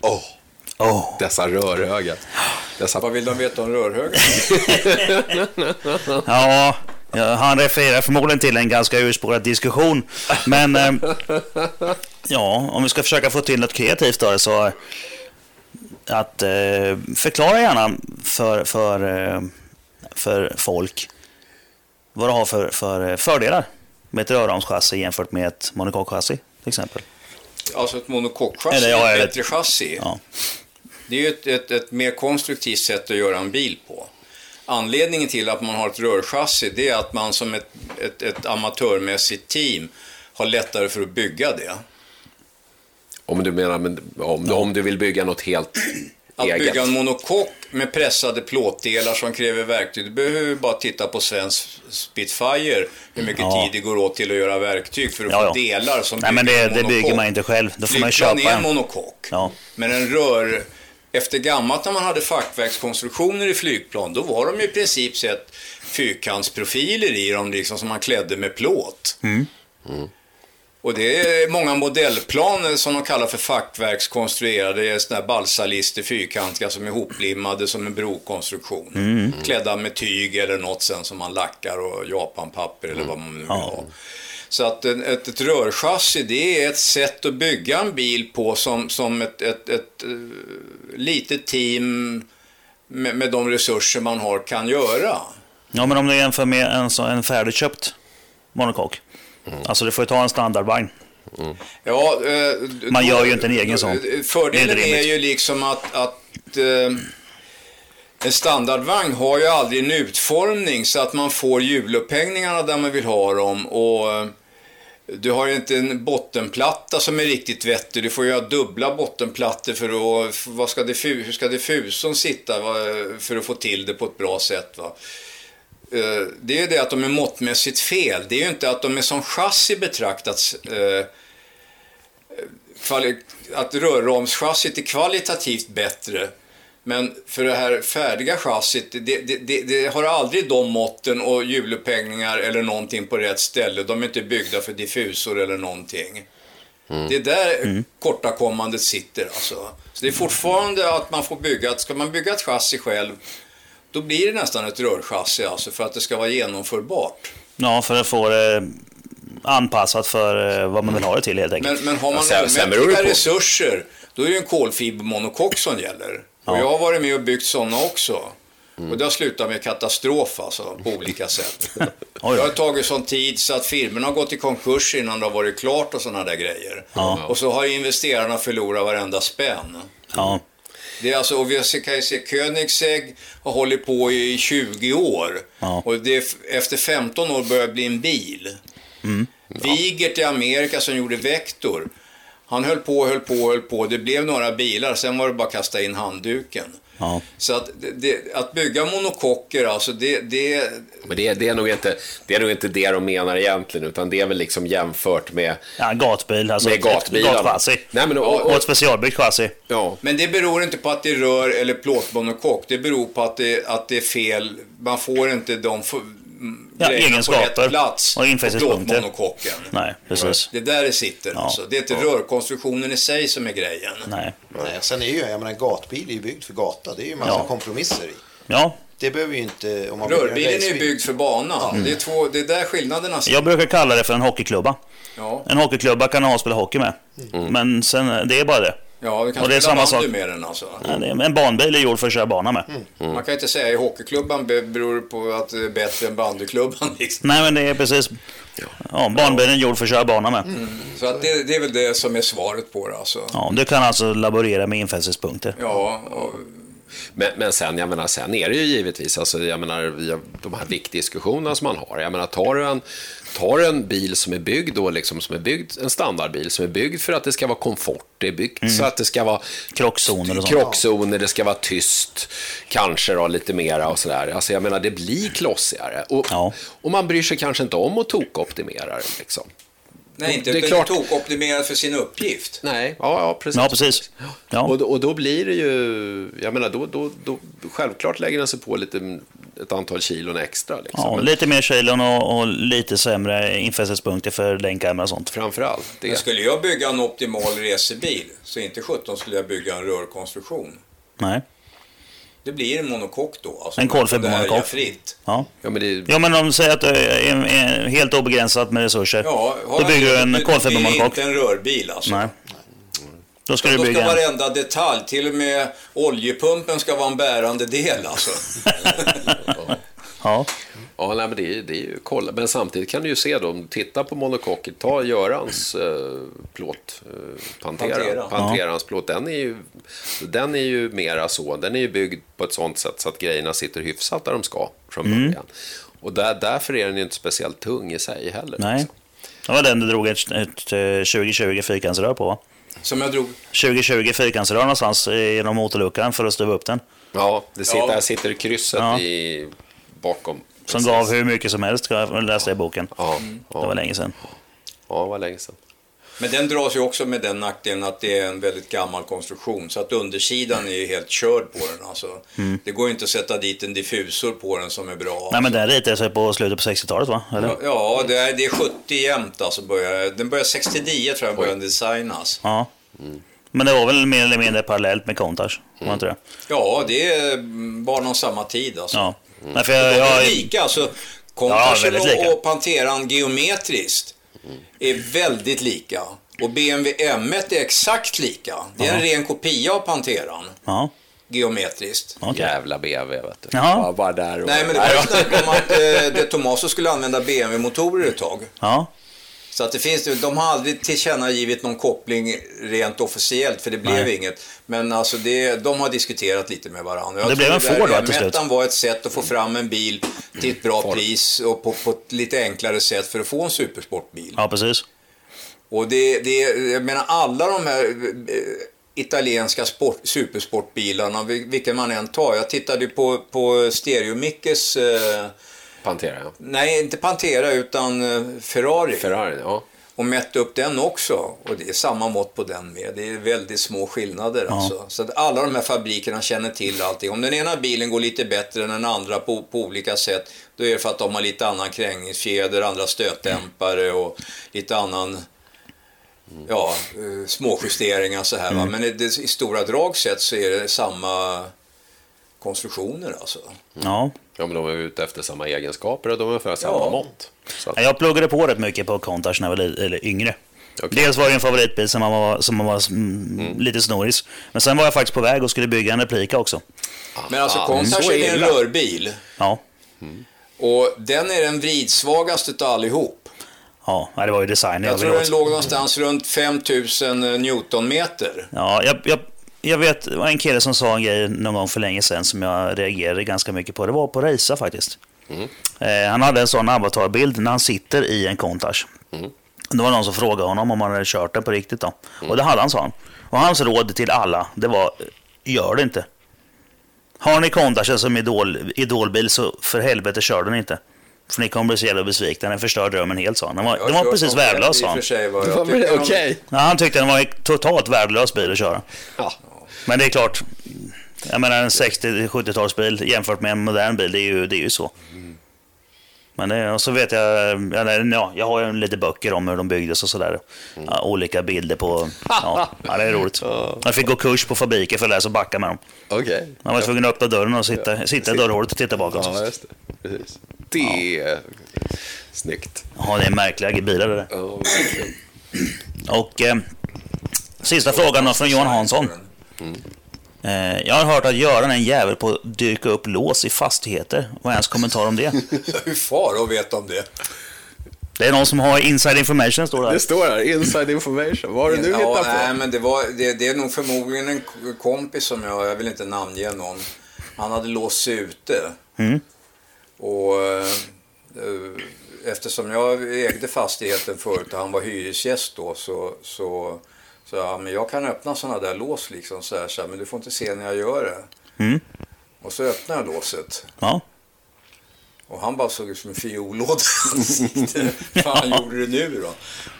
Speaker 3: Åh,
Speaker 2: Oh.
Speaker 3: dessa rörhögar.
Speaker 4: Vad
Speaker 3: Dessa...
Speaker 4: vill de veta om rörhögen?
Speaker 2: Ja, ja, han refererar förmodligen till en ganska urspårad diskussion. Men... ehm, ja, om vi ska försöka få till något kreativt då så... eh, Att eh, förklara gärna för, för, eh, för folk vad det har för, för eh, fördelar med ett rörramschassi jämfört med ett monokockchassi till exempel.
Speaker 4: Alltså ett monokockchassi
Speaker 2: Eller, ja,
Speaker 4: är
Speaker 2: eller-
Speaker 4: ett bättre chassi.
Speaker 2: Ja.
Speaker 4: Det är ju ett, ett, ett mer konstruktivt sätt att göra en bil på. Anledningen till att man har ett rörchassi det är att man som ett, ett, ett amatörmässigt team har lättare för att bygga det.
Speaker 3: Om du menar, men, om, om du vill bygga något helt
Speaker 4: Att
Speaker 3: eget.
Speaker 4: bygga en monokock med pressade plåtdelar som kräver verktyg, du behöver ju bara titta på svensk Spitfire, hur mycket
Speaker 2: Ja.
Speaker 4: tid det går åt till att göra verktyg för att
Speaker 2: Ja,
Speaker 4: få
Speaker 2: ja.
Speaker 4: delar som
Speaker 2: Nej, men
Speaker 4: bygger
Speaker 2: det,
Speaker 4: en
Speaker 2: det bygger
Speaker 4: monokock.
Speaker 2: man inte själv. Då får man ju
Speaker 4: Flygplan
Speaker 2: köpa
Speaker 4: är en
Speaker 2: en.
Speaker 4: monokock.
Speaker 2: Ja.
Speaker 4: Men en rör... Efter gammalt när man hade fackverkskonstruktioner i flygplan, då var de i princip sett fyrkantsprofiler i dem liksom, som man klädde med plåt. Och det är många modellplan som de kallar för fackverkskonstruerade, det är sådana här balsalister, fyrkantiga som är hoplimmade som en brokonstruktion. Klädda med tyg eller något sen som man lackar och japanpapper eller vad man nu vill ha. Så att en, ett, ett rörchassi det är ett sätt att bygga en bil på som, som ett, ett, ett eh, litet team med, med de resurser man har kan göra.
Speaker 2: Ja, men om du jämför med en, så- en färdigköpt monokock. Alltså du får ju ta en standardvagn.
Speaker 4: Ja, eh,
Speaker 2: Man
Speaker 4: då-
Speaker 2: gör ju inte en egen sån.
Speaker 4: eh,
Speaker 2: Det
Speaker 4: Fördelen
Speaker 2: är inte
Speaker 4: är,
Speaker 2: rimligt.
Speaker 4: ju liksom att, att eh, en standardvagn har ju aldrig en utformning så att man får hjulupphängningarna där man vill ha dem. Och eh, Du har ju inte en bottenplatta som är riktigt vettig. Du får ju ha dubbla bottenplattor för att... för- Vad ska diffu, hur ska diffusorn sitta va, för att få till det på ett bra sätt? Va? eh, det är ju det att de är måttmässigt fel. Det är ju inte att de är som chassi betraktats. Eh, kvali- att rörromschassit är kvalitativt bättre. Men för det här färdiga chassit, det, det, det, det har aldrig de måtten och hjulupphängningar eller någonting på rätt ställe. De är inte byggda för diffusor eller någonting. Det är där kortakommandet sitter alltså. Så det är fortfarande att man får bygga, ett- ska man bygga ett chassi själv, då blir det nästan ett rörchassi alltså för att det ska vara genomförbart.
Speaker 2: Ja, för att få det anpassat för eh, vad man vill ha det till helt enkelt.
Speaker 4: Men, men har man
Speaker 3: Ja, sen- sen beror det
Speaker 4: omätliga
Speaker 3: på.
Speaker 4: resurser, då är det ju en kolfibermonokock som gäller. Och jag har varit med och byggt sådana också. Och det har slutat med katastrof alltså, på olika sätt.
Speaker 2: Oj
Speaker 4: Det har
Speaker 2: då.
Speaker 4: tagit sån tid så att firmorna har gått i konkurs innan det har varit klart och sådana där grejer.
Speaker 2: Ja.
Speaker 4: Och så har investerarna förlorat varenda spänn.
Speaker 2: Ja.
Speaker 4: Det är alltså, och vi ser- kan ju se Koenigsegg har hållit på i 20 år.
Speaker 2: Ja.
Speaker 4: Och det, är f- efter 15 år börjar det bli en bil.
Speaker 2: Mm.
Speaker 4: Vigert i Amerika som gjorde Vector. Han höll på, höll på, höll på. Det blev några bilar, sen var det bara att kasta in handduken.
Speaker 2: Ja.
Speaker 4: Så att, det- det, att bygga monokocker, alltså det, det,
Speaker 3: Men det, det, är nog inte, det är nog inte det de menar egentligen, utan det är väl liksom jämfört med,
Speaker 2: Ja, en gatbil, alltså
Speaker 3: med
Speaker 2: ett-
Speaker 3: gatbilarna.
Speaker 2: ett gatchassi.
Speaker 3: Nej, men, och,
Speaker 2: Och
Speaker 3: och,
Speaker 2: ett specialbyggt chassi.
Speaker 3: ja.
Speaker 4: Men det beror inte på att det är rör eller plåtmonokock. Det beror på att det, att det är fel. Man får inte de f- m-
Speaker 2: Ja,
Speaker 4: grejerna på
Speaker 2: egenskaper
Speaker 4: rätt plats
Speaker 2: och infästningspunkter.
Speaker 4: plåtmonokocken.
Speaker 2: Nej, precis.
Speaker 4: Det är där det sitter alltså. Det är inte rörkonstruktionen i sig som är grejen.
Speaker 2: Nej.
Speaker 1: Nej, sen är ju, jag menar, en gatbil är ju byggd för gata. Det är ju en massa
Speaker 2: Ja.
Speaker 1: kompromisser i.
Speaker 2: Ja,
Speaker 1: Det behöver ju inte... Om man bygger en
Speaker 4: Rörbilen är ju
Speaker 1: racebil.
Speaker 4: byggd för banan.
Speaker 2: Mm.
Speaker 4: Det, är två, det är där skillnaderna sitter.
Speaker 2: jag brukar kalla det för en hockeyklubba.
Speaker 4: Ja,
Speaker 2: En hockeyklubba kan ha spela hockey med. Men sen, eh, det är bara det.
Speaker 4: ja vi kan
Speaker 2: Och det är
Speaker 4: spela
Speaker 2: samma
Speaker 4: bandy
Speaker 2: sak.
Speaker 4: med den alltså.
Speaker 2: Ja, det är- En banbil är gjord för att köra bana med.
Speaker 4: Man kan inte säga i hockeyklubban be- beror det på att det är bättre än bandyklubban. Liksom.
Speaker 2: Nej, men det är precis... Ja, banbilen är gjord för att köra bana med.
Speaker 4: Så att det, det är väl det som är svaret på det alltså.
Speaker 2: Ja, du kan alltså laborera med infästningspunkter.
Speaker 4: Ja, och,
Speaker 3: Men, men sen, jag menar, sen är det ju givetvis, alltså, jag menar, vi- de här viktdiskussionerna som man har. Jag menar, tar du en, tar du en bil som är byggd då, liksom, som är byggd, en standardbil, som är byggd för att det ska vara komfort, det är byggt så att det ska vara
Speaker 2: Mm. Krockzoner och sånt.
Speaker 3: krockzoner, det ska vara tyst, kanske då, lite mera och sådär. Alltså, jag menar, det blir klossigare. Och,
Speaker 2: Ja.
Speaker 3: och man bryr sig kanske inte om att tokoptimera den, liksom.
Speaker 4: nej, inte
Speaker 3: Det är
Speaker 4: det är
Speaker 3: klart.
Speaker 4: tokoptimerad för sin uppgift.
Speaker 3: Nej, ja, ja precis.
Speaker 2: Ja, precis. Ja.
Speaker 3: Och, då- och då blir det ju, jag menar, då, då, då, självklart lägger den sig på lite, ett antal kilon extra. Liksom.
Speaker 2: Ja,
Speaker 3: Men
Speaker 2: lite mer kilon och, och lite sämre infästningspunkter för länkkamera och sånt.
Speaker 3: framför allt det.
Speaker 4: Men skulle jag bygga en optimal resebil, så inte 17 skulle jag bygga en rörkonstruktion.
Speaker 2: Nej.
Speaker 4: Det blir en monokock då. Alltså,
Speaker 2: En kolfibermonokock.
Speaker 4: Om det här är fritt.
Speaker 2: Ja.
Speaker 3: Ja, men det,
Speaker 2: ja, men de säger att det är, är helt obegränsat med resurser.
Speaker 4: Ja, har
Speaker 2: då
Speaker 4: man-
Speaker 2: bygger du en
Speaker 4: Det är
Speaker 2: kolfibermonokock.
Speaker 4: inte en rörbil alltså.
Speaker 2: Nej. Då ska
Speaker 4: Då
Speaker 2: du
Speaker 4: ska
Speaker 2: bygga en...
Speaker 4: varenda detalj, till och med oljepumpen ska vara en bärande del alltså.
Speaker 2: Ja.
Speaker 3: ja, nej, men det, är- det är ju kolla. Men samtidigt kan du ju se då, om du tittar på monokocker, ta Görans eh, plåt, eh, Pantera,
Speaker 4: Pantera.
Speaker 3: Panterans plåt, den är, ju, den är ju mera så, den är ju byggd på ett sånt sätt så att grejerna sitter hyfsat där de ska från
Speaker 2: Mm.
Speaker 3: början. Och där, därför är den ju inte speciellt tung i sig heller.
Speaker 2: Nej.
Speaker 3: liksom.
Speaker 2: Det var den du drog ett, ett eh, 2020 fyrkantsrör på, va?
Speaker 4: Som jag drog.
Speaker 2: 2020 fyrkantsrör någonstans eh, genom motorluckan för att stuva upp den.
Speaker 3: Ja, det sitter,
Speaker 4: Ja.
Speaker 3: där sitter krysset
Speaker 2: Ja.
Speaker 3: i, bakom.
Speaker 2: Som
Speaker 3: Precis.
Speaker 2: gav hur mycket som helst, ska jag läsa i boken.
Speaker 3: Ja,
Speaker 2: Det var
Speaker 3: ja,
Speaker 2: länge sedan.
Speaker 3: ja, det var länge sedan.
Speaker 4: Men den dras ju också med den nackdelen att det är en väldigt gammal konstruktion. Så att undersidan är ju helt körd på den alltså. Det går ju inte att sätta dit en diffusor på den som är bra.
Speaker 2: Mm. Nej, men den ritade sig på slutet på 60-talet, va? Eller? Ja.
Speaker 4: Ja, det är, det är 70 jämnt alltså. Börjar, den börjar 69 tror jag börjar den designas. Mm.
Speaker 2: Men det var väl mer eller mindre parallellt med Countach? Var inte det?
Speaker 4: Ja, det är mm, barn om samma tid alltså.
Speaker 2: Ja. Nej, för jag,
Speaker 4: De är
Speaker 2: jag,
Speaker 4: lika alltså.
Speaker 2: Ja,
Speaker 4: Compassion
Speaker 2: väldigt lika.
Speaker 4: och Panteran geometriskt är väldigt lika. Och BMW M1 är exakt lika. Det är en ren kopia av Panteran
Speaker 2: ja.
Speaker 4: geometriskt.
Speaker 2: Okej.
Speaker 3: Jävla BV, vet du.
Speaker 2: Jaha.
Speaker 3: Bara, bara där och...
Speaker 4: Nej, men det var
Speaker 3: Nej,
Speaker 4: ju
Speaker 3: ja.
Speaker 4: snack om att eh, det Tomaso skulle använda BMW-motorer ett tag.
Speaker 2: Ja.
Speaker 4: Så att det finns, de har aldrig tillkännagivit någon koppling rent officiellt, för det blev
Speaker 2: Nej.
Speaker 4: inget. Men alltså det, de har diskuterat lite med varandra. Jag
Speaker 2: Det blev
Speaker 4: tror
Speaker 2: en
Speaker 4: där
Speaker 2: Ford, va, till slut?
Speaker 4: M1:an var ett sätt att få fram en bil till ett bra pris och på, på ett lite enklare sätt för att få en supersportbil.
Speaker 2: ja, precis.
Speaker 4: Och det, det, jag menar alla de här eh, italienska sport, supersportbilarna, vil- vilken man än tar. Jag tittade ju på, på Stereo Mickes eh,
Speaker 3: Pantera, ja.
Speaker 4: Nej, inte Pantera utan eh, Ferrari.
Speaker 3: Ferrari, ja.
Speaker 4: och mätte upp den också. Och det är samma mått på den med. Det är väldigt små skillnader. Alltså. Så att alla de här fabrikerna känner till allting. Om den ena bilen går lite bättre än den andra på, på olika sätt, då är det för att de har lite annan krängningsfjäder, andra stötdämpare och lite annan ja, eh, småjusteringar så här. Va? Men i, det, i stora drag sett så är det samma konstruktioner alltså.
Speaker 2: Ja.
Speaker 3: Ja, men de är ute efter samma egenskaper och de är ungefär samma
Speaker 4: Ja.
Speaker 3: mått. Så att,
Speaker 2: Ja, Jag pluggade på rätt mycket på Countach när jag var li- eller yngre.
Speaker 3: Okej.
Speaker 2: Dels var det en favoritbil som man var, som man var mm, lite snoris. Men sen var jag faktiskt på väg och skulle bygga en replika också.
Speaker 4: Men alltså
Speaker 3: Ah,
Speaker 4: Countach
Speaker 3: så
Speaker 2: Mm.
Speaker 4: är en
Speaker 3: illa.
Speaker 4: rörbil
Speaker 2: Ja,
Speaker 4: och den är den vridsvagaste utav allihop.
Speaker 2: ja nej, det var ju designer
Speaker 4: Jag
Speaker 2: ville
Speaker 4: tror den
Speaker 2: åt.
Speaker 4: låg någonstans runt 5000 newtonmeter.
Speaker 2: Ja, jag, jag, jag vet, det var en kille som sa en grej någon gång för länge sedan som jag reagerade ganska mycket på. Det var på Reisa faktiskt. Eh, han hade en sån avatarbild när han sitter i en Countach. Det var någon som frågade honom om han hade kört den på riktigt. Då. Och det hade han, sa han. Och hans råd till alla, det var, gör det inte. Har ni Countachen som idol, idolbil så för helvete kör den inte. För ni kommer bli så jävla besvikna, den förstör drömmen helt, sa han. Den var, den var precis värdelös, sa han.
Speaker 4: Okej.
Speaker 3: Ja, men det är okej.
Speaker 2: Ja, han tyckte den var en totalt värdelös bil att köra.
Speaker 3: Ja.
Speaker 2: Men det är klart, jag menar en 60-70-talsbil jämfört med en modern bil, det är ju, det är ju så. Men det, och så vet jag, eller, ja, jag har ju lite böcker om hur de byggdes och sådär. Ja, olika bilder på, ja, ja, det är roligt. Jag fick gå kurs på fabriker för att lära sig att backa med dem.
Speaker 3: Okej.
Speaker 2: Man var tvungen att öppna dörren och sitta, sitta i dörrhålet och titta bakåt.
Speaker 3: Ja, just det. Precis. Det är snyggt.
Speaker 2: Ja, det är märkliga bilar det där.
Speaker 3: Ja,
Speaker 2: Och eh, sista frågan då från Johan Hansson. Eh, jag har hört att Göran är en jävel på att dyrka upp lås i fastigheter. Vad är hans kommentar om det?
Speaker 4: Hur far och vet om det?
Speaker 2: Det är någon som har inside information, står det här.
Speaker 3: Det står här, inside information. Vad har du nu
Speaker 4: ja,
Speaker 3: hittat
Speaker 4: nej,
Speaker 3: på?
Speaker 4: men det, var, det, det är nog förmodligen en k- kompis som jag, jag vill inte namnge någon. Han hade låst sig ute.
Speaker 3: Mm.
Speaker 4: Och eh, eh, eftersom jag ägde fastigheten förut och han var hyresgäst då så så så ja, men jag kan öppna sådana där lås liksom så här, så här, men du får inte se när jag gör det.
Speaker 2: Mm.
Speaker 4: Och så öppnade jag låset.
Speaker 2: Ja.
Speaker 4: Och han bara såg ut som en fiollåda i ansiktet. Fan, gjorde det nu då?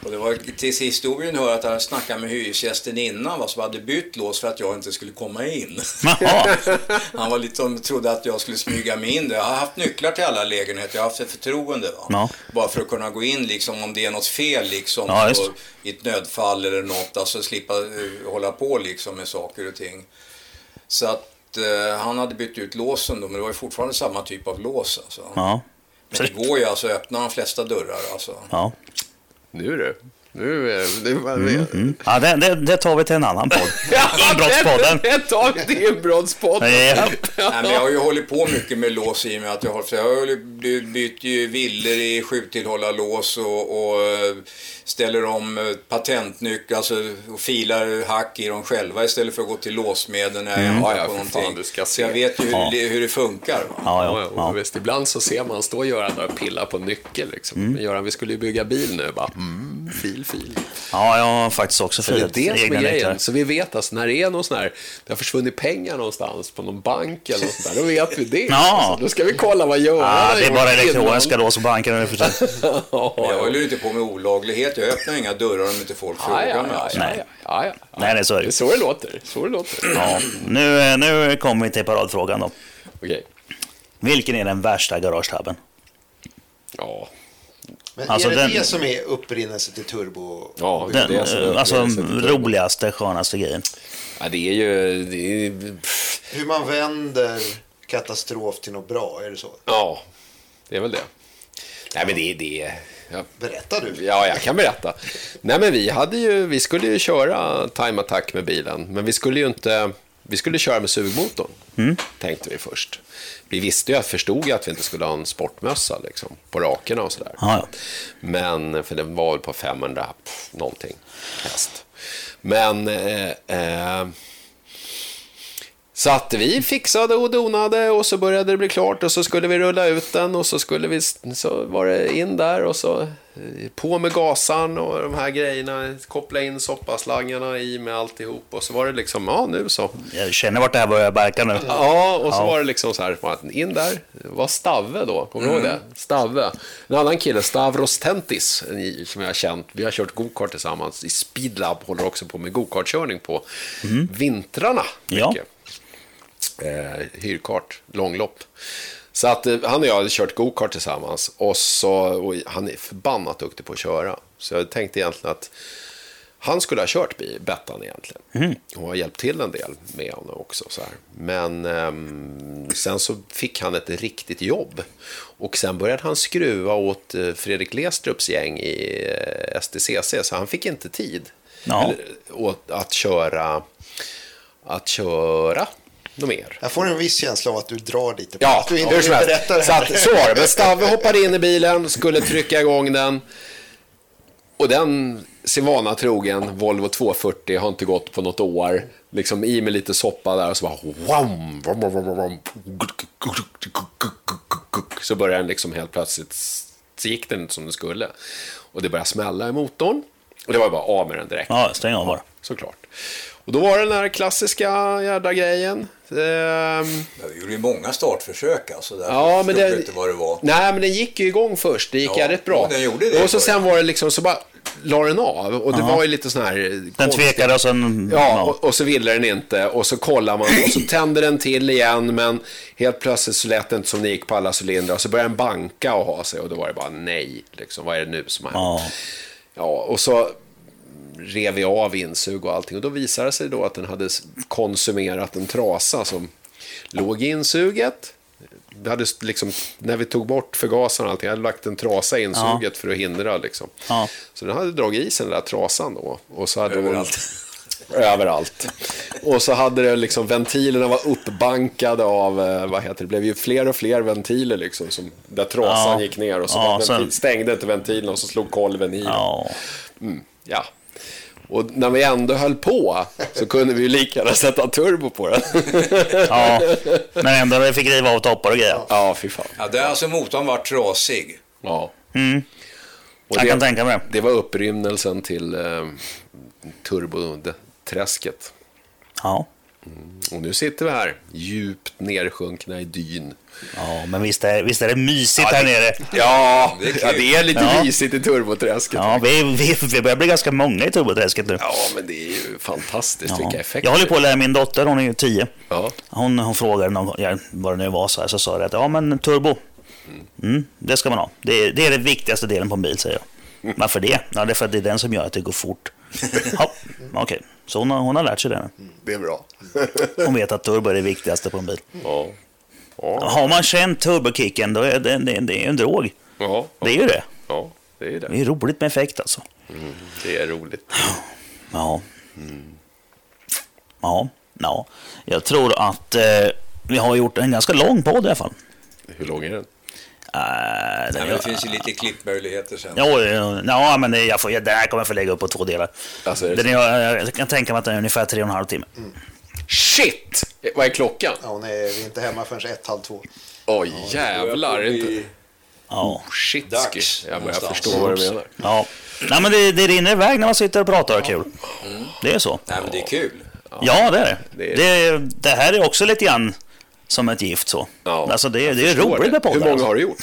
Speaker 4: Och det var till historien hör att jag hade snackat med hyresgästen innan va, som hade bytt lås för att jag inte skulle komma in.
Speaker 2: Jaha.
Speaker 4: Han var lite som trodde att jag skulle smyga mig in där. Jag har haft nycklar till alla lägenheter, jag har haft ett förtroende. Va?
Speaker 2: Ja.
Speaker 4: Bara för att kunna gå in liksom om det är något fel liksom.
Speaker 2: Ja, just.
Speaker 4: och, I ett nödfall eller något. Alltså slippa eh, hålla på liksom med saker och ting. Så att eh, han hade bytt ut låsen då, men det var ju fortfarande samma typ av lås alltså.
Speaker 2: Ja.
Speaker 4: Men det går ju alltså att öppna de flesta dörrar alltså.
Speaker 2: Ja.
Speaker 3: Nu du. Nu är det... Nu är
Speaker 2: Mm, ja det, det, det tar vi till en annan podd. Inbrottspodden.
Speaker 3: Det är det är inbrottspodden.
Speaker 2: Japp.
Speaker 4: Nej, men jag har ju hållit på mycket med lås i och med att jag har, för jag har ju by- bytt ju villor i sjutillhållarlås och, och eh, ställer om eh, patentnycklar alltså, och filar hack i dem själva istället för att gå till låsmeden när jag ändrar
Speaker 3: Mm. Ja, ja,
Speaker 4: på
Speaker 3: för
Speaker 4: någonting.
Speaker 3: fan, du ska
Speaker 4: Så
Speaker 3: se.
Speaker 4: jag vet ju hur,
Speaker 2: Ja.
Speaker 4: det- hur det funkar. Va?
Speaker 2: Ja, ja,
Speaker 3: Ja, ja,
Speaker 2: ja.
Speaker 3: Visst, ibland så ser man stå och Göran där och pilla på en nyckel. Liksom. Men Göran, vi skulle ju bygga bil nu. Bara, mm, fil, fil.
Speaker 2: ja, jag har faktiskt också
Speaker 3: Det är
Speaker 2: firat
Speaker 3: det som
Speaker 2: egna
Speaker 3: är
Speaker 2: nycklar.
Speaker 3: grejen. Så vi vet alltså, när det är någon sån här, det har försvunnit pengar någonstans på någon bank eller något sånt där, då vet vi det.
Speaker 2: Ja.
Speaker 3: Alltså, då ska vi kolla vad Göran
Speaker 2: Ja,
Speaker 3: har
Speaker 2: det är
Speaker 3: gjort
Speaker 2: bara
Speaker 3: innan.
Speaker 2: elektroniska lås på banken nu för tiden.
Speaker 4: Men jag håller ju inte på med olaglighet. Jag öppnar inga dörrar om inte folk
Speaker 3: Ja,
Speaker 4: frågar
Speaker 3: ja,
Speaker 4: mig.
Speaker 3: ja,
Speaker 4: Alltså.
Speaker 3: ja, ja, ja.
Speaker 2: Nej, det är så är det.
Speaker 3: Det är så det låter. Så det låter.
Speaker 2: Ja. Nu, nu kommer vi till paradfrågan då.
Speaker 3: Okej.
Speaker 2: Vilken är den värsta garagetabben?
Speaker 3: Ja.
Speaker 1: Men
Speaker 2: Alltså,
Speaker 1: är det
Speaker 2: den-
Speaker 1: det som är upprinnelse till turbo?
Speaker 3: Ja,
Speaker 2: Den,
Speaker 3: är så
Speaker 2: eh, alltså
Speaker 3: upplevelse.
Speaker 2: roligaste, skönaste grejen.
Speaker 3: Ja, det är ju... Det är, pff,
Speaker 1: Hur man vänder katastrof till något bra, är det så?
Speaker 3: ja, det är väl det. Nej, men det är... Det är ja.
Speaker 1: Berätta du.
Speaker 3: Ja, jag kan berätta. Nej, men vi, hade ju, vi skulle ju köra time attack med bilen, men vi skulle ju inte... Vi skulle köra med sugmotorn, tänkte vi först. Vi visste ju, förstod ju att vi inte skulle ha en sportmössa liksom, på rakerna och sådär.
Speaker 2: Ja, ja.
Speaker 3: Men, för den var väl på 500 pff, någonting häst. Men... Eh, eh, Så att vi fixade och donade och så började det bli klart och så skulle vi rulla ut den och så skulle vi, så var det in där och så eh, på med gasan och de här grejerna, koppla in soppaslangarna i med alltihop och så var det liksom, ja nu så.
Speaker 2: Jag känner vart det här börjar verka nu.
Speaker 3: Ja, och så
Speaker 2: Ja.
Speaker 3: var det liksom så här, man, in där, var Stave då, kommer du ihåg det? Stave. En annan kille, Stavros Tentis, en- som jag har känt, vi har kört gokart tillsammans i Speedlab, håller också på med gokartkörning på vintrarna.
Speaker 2: Ja.
Speaker 3: mycket. Eh, hyrkart, långlopp. Så att eh, han och jag hade kört gokart tillsammans och, så, och han är förbannat duktig på att köra. Så jag tänkte egentligen att han skulle ha kört bi- Bettan egentligen. Och har hjälpt till en del med honom också. Så här. Men ehm, sen så fick han ett riktigt jobb. Och sen började han skruva åt eh, Fredrik Lestrups gäng i eh, STCC. Så han fick inte tid
Speaker 2: Ja.
Speaker 3: Eller, åt, att köra, att köra något mer.
Speaker 1: Jag får en viss känsla av att du drar lite. på
Speaker 3: Ja,
Speaker 1: att du
Speaker 3: hur som helst.
Speaker 1: berättar det
Speaker 3: Så,
Speaker 1: här.
Speaker 3: att, så var det. Men Stave hoppade in i bilen, skulle trycka igång den. Och den, sin vana trogen, Volvo 240, har inte gått på något år. Liksom i med lite soppa där och så bara... wham, wham, wham, wham, wham. Så började den liksom helt plötsligt... Så gick den inte som den skulle. Och det började smälla i motorn. Och det var bara av med den direkt
Speaker 2: Ja, stäng av bara.
Speaker 3: såklart. Och då var det den här klassiska jädra grejen. Ehm,
Speaker 4: Ja, Vi gjorde ju många startförsök alltså. Där
Speaker 3: ja, men
Speaker 4: det...
Speaker 3: det,
Speaker 4: inte vad det var.
Speaker 3: Nej, men den gick ju igång först. Det gick
Speaker 4: Ja,
Speaker 3: jävligt bra.
Speaker 4: den gjorde det
Speaker 3: och så
Speaker 4: i början.
Speaker 3: sen var det liksom, så bara la den av. Och det var ju lite sån här...
Speaker 2: Den tvekade och sen...
Speaker 3: Ja, och, och så ville den inte. Och så kollar man och så tänder den till igen. Men helt plötsligt så lät det inte som det gick på alla cylindrar. Och så började den banka och ha sig. Och då var det bara nej, liksom. Vad är det nu som har hänt?
Speaker 2: Ja.
Speaker 3: Ja, och så rev vi av insug och allting. Och då visade det sig då att den hade s- konsumerat en trasa som låg i insuget. Det hade s- liksom, när vi tog bort förgasaren och allting, hade lagt en trasa i insuget för att hindra. Liksom.
Speaker 2: Ja.
Speaker 3: Så den hade dragit i sig den där trasan då. Och så hade hon-
Speaker 4: Överallt.
Speaker 3: Överallt. Och så hade det liksom, ventilerna var uppbankade av, eh, vad heter det, det blev ju fler och fler ventiler liksom, som, där trasan
Speaker 2: Ja.
Speaker 3: gick ner och så
Speaker 2: Ja,
Speaker 3: var ventil,
Speaker 2: sen-
Speaker 3: stängde inte ventilen och så slog kolven i.
Speaker 2: Ja.
Speaker 3: Ja. Och när vi ändå höll på så kunde vi ju lika gärna sätta turbo på den.
Speaker 2: ja. Men ändå vi fick riva av toppar och grejer.
Speaker 3: ja, fy fan.
Speaker 4: Ja, där alltså motorn var trasig.
Speaker 3: Ja. Och
Speaker 2: Mm. Jag kan
Speaker 3: det,
Speaker 2: tänka mig det.
Speaker 3: det var upprymnelsen till eh, turboträsket.
Speaker 2: Ja.
Speaker 3: Och nu sitter vi här, djupt nedsjunkna i dyn.
Speaker 2: ja, men visst är, visst är det mysigt här nere.
Speaker 3: Ja,
Speaker 4: det är kul.
Speaker 3: ja det är lite
Speaker 2: Ja.
Speaker 3: mysigt i turboträsket. Ja.
Speaker 2: Ja, vi, vi, vi börjar bli ganska många i turboträsket nu.
Speaker 3: men det är ju fantastiskt
Speaker 2: Ja.
Speaker 3: vilka effekter.
Speaker 2: Jag håller på att lära min dotter, hon är ju tio.
Speaker 3: Ja.
Speaker 2: Hon, hon frågade någon gång, ja, vad det nu var, så, här, så sa det att ja, men turbo, mm, det ska man ha. Det är, det är den viktigaste delen på en bil, säger jag. Varför det? Ja, det är för att det är den som gör att det går fort. Ja, okej. Så hon har, hon har lärt sig det nu.
Speaker 3: Det är bra.
Speaker 2: Hon vet att turbo är det viktigaste på en bil.
Speaker 3: Ja. Ja.
Speaker 2: Har man känt turbokicken, då är det, det, det är ju en drog.
Speaker 3: Ja.
Speaker 2: Det är ju det.
Speaker 3: ja, det är
Speaker 2: Det
Speaker 3: det.
Speaker 2: är roligt med effekt alltså.
Speaker 3: Det är roligt.
Speaker 2: Ja. Mm. Ja, ja. Jag tror att eh, vi har gjort en ganska lång podd i alla fall.
Speaker 3: Hur lång är den?
Speaker 2: Äh,
Speaker 4: Ja,
Speaker 2: den,
Speaker 4: men det finns ju lite klippmöjligheter sen.
Speaker 2: Ja, ja, ja, men det- jag får, det här kommer jag få lägga upp på två delar.
Speaker 3: Alltså, är det Mm.
Speaker 2: den är, jag kan tänka mig att den är ungefär tre och en halv timme.
Speaker 3: Shit! Vad är klockan?
Speaker 1: Ja, nej, vi är inte hemma förrän ett, halv två.
Speaker 3: Oj, jävlar.
Speaker 4: Det
Speaker 3: Inte...
Speaker 4: är-
Speaker 2: Ja.
Speaker 3: Shit,
Speaker 4: Dags
Speaker 3: skish. Jag börjar
Speaker 4: någonstans.
Speaker 3: förstå vad du menar.
Speaker 2: ja. Nej, men det, det rinner iväg när man sitter och pratar och har kul. Det är så.
Speaker 4: Nej, men det är kul.
Speaker 2: Ja, det är det.
Speaker 3: Mm. Det är-
Speaker 2: Det, det här är också lite grann som ett gift så.
Speaker 3: Ja,
Speaker 2: alltså det, det är
Speaker 3: Förstår
Speaker 2: roligt
Speaker 3: det.
Speaker 2: med poddar.
Speaker 3: Hur många
Speaker 2: alltså.
Speaker 3: har du gjort?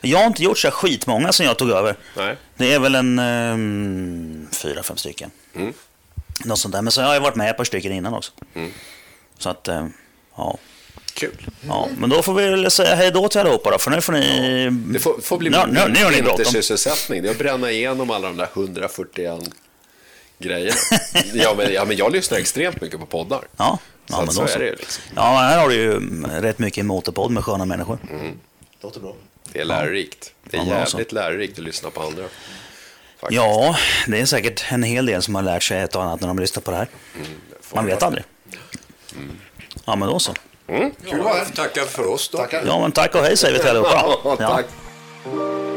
Speaker 2: Jag har inte gjort så här skitmånga sen jag tog över.
Speaker 3: Nej.
Speaker 2: Det är väl en ehm, fyra, fem stycken.
Speaker 3: Mm.
Speaker 2: Något sånt där. Men sen har jag varit med ett par stycken innan också. Så att, eh, ja.
Speaker 3: Kul.
Speaker 2: Ja, men då får vi väl säga hej då till allihopa då, för nu får ni...
Speaker 3: Det får, får bli
Speaker 2: Nu, nu, nu har ni bråttom.
Speaker 3: vintersysselsättning. Det är att bränna igenom alla de där 141 grejerna. ja, men, ja, men jag lyssnar extremt mycket på poddar.
Speaker 2: Ja,
Speaker 3: Så
Speaker 2: ja
Speaker 3: att
Speaker 2: men
Speaker 3: så
Speaker 2: då
Speaker 3: är
Speaker 2: så.
Speaker 3: det ju liksom.
Speaker 2: Ja, men här har du ju mm, rätt mycket i motorpodd med sköna människor.
Speaker 3: Mm,
Speaker 1: Låter bra.
Speaker 3: Det är lärorikt. Det är
Speaker 2: Ja, alltså. bra så.
Speaker 3: jävligt lärorikt att lyssna på andra. Faktiskt.
Speaker 2: Ja, det är säkert en hel del som har lärt sig ett och annat när de lyssnar på det här. Man vet aldrig.
Speaker 3: Mm.
Speaker 2: Ja, men då så.
Speaker 4: Ja, tackar för oss då.
Speaker 1: Tackar.
Speaker 2: Ja, men tack och hej säger vi till allihopa.
Speaker 3: Ja,
Speaker 2: Ja.
Speaker 3: tack.